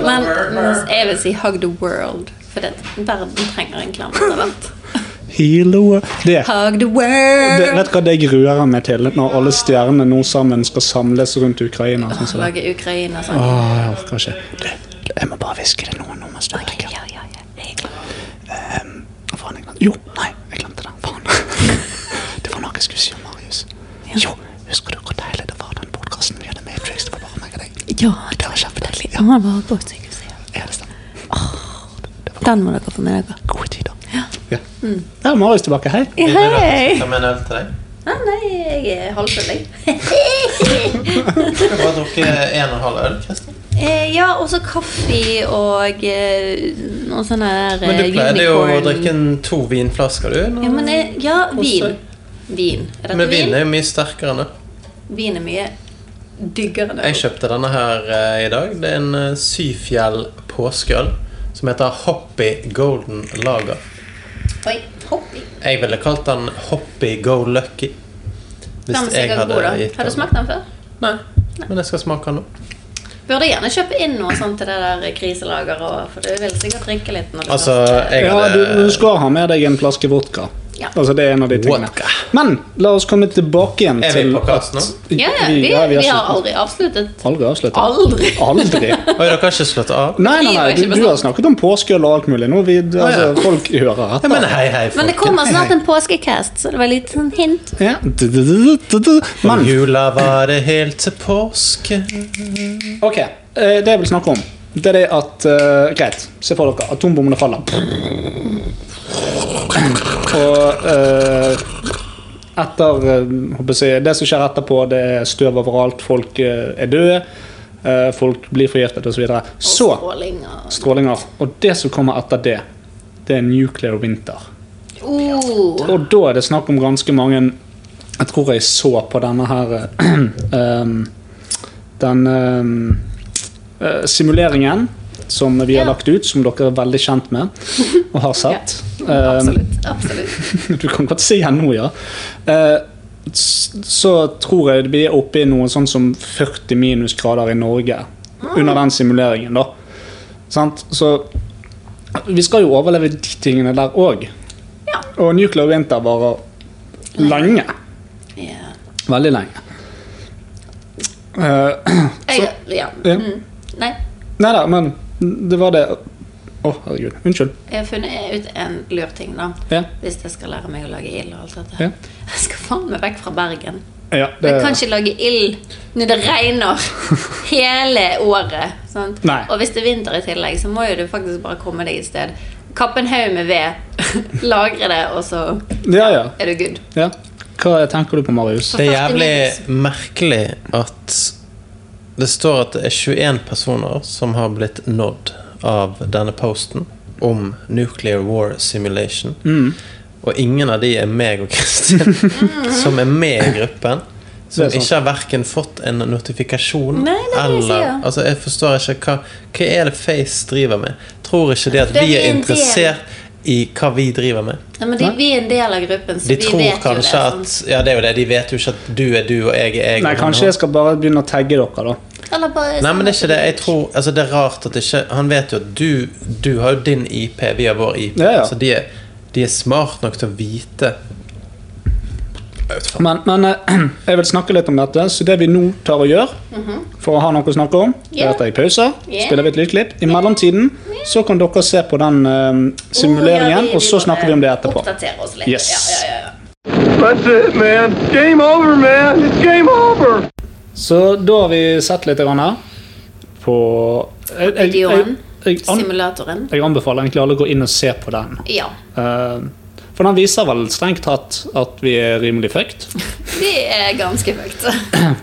[SPEAKER 4] Men mens jeg vil si 'hug the world', for det, verden trenger en klem. etter hvert.
[SPEAKER 3] Hilo Det.
[SPEAKER 4] Hug the
[SPEAKER 3] Det,
[SPEAKER 4] world!
[SPEAKER 3] vet du hva det gruer jeg meg til når alle stjernene nå sammen skal samles rundt Ukraina? Sånn som det.
[SPEAKER 4] Lage Ukraina sånn.
[SPEAKER 3] Åh, jeg orker ikke. Du, jeg må bare hviske det noen nummer sterkere.
[SPEAKER 4] Ja, ja, ja. Jeg er glad.
[SPEAKER 3] Faen, jeg glemte Jo, nei, jeg glemte det.
[SPEAKER 2] <laughs>
[SPEAKER 3] Faen. Det var noe jeg skulle si om Marius. Jo, dus husker du hvor deilig det var den podkasten vi hadde Matrix? Det var bare meg og deg.
[SPEAKER 4] Ja,
[SPEAKER 3] Det var kjempedeilig.
[SPEAKER 4] Ja, han var på sykehuset.
[SPEAKER 3] Ja, det stemmer.
[SPEAKER 4] Den må dere få med dere.
[SPEAKER 3] Gode tider. Ja. Der er Marius tilbake. Hei.
[SPEAKER 4] Ja, hei!
[SPEAKER 2] Ta med en øl til deg.
[SPEAKER 4] Ah, nei, jeg er halvfull, jeg.
[SPEAKER 2] Du har drukket en og en halv øl, Kristin.
[SPEAKER 4] <laughs> Eh, Ja, og så kaffe og eh, noen sånne der
[SPEAKER 2] Men
[SPEAKER 4] eh,
[SPEAKER 2] du pleide jo å
[SPEAKER 4] unicorn-
[SPEAKER 2] drikke en- to vinflasker, du. nå.
[SPEAKER 4] Ja, men jeg, ja, vin.
[SPEAKER 2] Også.
[SPEAKER 4] Vin. Er dette
[SPEAKER 2] Men vin er jo mye sterkere enn det.
[SPEAKER 4] Vin er mye diggere enn
[SPEAKER 2] Jeg
[SPEAKER 4] øl.
[SPEAKER 2] kjøpte denne her eh, i dag. Det er en eh, Syfjell påskeøl som heter Hoppy Golden Lager.
[SPEAKER 4] Oi, hopp i.
[SPEAKER 2] Jeg ville kalt den Hoppy Go Lucky.
[SPEAKER 4] Den er sikkert god, da. Har du smakt den før?
[SPEAKER 2] Nei, men jeg skal smake den nå.
[SPEAKER 4] Burde gjerne kjøpe inn noe sånt til det der kriselageret, og- for du vil sikkert drikke litt når du
[SPEAKER 2] Altså,
[SPEAKER 4] først, eh,
[SPEAKER 2] jeg
[SPEAKER 3] Ja, du,
[SPEAKER 2] hadde
[SPEAKER 3] du skal ha med deg en flaske vodka.
[SPEAKER 4] Ja.
[SPEAKER 3] Altså, det er en av de tingene.
[SPEAKER 2] Vodka.
[SPEAKER 3] Men la oss komme tilbake igjen
[SPEAKER 2] Er vi
[SPEAKER 3] til
[SPEAKER 2] på plass nå?
[SPEAKER 4] Ja, ja, vi,
[SPEAKER 3] ja,
[SPEAKER 4] vi har
[SPEAKER 3] slutt-
[SPEAKER 4] aldri avsluttet.
[SPEAKER 3] Aldri avslutta.
[SPEAKER 4] Aldri.
[SPEAKER 3] Aldri.
[SPEAKER 4] <laughs>
[SPEAKER 2] Oi, dere har ikke slått av?
[SPEAKER 3] Nei, nei,
[SPEAKER 4] Livet er
[SPEAKER 3] nei, du,
[SPEAKER 4] ikke
[SPEAKER 3] du har
[SPEAKER 4] bestemt.
[SPEAKER 3] snakket om påskeøl og alt mulig. Nå vi, altså,
[SPEAKER 2] ja.
[SPEAKER 3] Folk hører
[SPEAKER 2] Jeg
[SPEAKER 3] etter.
[SPEAKER 2] mener hei, hei,
[SPEAKER 4] Men det
[SPEAKER 2] folkens.
[SPEAKER 4] kommer snart en påskecast, så det var litt sånn hint.
[SPEAKER 3] Ja. Du-du-du-du-du.
[SPEAKER 2] Om
[SPEAKER 3] Men
[SPEAKER 2] jula var det helt til påske
[SPEAKER 3] Ok, eh, det jeg vil snakke om Det er det at, eh, greit, se for dere Atombommene faller Og eh, Etter eh, håper jeg, å si, Det som skjer etterpå, det er støv overalt Folk eh, er døde eh, Folk blir forgiftet og så videre Så,
[SPEAKER 4] Skåling og
[SPEAKER 3] strålinger Og det som kommer etter det Det er nuclear winter
[SPEAKER 4] oh.
[SPEAKER 3] og da er det snakk om ganske mange Jeg tror jeg så på denne her <clears throat> ehm, Den ehm, eh, simuleringen som vi har
[SPEAKER 4] Ja.
[SPEAKER 3] lagt ut, som dere er veldig kjent med og har sett. Ehm,
[SPEAKER 4] Absolutt. absolutt.
[SPEAKER 3] du kan godt si ja nå, ja. Eh, s- så tror jeg vi er oppe i noe sånn som 40 minusgrader i Norge under den simuleringen, da. Sant? Så vi skal jo overleve de tingene der òg.
[SPEAKER 4] Ja.
[SPEAKER 3] Og nuclear winter varer lenge.
[SPEAKER 4] Ja.
[SPEAKER 3] Veldig lenge. Eh,
[SPEAKER 4] Jeg, ja.
[SPEAKER 3] Ja.
[SPEAKER 4] Mm. Nei,
[SPEAKER 3] nei da, men det var det Å, herregud. Unnskyld.
[SPEAKER 4] jeg har funnet ut en lur ting, da.
[SPEAKER 3] Ja.
[SPEAKER 4] Hvis jeg skal lære meg å lage ild og alt dette.
[SPEAKER 3] Ja.
[SPEAKER 4] Jeg skal faen meg vekk fra Bergen.
[SPEAKER 3] ja det,
[SPEAKER 4] Jeg kan ikke lage ild når det
[SPEAKER 3] <laughs>
[SPEAKER 4] regner hele året. Sant?
[SPEAKER 3] Nei.
[SPEAKER 4] Og hvis det er vinter i tillegg, så må jo du faktisk bare komme deg et sted. Kappe en haug med ved, <laughs> lagre det, og så
[SPEAKER 3] ja, ja,
[SPEAKER 4] er du good.
[SPEAKER 3] ja. Hva tenker du på, Marius?
[SPEAKER 2] Det er jævlig merkelig at det står at det er 21 personer som har blitt nådd av denne posten om Nuclear War Simulation.
[SPEAKER 3] Mm.
[SPEAKER 2] Og ingen av de er meg og Kristin,
[SPEAKER 4] Mm.
[SPEAKER 2] som er med i gruppen. Som
[SPEAKER 3] Det er sånn. sant.
[SPEAKER 2] ikke har verken fått en notifikasjon
[SPEAKER 4] Nei, det er det jeg
[SPEAKER 2] eller
[SPEAKER 4] sier.
[SPEAKER 2] Altså, jeg forstår ikke hva Hva er det Face driver med? Tror ikke de at
[SPEAKER 4] Det er
[SPEAKER 2] vi
[SPEAKER 4] vi
[SPEAKER 2] er
[SPEAKER 4] en del.
[SPEAKER 2] interessert i hva vi driver med?
[SPEAKER 4] Nei, men de, vi er en del av gruppen, så
[SPEAKER 2] De
[SPEAKER 4] vi
[SPEAKER 2] tror
[SPEAKER 4] vet jo det.
[SPEAKER 2] kanskje
[SPEAKER 4] Sant?
[SPEAKER 2] at Ja, det er jo det. De vet jo ikke at du er du, og jeg er jeg.
[SPEAKER 3] Nei,
[SPEAKER 2] og han-
[SPEAKER 3] kanskje jeg skal bare begynne å tagge dere, da.
[SPEAKER 4] Eller bare
[SPEAKER 2] Nei, men det er ikke det. Jeg tror, altså det er rart at ikke Han vet jo at du, du har jo din IP, vi har vår IP.
[SPEAKER 3] Ja, ja.
[SPEAKER 2] Så de er, de er smart nok til å vite Jeg vet faen.
[SPEAKER 3] Men, men eh, <clears throat> jeg vil snakke litt om dette, så det vi nå tar og gjør, for å ha noe å snakke om, det er
[SPEAKER 4] Mhm. Ja.
[SPEAKER 3] at jeg pauser,
[SPEAKER 4] Ja.
[SPEAKER 3] spiller vi et lydklipp. I mellomtiden så kan dere se på den eh,
[SPEAKER 4] Oh,
[SPEAKER 3] simuleringen, og så snakker vi om det etterpå.
[SPEAKER 4] Oppdatere oss litt.
[SPEAKER 3] Yes.
[SPEAKER 4] Ja, ja, ja, ja.
[SPEAKER 7] That's it, man. Game over, man. It's game over.
[SPEAKER 3] Så da har vi sett litt grann her på jeg, jeg, jeg,
[SPEAKER 4] Videoen.
[SPEAKER 3] jeg, an,
[SPEAKER 4] Simulatoren.
[SPEAKER 3] jeg anbefaler egentlig alle å gå inn og se på den.
[SPEAKER 4] Ja.
[SPEAKER 3] Eh, for den viser vel strengt tatt at vi er rimelig fucked.
[SPEAKER 4] Vi er ganske høyt.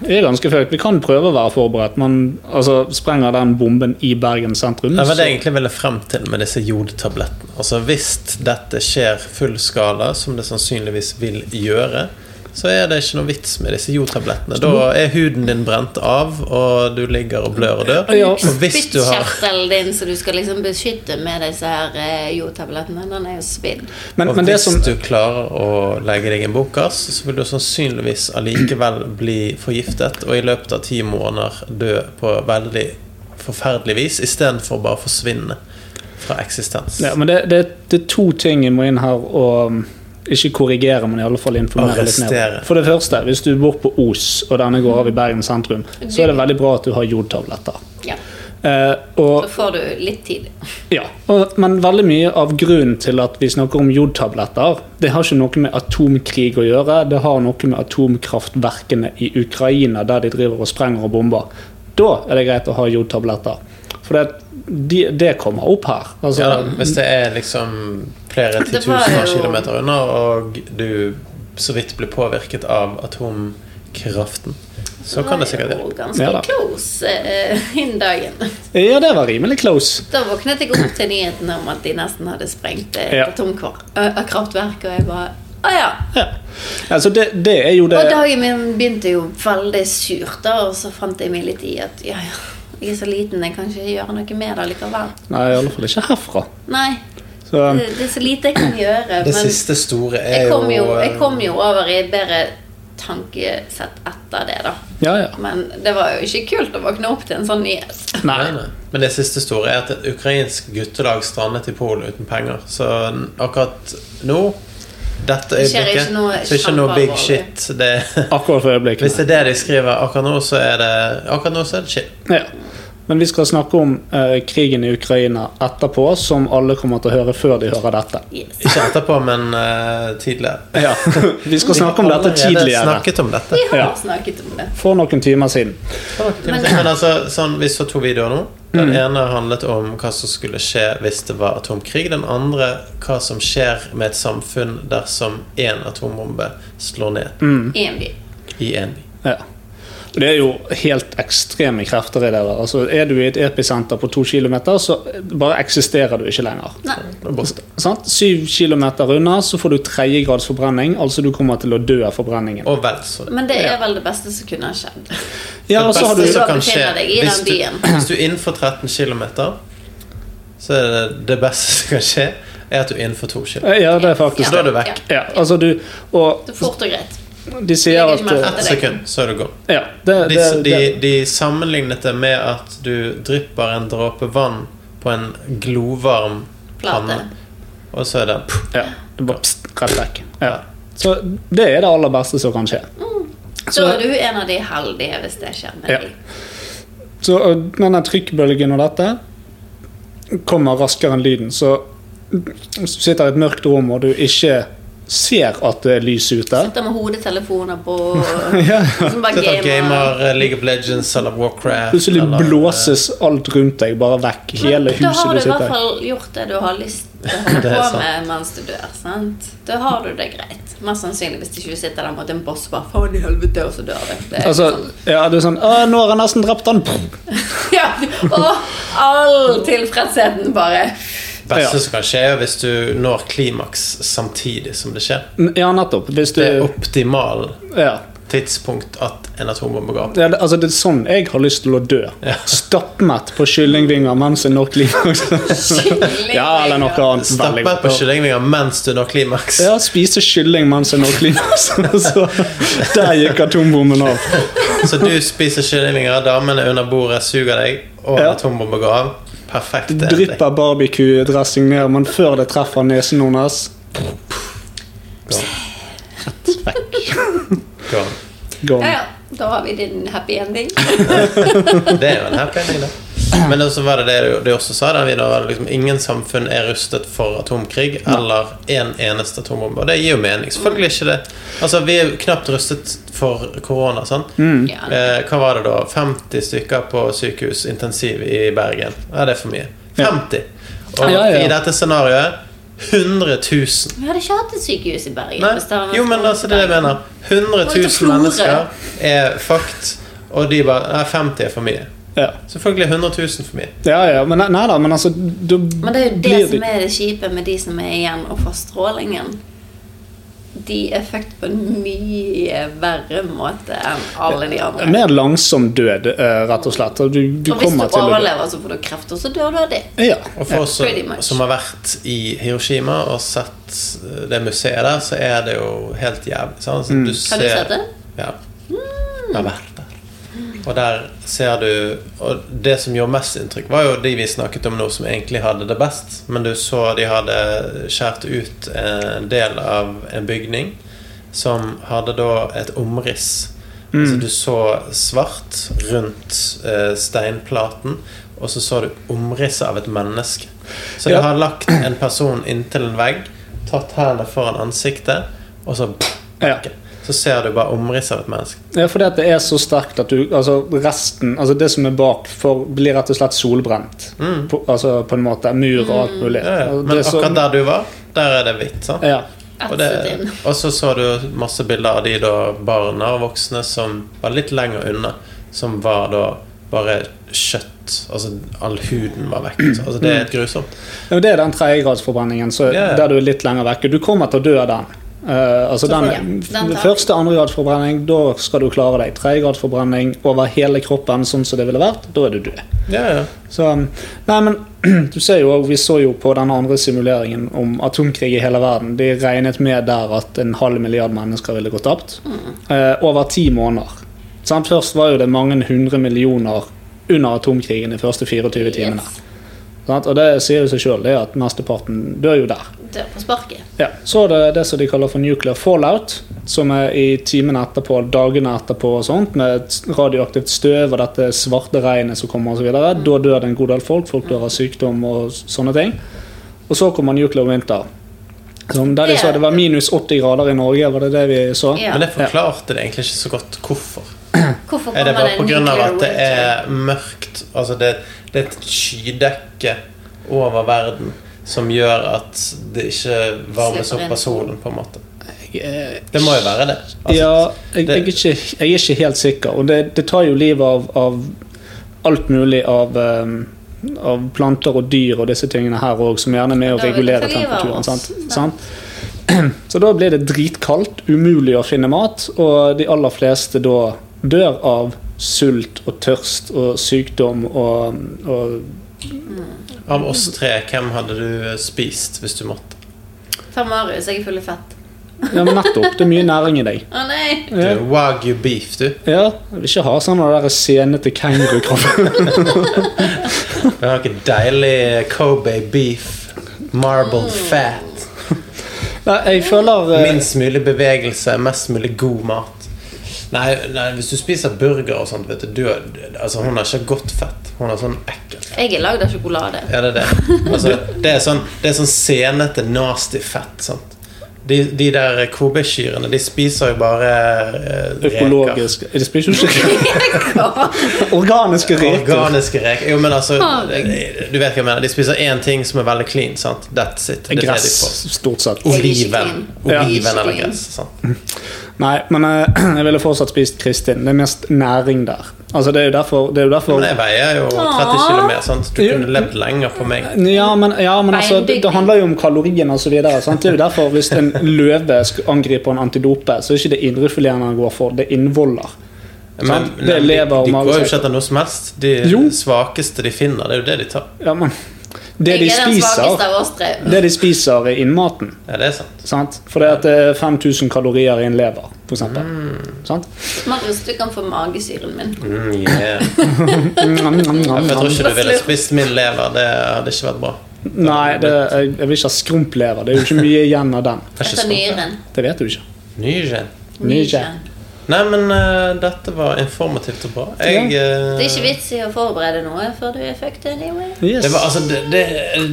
[SPEAKER 3] Vi er ganske fucked. Vi kan prøve å være forberedt, men altså, sprenger den bomben i Bergen sentrum
[SPEAKER 2] Det var det
[SPEAKER 3] så-
[SPEAKER 2] jeg egentlig ville frem til med disse jodtablettene. Altså Hvis dette skjer full skala, som det sannsynligvis vil gjøre, så er det ikke noe vits med disse jodtablettene. Da er huden din brent av, og du ligger og blør og dør.
[SPEAKER 3] Ja.
[SPEAKER 2] Og hvis du har
[SPEAKER 4] Spyttkjertelen din som du skal liksom beskytte med disse her eh, jodtablettene, den er jo svidd.
[SPEAKER 3] Men,
[SPEAKER 2] og
[SPEAKER 3] men det
[SPEAKER 2] hvis
[SPEAKER 3] som
[SPEAKER 2] du klarer å legge deg i en bunkers, så vil du sannsynligvis allikevel bli forgiftet, og i løpet av ti måneder dø på veldig forferdelig vis, istedenfor bare å forsvinne fra eksistens.
[SPEAKER 3] ja, men det, det, det er to ting jeg må inn her og um, ikke korrigere, men i alle fall informere litt mer.
[SPEAKER 2] Arrestere.
[SPEAKER 3] For det første, hvis du bor på Os, og denne går av i Bergen sentrum, så er det veldig bra at du har jodtabletter.
[SPEAKER 4] Ja.
[SPEAKER 3] Eh,
[SPEAKER 4] Så
[SPEAKER 3] og,
[SPEAKER 4] får du litt tid.
[SPEAKER 3] ja, og, men veldig mye av grunnen til at vi snakker om jodtabletter, det har ikke noe med atomkrig å gjøre. Det har noe med atomkraftverkene i Ukraina, der de driver og sprenger og bomber. Da er det greit å ha jodtabletter. For det, de, det kommer opp her. Altså,
[SPEAKER 2] Ja, da, hvis det er liksom flere
[SPEAKER 4] Det var
[SPEAKER 2] titusener
[SPEAKER 4] jo-
[SPEAKER 2] kilometer unna, og du så vidt blir påvirket av atomkraften, så kan det sikkert
[SPEAKER 4] Det
[SPEAKER 2] hjelpe.
[SPEAKER 4] var jo Ganske
[SPEAKER 3] Ja da.
[SPEAKER 4] close eh, innen dagen.
[SPEAKER 3] Ja, det var rimelig close.
[SPEAKER 4] Da våknet jeg opp til nyheten om at de nesten hadde sprengt eh, et
[SPEAKER 3] Ja.
[SPEAKER 4] atomkraftverk, og jeg bare Å ja.
[SPEAKER 3] Ja. Altså, det, det er jo det
[SPEAKER 2] Eh.
[SPEAKER 4] Og dagen min begynte jo veldig surt, da, og så fant jeg meg litt i at ja, ja, jeg er så liten, jeg kan ikke gjøre noe med det likevel.
[SPEAKER 3] Nei, i alle fall ikke herfra.
[SPEAKER 4] Nei,
[SPEAKER 3] Så,
[SPEAKER 4] det, det er så lite jeg kan gjøre.
[SPEAKER 2] Det
[SPEAKER 4] men-
[SPEAKER 2] siste store er
[SPEAKER 4] jeg kom jo,
[SPEAKER 2] eh,
[SPEAKER 4] jeg kom jo over i et bedre tankesett etter det, da.
[SPEAKER 3] ja, ja.
[SPEAKER 4] Men det var jo ikke kult å våkne opp til en sånn nyhet.
[SPEAKER 3] Nei.
[SPEAKER 2] Nei, nei. Men det siste store er at et ukrainsk guttelag strandet i Polen uten penger. Så n- akkurat nå, dette
[SPEAKER 4] Det skjer
[SPEAKER 2] øyeblikket,
[SPEAKER 4] ikke noe
[SPEAKER 2] så er det ikke noe big
[SPEAKER 4] kjempealvorlig.
[SPEAKER 2] shit. Det, <laughs>
[SPEAKER 3] Akkurat for øyeblikket.
[SPEAKER 2] hvis det er det de skriver akkurat nå, så er det akkurat nå så er det shit.
[SPEAKER 3] Ja. Men vi skal snakke om eh, krigen i Ukraina etterpå, som alle kommer til å høre før de hører dette.
[SPEAKER 4] Yes.
[SPEAKER 2] Ikke etterpå, men eh, tidligere.
[SPEAKER 3] Ja. Vi skal snakke om dette
[SPEAKER 2] Vi har allerede
[SPEAKER 3] tidligere.
[SPEAKER 2] snakket om dette.
[SPEAKER 4] Vi har
[SPEAKER 3] Ja.
[SPEAKER 4] snakket om det.
[SPEAKER 3] For noen timer siden.
[SPEAKER 2] Men, altså, sånn, Vi så to videoer nå. Den
[SPEAKER 3] Mm.
[SPEAKER 2] ene handlet om hva som skulle skje hvis det var atomkrig. Den andre hva som skjer med et samfunn dersom én atombombe slår ned
[SPEAKER 3] Mm.
[SPEAKER 4] I en by.
[SPEAKER 2] i en by.
[SPEAKER 3] Ja. Det er jo helt ekstreme krefter i det. der. Altså, er du i et episenter på to kilometer, så bare eksisterer du ikke lenger.
[SPEAKER 4] Nei.
[SPEAKER 2] Da borte.
[SPEAKER 3] Sant? Syv kilometer unna så får du tredjegrads forbrenning, altså du kommer til å dø av forbrenningen.
[SPEAKER 2] Og vel så det.
[SPEAKER 4] Men det er vel det beste som kunne ha skjedd.
[SPEAKER 3] Ja, og så har du
[SPEAKER 4] beste
[SPEAKER 2] som
[SPEAKER 4] Da
[SPEAKER 2] kan
[SPEAKER 4] befinner
[SPEAKER 2] skje-
[SPEAKER 4] deg i den
[SPEAKER 2] hvis, du,
[SPEAKER 4] byen.
[SPEAKER 2] hvis du er innenfor 13 km, så er det det beste som kan skje, er at du er innenfor 2 km.
[SPEAKER 3] Eh, Ja, det er faktisk
[SPEAKER 2] Så
[SPEAKER 3] det.
[SPEAKER 2] er du vekk.
[SPEAKER 3] Ja, altså du, og
[SPEAKER 4] Så fort og greit.
[SPEAKER 3] de sier at
[SPEAKER 4] Legger ikke
[SPEAKER 3] eh,
[SPEAKER 4] merke
[SPEAKER 2] Ett sekund, så er du gone.
[SPEAKER 3] ja, det,
[SPEAKER 2] De,
[SPEAKER 3] det,
[SPEAKER 2] de,
[SPEAKER 3] det,
[SPEAKER 2] de sammenlignet det med at du drypper en dråpe vann på en glovarm
[SPEAKER 4] Plate.
[SPEAKER 2] panne, og så er det
[SPEAKER 3] ja, det bare pst, rett vekk. Ja. Så det er det aller beste som kan skje.
[SPEAKER 4] Så er du en av de heldige hvis det skjer med
[SPEAKER 3] Ja.
[SPEAKER 4] deg.
[SPEAKER 3] Så og denne trykkbølgen og dette kommer raskere enn lyden. Så hvis du sitter i et mørkt rom og du ikke ser at det er lys ute
[SPEAKER 4] Sitter med hodetelefoner på
[SPEAKER 3] <laughs> ja.
[SPEAKER 4] som bare
[SPEAKER 2] Sitter og
[SPEAKER 4] gamer.
[SPEAKER 2] gamer eh, League of Legends eller Warcraft
[SPEAKER 3] Plutselig
[SPEAKER 2] eller, eh,
[SPEAKER 3] blåses alt rundt deg bare vekk. Hele
[SPEAKER 4] da har
[SPEAKER 3] huset du
[SPEAKER 4] du i hvert
[SPEAKER 3] sitter i.
[SPEAKER 4] fall gjort det du har lyst til å
[SPEAKER 3] <laughs>
[SPEAKER 4] holde
[SPEAKER 2] Det er
[SPEAKER 4] på
[SPEAKER 2] sant.
[SPEAKER 4] med mens du dør. sant? Da har du det greit. Mest sannsynlig hvis ikke du sitter der mot en boss og bare faen i helvete, og så dør du. Det er
[SPEAKER 3] Altså,
[SPEAKER 4] sånn.
[SPEAKER 3] ja, det er sånn Å, nå har jeg nesten drept han!
[SPEAKER 4] <laughs> ja, og all tilfredsheten bare
[SPEAKER 2] beste som kan skje, er hvis du når klimaks samtidig som det skjer.
[SPEAKER 3] Ja, nettopp. Hvis du
[SPEAKER 2] Det er optimal
[SPEAKER 3] ja.
[SPEAKER 2] tidspunkt at en atombombe går opp.
[SPEAKER 3] Ja, det, altså, det er sånn jeg har lyst til å dø. Stappmett på kyllingvinger mens jeg når
[SPEAKER 2] <laughs>
[SPEAKER 3] klimaks. ja, eller noe annet. veldig
[SPEAKER 2] Stappe
[SPEAKER 3] godt.
[SPEAKER 2] på kyllingvinger mens du når klimaks.
[SPEAKER 3] Ja, spise kylling mens jeg når klimaks. <laughs> Så der gikk atombomben
[SPEAKER 2] <laughs>
[SPEAKER 3] av.
[SPEAKER 2] <laughs> Så du spiser kyllingvinger, damene under bordet suger deg, og en
[SPEAKER 3] Ja.
[SPEAKER 2] atombombe går av. Perfekt. egentlig.
[SPEAKER 3] Drypper barbecue-dressing ned, men før det treffer nesen hennes Rett vekk.
[SPEAKER 2] Gone.
[SPEAKER 4] Ja,
[SPEAKER 3] Gone.
[SPEAKER 4] ja. Da har vi din happy ending.
[SPEAKER 2] Det er jo en happy ending, da. Men også var det det du, du også sa, der, Vidar, var det liksom ingen samfunn er rustet for atomkrig eller en eneste atombombe. Og det gir jo mening. Selvfølgelig ikke det. Altså, Vi er jo knapt rustet for korona. sant?
[SPEAKER 3] Mm.
[SPEAKER 4] Ja.
[SPEAKER 2] Eh, hva var det da? 50 stykker på sykehus intensiv i Bergen. Ja, det er for mye. 50! Og
[SPEAKER 3] Ja, ja, ja.
[SPEAKER 2] i dette scenarioet 100 000.
[SPEAKER 4] Vi hadde ikke hatt et sykehus i Bergen.
[SPEAKER 2] Nei,
[SPEAKER 4] hvis det hadde vært
[SPEAKER 2] jo, men altså, det er det jeg mener. 100
[SPEAKER 4] Og litt
[SPEAKER 2] 000
[SPEAKER 4] flore.
[SPEAKER 2] mennesker er fucked, og de bare Nei, 50 er for mye.
[SPEAKER 3] Ja.
[SPEAKER 2] Selvfølgelig 100 000 for mye.
[SPEAKER 3] ja, ja. Men nei, nei da, men altså du,
[SPEAKER 4] Men det er jo det
[SPEAKER 3] blir
[SPEAKER 4] som er det kjipe med de som er igjen og får strålingen. De er fucked på en mye verre måte enn alle de andre.
[SPEAKER 3] Mer langsom død, eh, rett og slett. Og du, du
[SPEAKER 4] og hvis du
[SPEAKER 3] kommer til å dø.
[SPEAKER 4] overlever, så får du kreft, og så dør du av det.
[SPEAKER 3] Ja.
[SPEAKER 2] Og for oss
[SPEAKER 4] Pretty
[SPEAKER 2] som,
[SPEAKER 4] much.
[SPEAKER 2] som har vært i Hiroshima og sett eh, det museet der, så er det jo helt jævlig. Sant? Så Du ser,
[SPEAKER 4] Mm. Har du sett det?
[SPEAKER 2] Ja. Jeg har vært der. Og der ser du Og det som gjorde mest inntrykk, var jo de vi snakket om nå, som egentlig hadde det best. Men du så de hadde skåret ut en del av en bygning som hadde da et omriss.
[SPEAKER 3] Mm.
[SPEAKER 2] Altså du så svart rundt eh, steinplaten, og så så du omrisset av et menneske. Så de
[SPEAKER 3] Ja.
[SPEAKER 2] har lagt en person inntil en vegg, tatt hendene foran ansiktet, og så
[SPEAKER 3] Ja.
[SPEAKER 2] så ser du bare omrisset av et menneske.
[SPEAKER 3] Ja, fordi at det er så sterkt at du Altså, resten Altså, det som er bak, for, blir rett og slett solbrent. På, altså, på en måte. Mur og alt mulig.
[SPEAKER 2] Ja, Mm. ja.
[SPEAKER 3] Og det
[SPEAKER 2] Men
[SPEAKER 3] er så-
[SPEAKER 2] akkurat der du var, der er det hvitt. sant?
[SPEAKER 3] Ja.
[SPEAKER 2] Og, det,
[SPEAKER 4] Etset inn.
[SPEAKER 2] og så så du masse bilder av de da barna og voksne som var litt lenger unna, som var da bare kjøtt. Altså all huden var vekk. Altså Det er
[SPEAKER 3] Mm.
[SPEAKER 2] helt grusomt.
[SPEAKER 3] Ja, men Det er den tredjegradsforbrenningen så
[SPEAKER 2] Ja, ja.
[SPEAKER 3] der du er litt lenger vekk. Du kommer til å dø av den. Eh, altså den,
[SPEAKER 4] Ja, den tar vi.
[SPEAKER 3] Første andregradsforbrenning, da skal du klare deg. Tredjegradsforbrenning over hele kroppen, sånn som det ville vært, da er du død.
[SPEAKER 2] Ja, ja.
[SPEAKER 3] Så, um, nei, men <clears throat> du ser jo også, Vi så jo på den andre simuleringen om atomkrig i hele verden. De regnet med der at en halv milliard mennesker ville gått tapt. Eh, over ti måneder. Sant? Først var jo det mange hundre millioner under atomkrigen de første 24 timene.
[SPEAKER 4] Yes.
[SPEAKER 3] Sant? Og det sier jo seg sjøl at mesteparten dør jo der.
[SPEAKER 4] Dør på sparket.
[SPEAKER 3] Ja, så er det det som de kaller for nuclear fallout, som er i timene etterpå, dagene etterpå og sånt, med et radioaktivt støv og dette svarte regnet som kommer osv. Da dør det en god del folk, folk dør av sykdom og sånne ting. Og så kommer nuclear winter. Som der de sa det var minus 80 grader i Norge, var det det vi så?
[SPEAKER 4] Ja.
[SPEAKER 2] Men det forklarte det egentlig ikke så godt hvorfor.
[SPEAKER 4] Hvorfor
[SPEAKER 2] Er det
[SPEAKER 4] kommer
[SPEAKER 2] bare
[SPEAKER 4] det en
[SPEAKER 2] pga.
[SPEAKER 4] nuclear
[SPEAKER 2] at det
[SPEAKER 4] winter?
[SPEAKER 2] er mørkt Altså det, det er et skydekke over verden som gjør at det ikke varmes
[SPEAKER 4] Slipper
[SPEAKER 2] opp
[SPEAKER 4] inn.
[SPEAKER 2] av solen, på en måte.
[SPEAKER 3] Eh,
[SPEAKER 2] Det må jo være det. Altså,
[SPEAKER 3] ja, jeg, jeg, er
[SPEAKER 2] det-
[SPEAKER 3] ikke, jeg er ikke helt sikker. Og det, det tar jo livet av, av alt mulig av, ehm, av planter og dyr og disse tingene her òg, som gjerne er med å
[SPEAKER 4] Da vil det ta
[SPEAKER 3] regulere
[SPEAKER 4] livet av
[SPEAKER 3] temperaturen.
[SPEAKER 4] oss.
[SPEAKER 3] Sant?
[SPEAKER 4] Ja.
[SPEAKER 3] Sant? <clears throat> Så da blir det dritkaldt, umulig å finne mat, og de aller fleste da dør av sult og tørst og sykdom og, og
[SPEAKER 2] Av oss tre, hvem hadde du eh, spist hvis du måtte?
[SPEAKER 4] Ta Marius, jeg er full av fett.
[SPEAKER 3] Ja, men nettopp. Det er mye næring i deg.
[SPEAKER 4] Å nei!
[SPEAKER 2] Du,
[SPEAKER 3] Ja.
[SPEAKER 2] Wagyu beef, du.
[SPEAKER 3] Ja, jeg vil ikke ha sånn av den der senete kengurukroppen.
[SPEAKER 2] Du har ikke deilig Kobe beef.
[SPEAKER 3] Mm.
[SPEAKER 2] Marble fat.
[SPEAKER 3] <laughs> Nei, jeg føler eh,
[SPEAKER 2] Minst mulig bevegelse, mest mulig god mat. Nei, nei hvis du spiser burger og sånt, vet du, du er- altså, Hun har ikke godt fett. Hun har sånn ekkelt
[SPEAKER 4] Jeg er lagd av sjokolade.
[SPEAKER 2] Ja, det er det. Altså, det, er sånn, det er sånn senete, nasty fett. Sant? De, de der kobeskyrene, de spiser jo bare eh,
[SPEAKER 3] Økologisk Er det spiser du
[SPEAKER 4] <laughs>
[SPEAKER 3] ikke Organiske
[SPEAKER 2] reker.
[SPEAKER 3] reker.
[SPEAKER 2] Organiske reker. Jo, men altså
[SPEAKER 4] Herregud.
[SPEAKER 2] Du vet hva jeg mener. De spiser én ting som er veldig clean. Sant? That's it. Det er
[SPEAKER 3] Gress,
[SPEAKER 2] det de får.
[SPEAKER 3] stort sett.
[SPEAKER 4] Jeg er ikke
[SPEAKER 2] Oliven.
[SPEAKER 4] clean.
[SPEAKER 3] Ja.
[SPEAKER 4] Jeg er
[SPEAKER 2] Oliven
[SPEAKER 4] ikke
[SPEAKER 2] eller
[SPEAKER 4] clean.
[SPEAKER 2] gress. Sant?
[SPEAKER 3] Nei, men eh, <clears throat> jeg ville fortsatt spist Kristin. Det er mest næring der. Altså, det er jo derfor, det er jo derfor
[SPEAKER 2] Men jeg veier jo 30
[SPEAKER 4] Åh.
[SPEAKER 2] kg mer. Sant? Du
[SPEAKER 3] Jo.
[SPEAKER 2] kunne levd lenger på meg.
[SPEAKER 3] ja, men, ja, men altså, det, det handler jo om kaloriene og så videre, sant? Det er jo derfor hvis en løve sk- angriper en antidope, så er det ikke det indrefileten han går for, det er innvoller.
[SPEAKER 2] Men,
[SPEAKER 3] Det er
[SPEAKER 2] de, de
[SPEAKER 3] lever og
[SPEAKER 2] går jo
[SPEAKER 3] magesekk.
[SPEAKER 2] ikke etter noe som helst. De
[SPEAKER 3] Jo.
[SPEAKER 2] svakeste de finner, det er jo det de tar.
[SPEAKER 3] Ja, men det de
[SPEAKER 4] Jeg er den svakeste
[SPEAKER 3] spiser,
[SPEAKER 4] av oss tre.
[SPEAKER 3] det de spiser er innmaten.
[SPEAKER 2] Ja, det er sant.
[SPEAKER 3] Sant? For det, at det er 5000 kalorier i en lever, for eksempel. Sant?
[SPEAKER 4] Marius, du kan få magesyren min.
[SPEAKER 2] Mm, yeah.
[SPEAKER 3] Nam, nam, nam,
[SPEAKER 2] Jeg
[SPEAKER 3] nam.
[SPEAKER 2] tror ikke du ville spist min lever. Det hadde ikke vært bra.
[SPEAKER 3] Nei, det, jeg, jeg vil ikke ha skrumplever. Det er jo ikke mye igjen av den.
[SPEAKER 2] Jeg er ikke
[SPEAKER 4] Etter
[SPEAKER 2] skrumpet.
[SPEAKER 4] nyren.
[SPEAKER 3] Det vet du ikke.
[SPEAKER 2] Nygent.
[SPEAKER 3] Nygent.
[SPEAKER 2] Nei, men eh, dette var informativt og bra. Jeg, eh,
[SPEAKER 4] Det er ikke vits i å forberede noe før du er fucked anyway.
[SPEAKER 2] det, var, altså, det, det,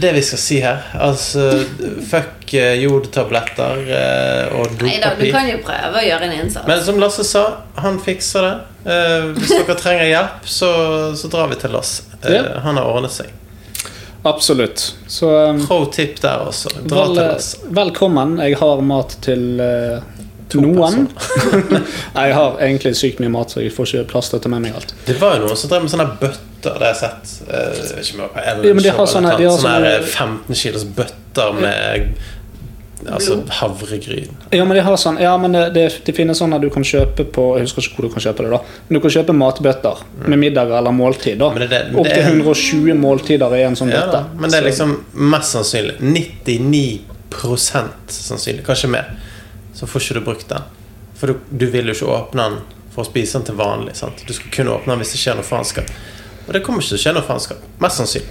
[SPEAKER 2] det vi skal si her Altså, fuck eh, jodtabletter eh, og
[SPEAKER 4] Neida, du
[SPEAKER 2] dopapir.
[SPEAKER 4] kan jo prøve å gjøre en innsats.
[SPEAKER 2] Men som Lasse sa, han fikser det. Eh, hvis dere trenger hjelp, så, så drar vi til Lasse. Eh,
[SPEAKER 3] Ja.
[SPEAKER 2] Han har ordnet seg.
[SPEAKER 3] Absolutt. Så um,
[SPEAKER 2] Pro tip der også. altså- Dra
[SPEAKER 3] vel,
[SPEAKER 2] til
[SPEAKER 3] eh,
[SPEAKER 2] Lasse.
[SPEAKER 3] velkommen. Jeg har mat til eh, noen. Nei, <laughs> jeg har egentlig sykt mye mat, så jeg får ikke plass til å ta med meg alt.
[SPEAKER 2] Det var jo noen som drev med sånne bøtter. Det har jeg sett. Eh, jeg vet ikke om det var på Ellen
[SPEAKER 3] Ja, men de har
[SPEAKER 2] Show eller
[SPEAKER 3] sånne-
[SPEAKER 2] noe
[SPEAKER 3] de har
[SPEAKER 2] sånt. Sånne her,
[SPEAKER 3] sånne-
[SPEAKER 2] eh, 15 kilos bøtter med Altså havregryn.
[SPEAKER 3] Ja, men de har sånn, ja, men det, det, det finnes sånne du kan kjøpe på Jeg husker ikke hvor du kan kjøpe det, da. Men du kan kjøpe matbøtter med middager eller måltid. da.
[SPEAKER 2] Mm. Men det- det- det er-
[SPEAKER 3] Opptil 120 måltider i en sånn
[SPEAKER 2] Ja,
[SPEAKER 3] bøtte.
[SPEAKER 2] da. Men det er
[SPEAKER 3] Så-
[SPEAKER 2] liksom mest sannsynlig 99 sannsynlig, kanskje mer, så får ikke du brukt den. For du, du vil jo ikke åpne den for å spise den til vanlig. Sant? Du skal kun åpne den hvis det skjer noe faenskap. Og det kommer ikke til å skje noe faenskap. Mest sannsynlig.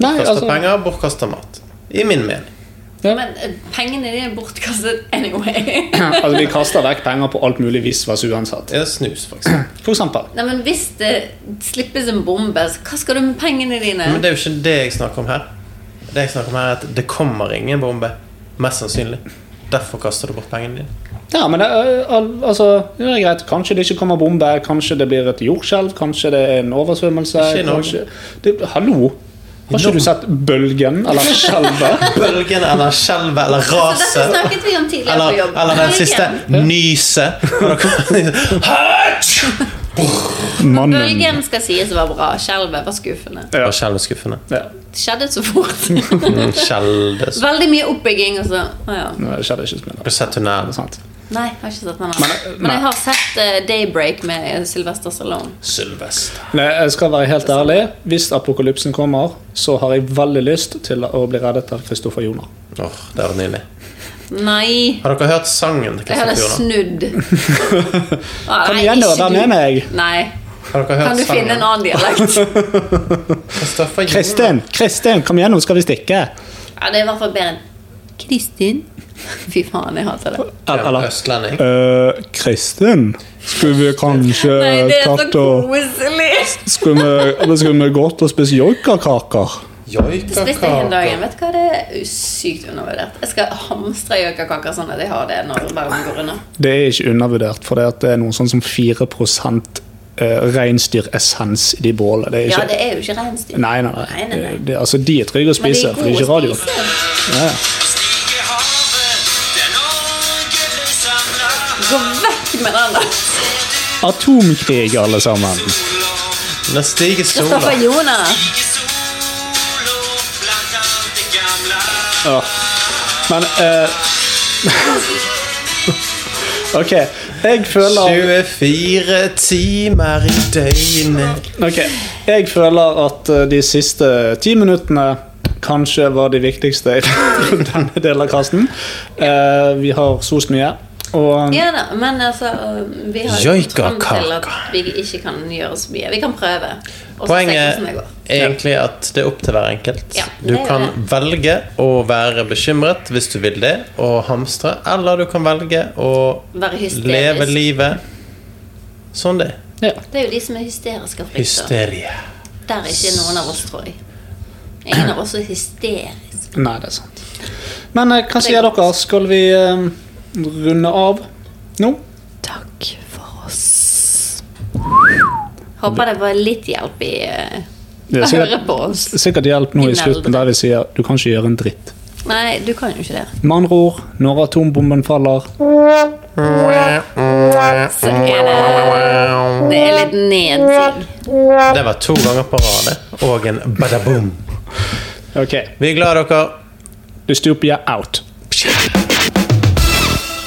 [SPEAKER 3] Nei,
[SPEAKER 2] Kasta
[SPEAKER 3] altså,
[SPEAKER 2] penger, bortkasta mat. I min mening.
[SPEAKER 4] Men eh, pengene dine er bortkastet anyway. <laughs>
[SPEAKER 3] altså, Vi kaster vekk penger på alt mulig vis hva uansett.
[SPEAKER 2] Ja, snus, for eksempel.
[SPEAKER 3] For eksempel.
[SPEAKER 4] Nei, men Hvis det slippes en bombe, så hva skal du med pengene dine?
[SPEAKER 2] Men det er jo ikke det jeg snakker om her. Det jeg snakker om her er at det kommer ingen bombe. Mest sannsynlig. Derfor kaster du bort pengene dine.
[SPEAKER 3] Ja, men det, er- al- altså, det er greit. Kanskje det ikke kommer bombe, kanskje det blir et jordskjelv, kanskje det er en oversvømmelse.
[SPEAKER 2] Ikke i Norge.
[SPEAKER 3] kanskje, det, hallo! Har ikke
[SPEAKER 2] Norge.
[SPEAKER 3] du sett bølgen eller skjelvet?
[SPEAKER 2] <laughs> Bølgen eller skjelvet eller
[SPEAKER 4] Så dette
[SPEAKER 2] raset.
[SPEAKER 4] snakket vi om tidligere på
[SPEAKER 2] Eller,
[SPEAKER 4] jobb.
[SPEAKER 2] eller den
[SPEAKER 4] Helgen.
[SPEAKER 2] siste nyset. <laughs>
[SPEAKER 4] Bølgen skal sies å være bra. Skjelvet var skuffende.
[SPEAKER 2] Det var skjelveskuffende.
[SPEAKER 3] Ja,
[SPEAKER 4] Det skjedde så fort.
[SPEAKER 2] <laughs> Mm, Skjelves.
[SPEAKER 4] Veldig mye oppbygging, og så Å ja.
[SPEAKER 3] det skjedde ikke så mye.
[SPEAKER 2] Har du sett tunnelen?
[SPEAKER 3] Det er sant.
[SPEAKER 4] Nei, jeg har ikke sett den.
[SPEAKER 3] Men,
[SPEAKER 4] her.
[SPEAKER 3] nei.
[SPEAKER 4] Men jeg har sett eh, Daybreak med Sylvester Stallone.
[SPEAKER 2] Sylvester.
[SPEAKER 3] Nei, jeg skal være helt ærlig. Hvis apokalypsen kommer, så har jeg veldig lyst til å bli reddet av Kristoffer Joner.
[SPEAKER 2] Åh, Det var nydelig.
[SPEAKER 4] Nei!
[SPEAKER 2] Har dere hørt sangen? til
[SPEAKER 4] Jeg hadde
[SPEAKER 2] Kristoffer Joner?
[SPEAKER 4] snudd. Å,
[SPEAKER 3] Kom
[SPEAKER 4] nei,
[SPEAKER 3] igjen, da.
[SPEAKER 4] ikke
[SPEAKER 3] Der
[SPEAKER 4] du.
[SPEAKER 3] mener jeg.
[SPEAKER 4] Nei.
[SPEAKER 2] Har dere
[SPEAKER 4] Kan
[SPEAKER 2] hørt
[SPEAKER 4] du finne en
[SPEAKER 2] sangen?
[SPEAKER 4] annen
[SPEAKER 3] <laughs>
[SPEAKER 4] dialekt?
[SPEAKER 2] Kristoffer Joner.
[SPEAKER 3] Kristin, Kristin, kom igjen, nå skal vi stikke.
[SPEAKER 4] Ja, det er i hvert fall bedre enn Kristin. Fy faen, jeg hater det.
[SPEAKER 2] Ja,
[SPEAKER 3] Eller
[SPEAKER 2] Østlending.
[SPEAKER 3] eh, Kristin, skulle vi kanskje
[SPEAKER 4] Nei, det er så
[SPEAKER 3] tatt og
[SPEAKER 4] koselig!
[SPEAKER 3] Skulle vi, eller skulle vi gått og spist joikakaker?
[SPEAKER 4] Spiste jeg en dag igjen.
[SPEAKER 2] Joikakaker.
[SPEAKER 4] Vet du hva, det er sykt undervurdert. Jeg skal hamstre gjøkakaker sånn at jeg har det når verden går unna.
[SPEAKER 3] Det er ikke undervurdert, for det, at det er noe sånn som 4 eh, reinsdyressens i de bålene. Det er
[SPEAKER 4] Ja,
[SPEAKER 3] ikke
[SPEAKER 4] det er jo ikke reinsdyr.
[SPEAKER 3] Nei, nei, nei.
[SPEAKER 4] Nei, nei, nei.
[SPEAKER 3] Det, altså, de er trygge å
[SPEAKER 4] Men de
[SPEAKER 3] spise,
[SPEAKER 4] er
[SPEAKER 3] for det er ikke
[SPEAKER 4] gode å
[SPEAKER 3] radio.
[SPEAKER 4] spise. Gå vekk med den, da!
[SPEAKER 3] Atomkrig, alle sammen.
[SPEAKER 2] Nå stiger sola.
[SPEAKER 4] Kristoffer Joner.
[SPEAKER 3] Ja. Men
[SPEAKER 4] <laughs>
[SPEAKER 3] eh, <laughs> Ok, jeg føler
[SPEAKER 2] 24 timer i døgnet.
[SPEAKER 3] Ok, jeg føler at eh, de siste ti minuttene kanskje var de viktigste i <laughs> denne delen av kassen. Eh, vi har sost mye, og
[SPEAKER 4] Ja da, men altså øh, Vi har jo kommet til at
[SPEAKER 2] Joikakaker.
[SPEAKER 4] vi ikke kan gjøre så mye. Vi kan prøve. og så se
[SPEAKER 2] Poenget
[SPEAKER 4] hvordan det går.
[SPEAKER 2] er egentlig at det er opp til hver enkelt.
[SPEAKER 4] Ja,
[SPEAKER 2] Du
[SPEAKER 4] det er
[SPEAKER 2] kan
[SPEAKER 4] det.
[SPEAKER 2] velge å være bekymret hvis du vil det, og hamstre. Eller du kan velge å
[SPEAKER 4] Være hysterisk.
[SPEAKER 2] leve livet sånn det er.
[SPEAKER 3] ja.
[SPEAKER 4] Det er jo de som er hysteriske og frykter.
[SPEAKER 2] Hysterie.
[SPEAKER 4] Der er ikke noen av oss, tror jeg. Ingen av oss er hysterisk.
[SPEAKER 3] Nei, det er sant. Men eh, hva sier dere? Skal vi eh, runde av nå?
[SPEAKER 4] Takk for oss. Håper det var litt hjelp i øh,
[SPEAKER 3] Det
[SPEAKER 4] å
[SPEAKER 3] er
[SPEAKER 4] høre
[SPEAKER 3] sikkert,
[SPEAKER 4] på oss.
[SPEAKER 3] sikkert hjelp nå i slutten, der vi sier du kan ikke gjøre en dritt.
[SPEAKER 4] Nei, du kan jo ikke det.
[SPEAKER 3] Med andre ord, når atombomben faller
[SPEAKER 4] Så er det Det er litt nedsig.
[SPEAKER 2] Det var to ganger på rad, det. og en badaboom.
[SPEAKER 3] Ok,
[SPEAKER 2] Vi er glad i dere.
[SPEAKER 3] Dystopia out.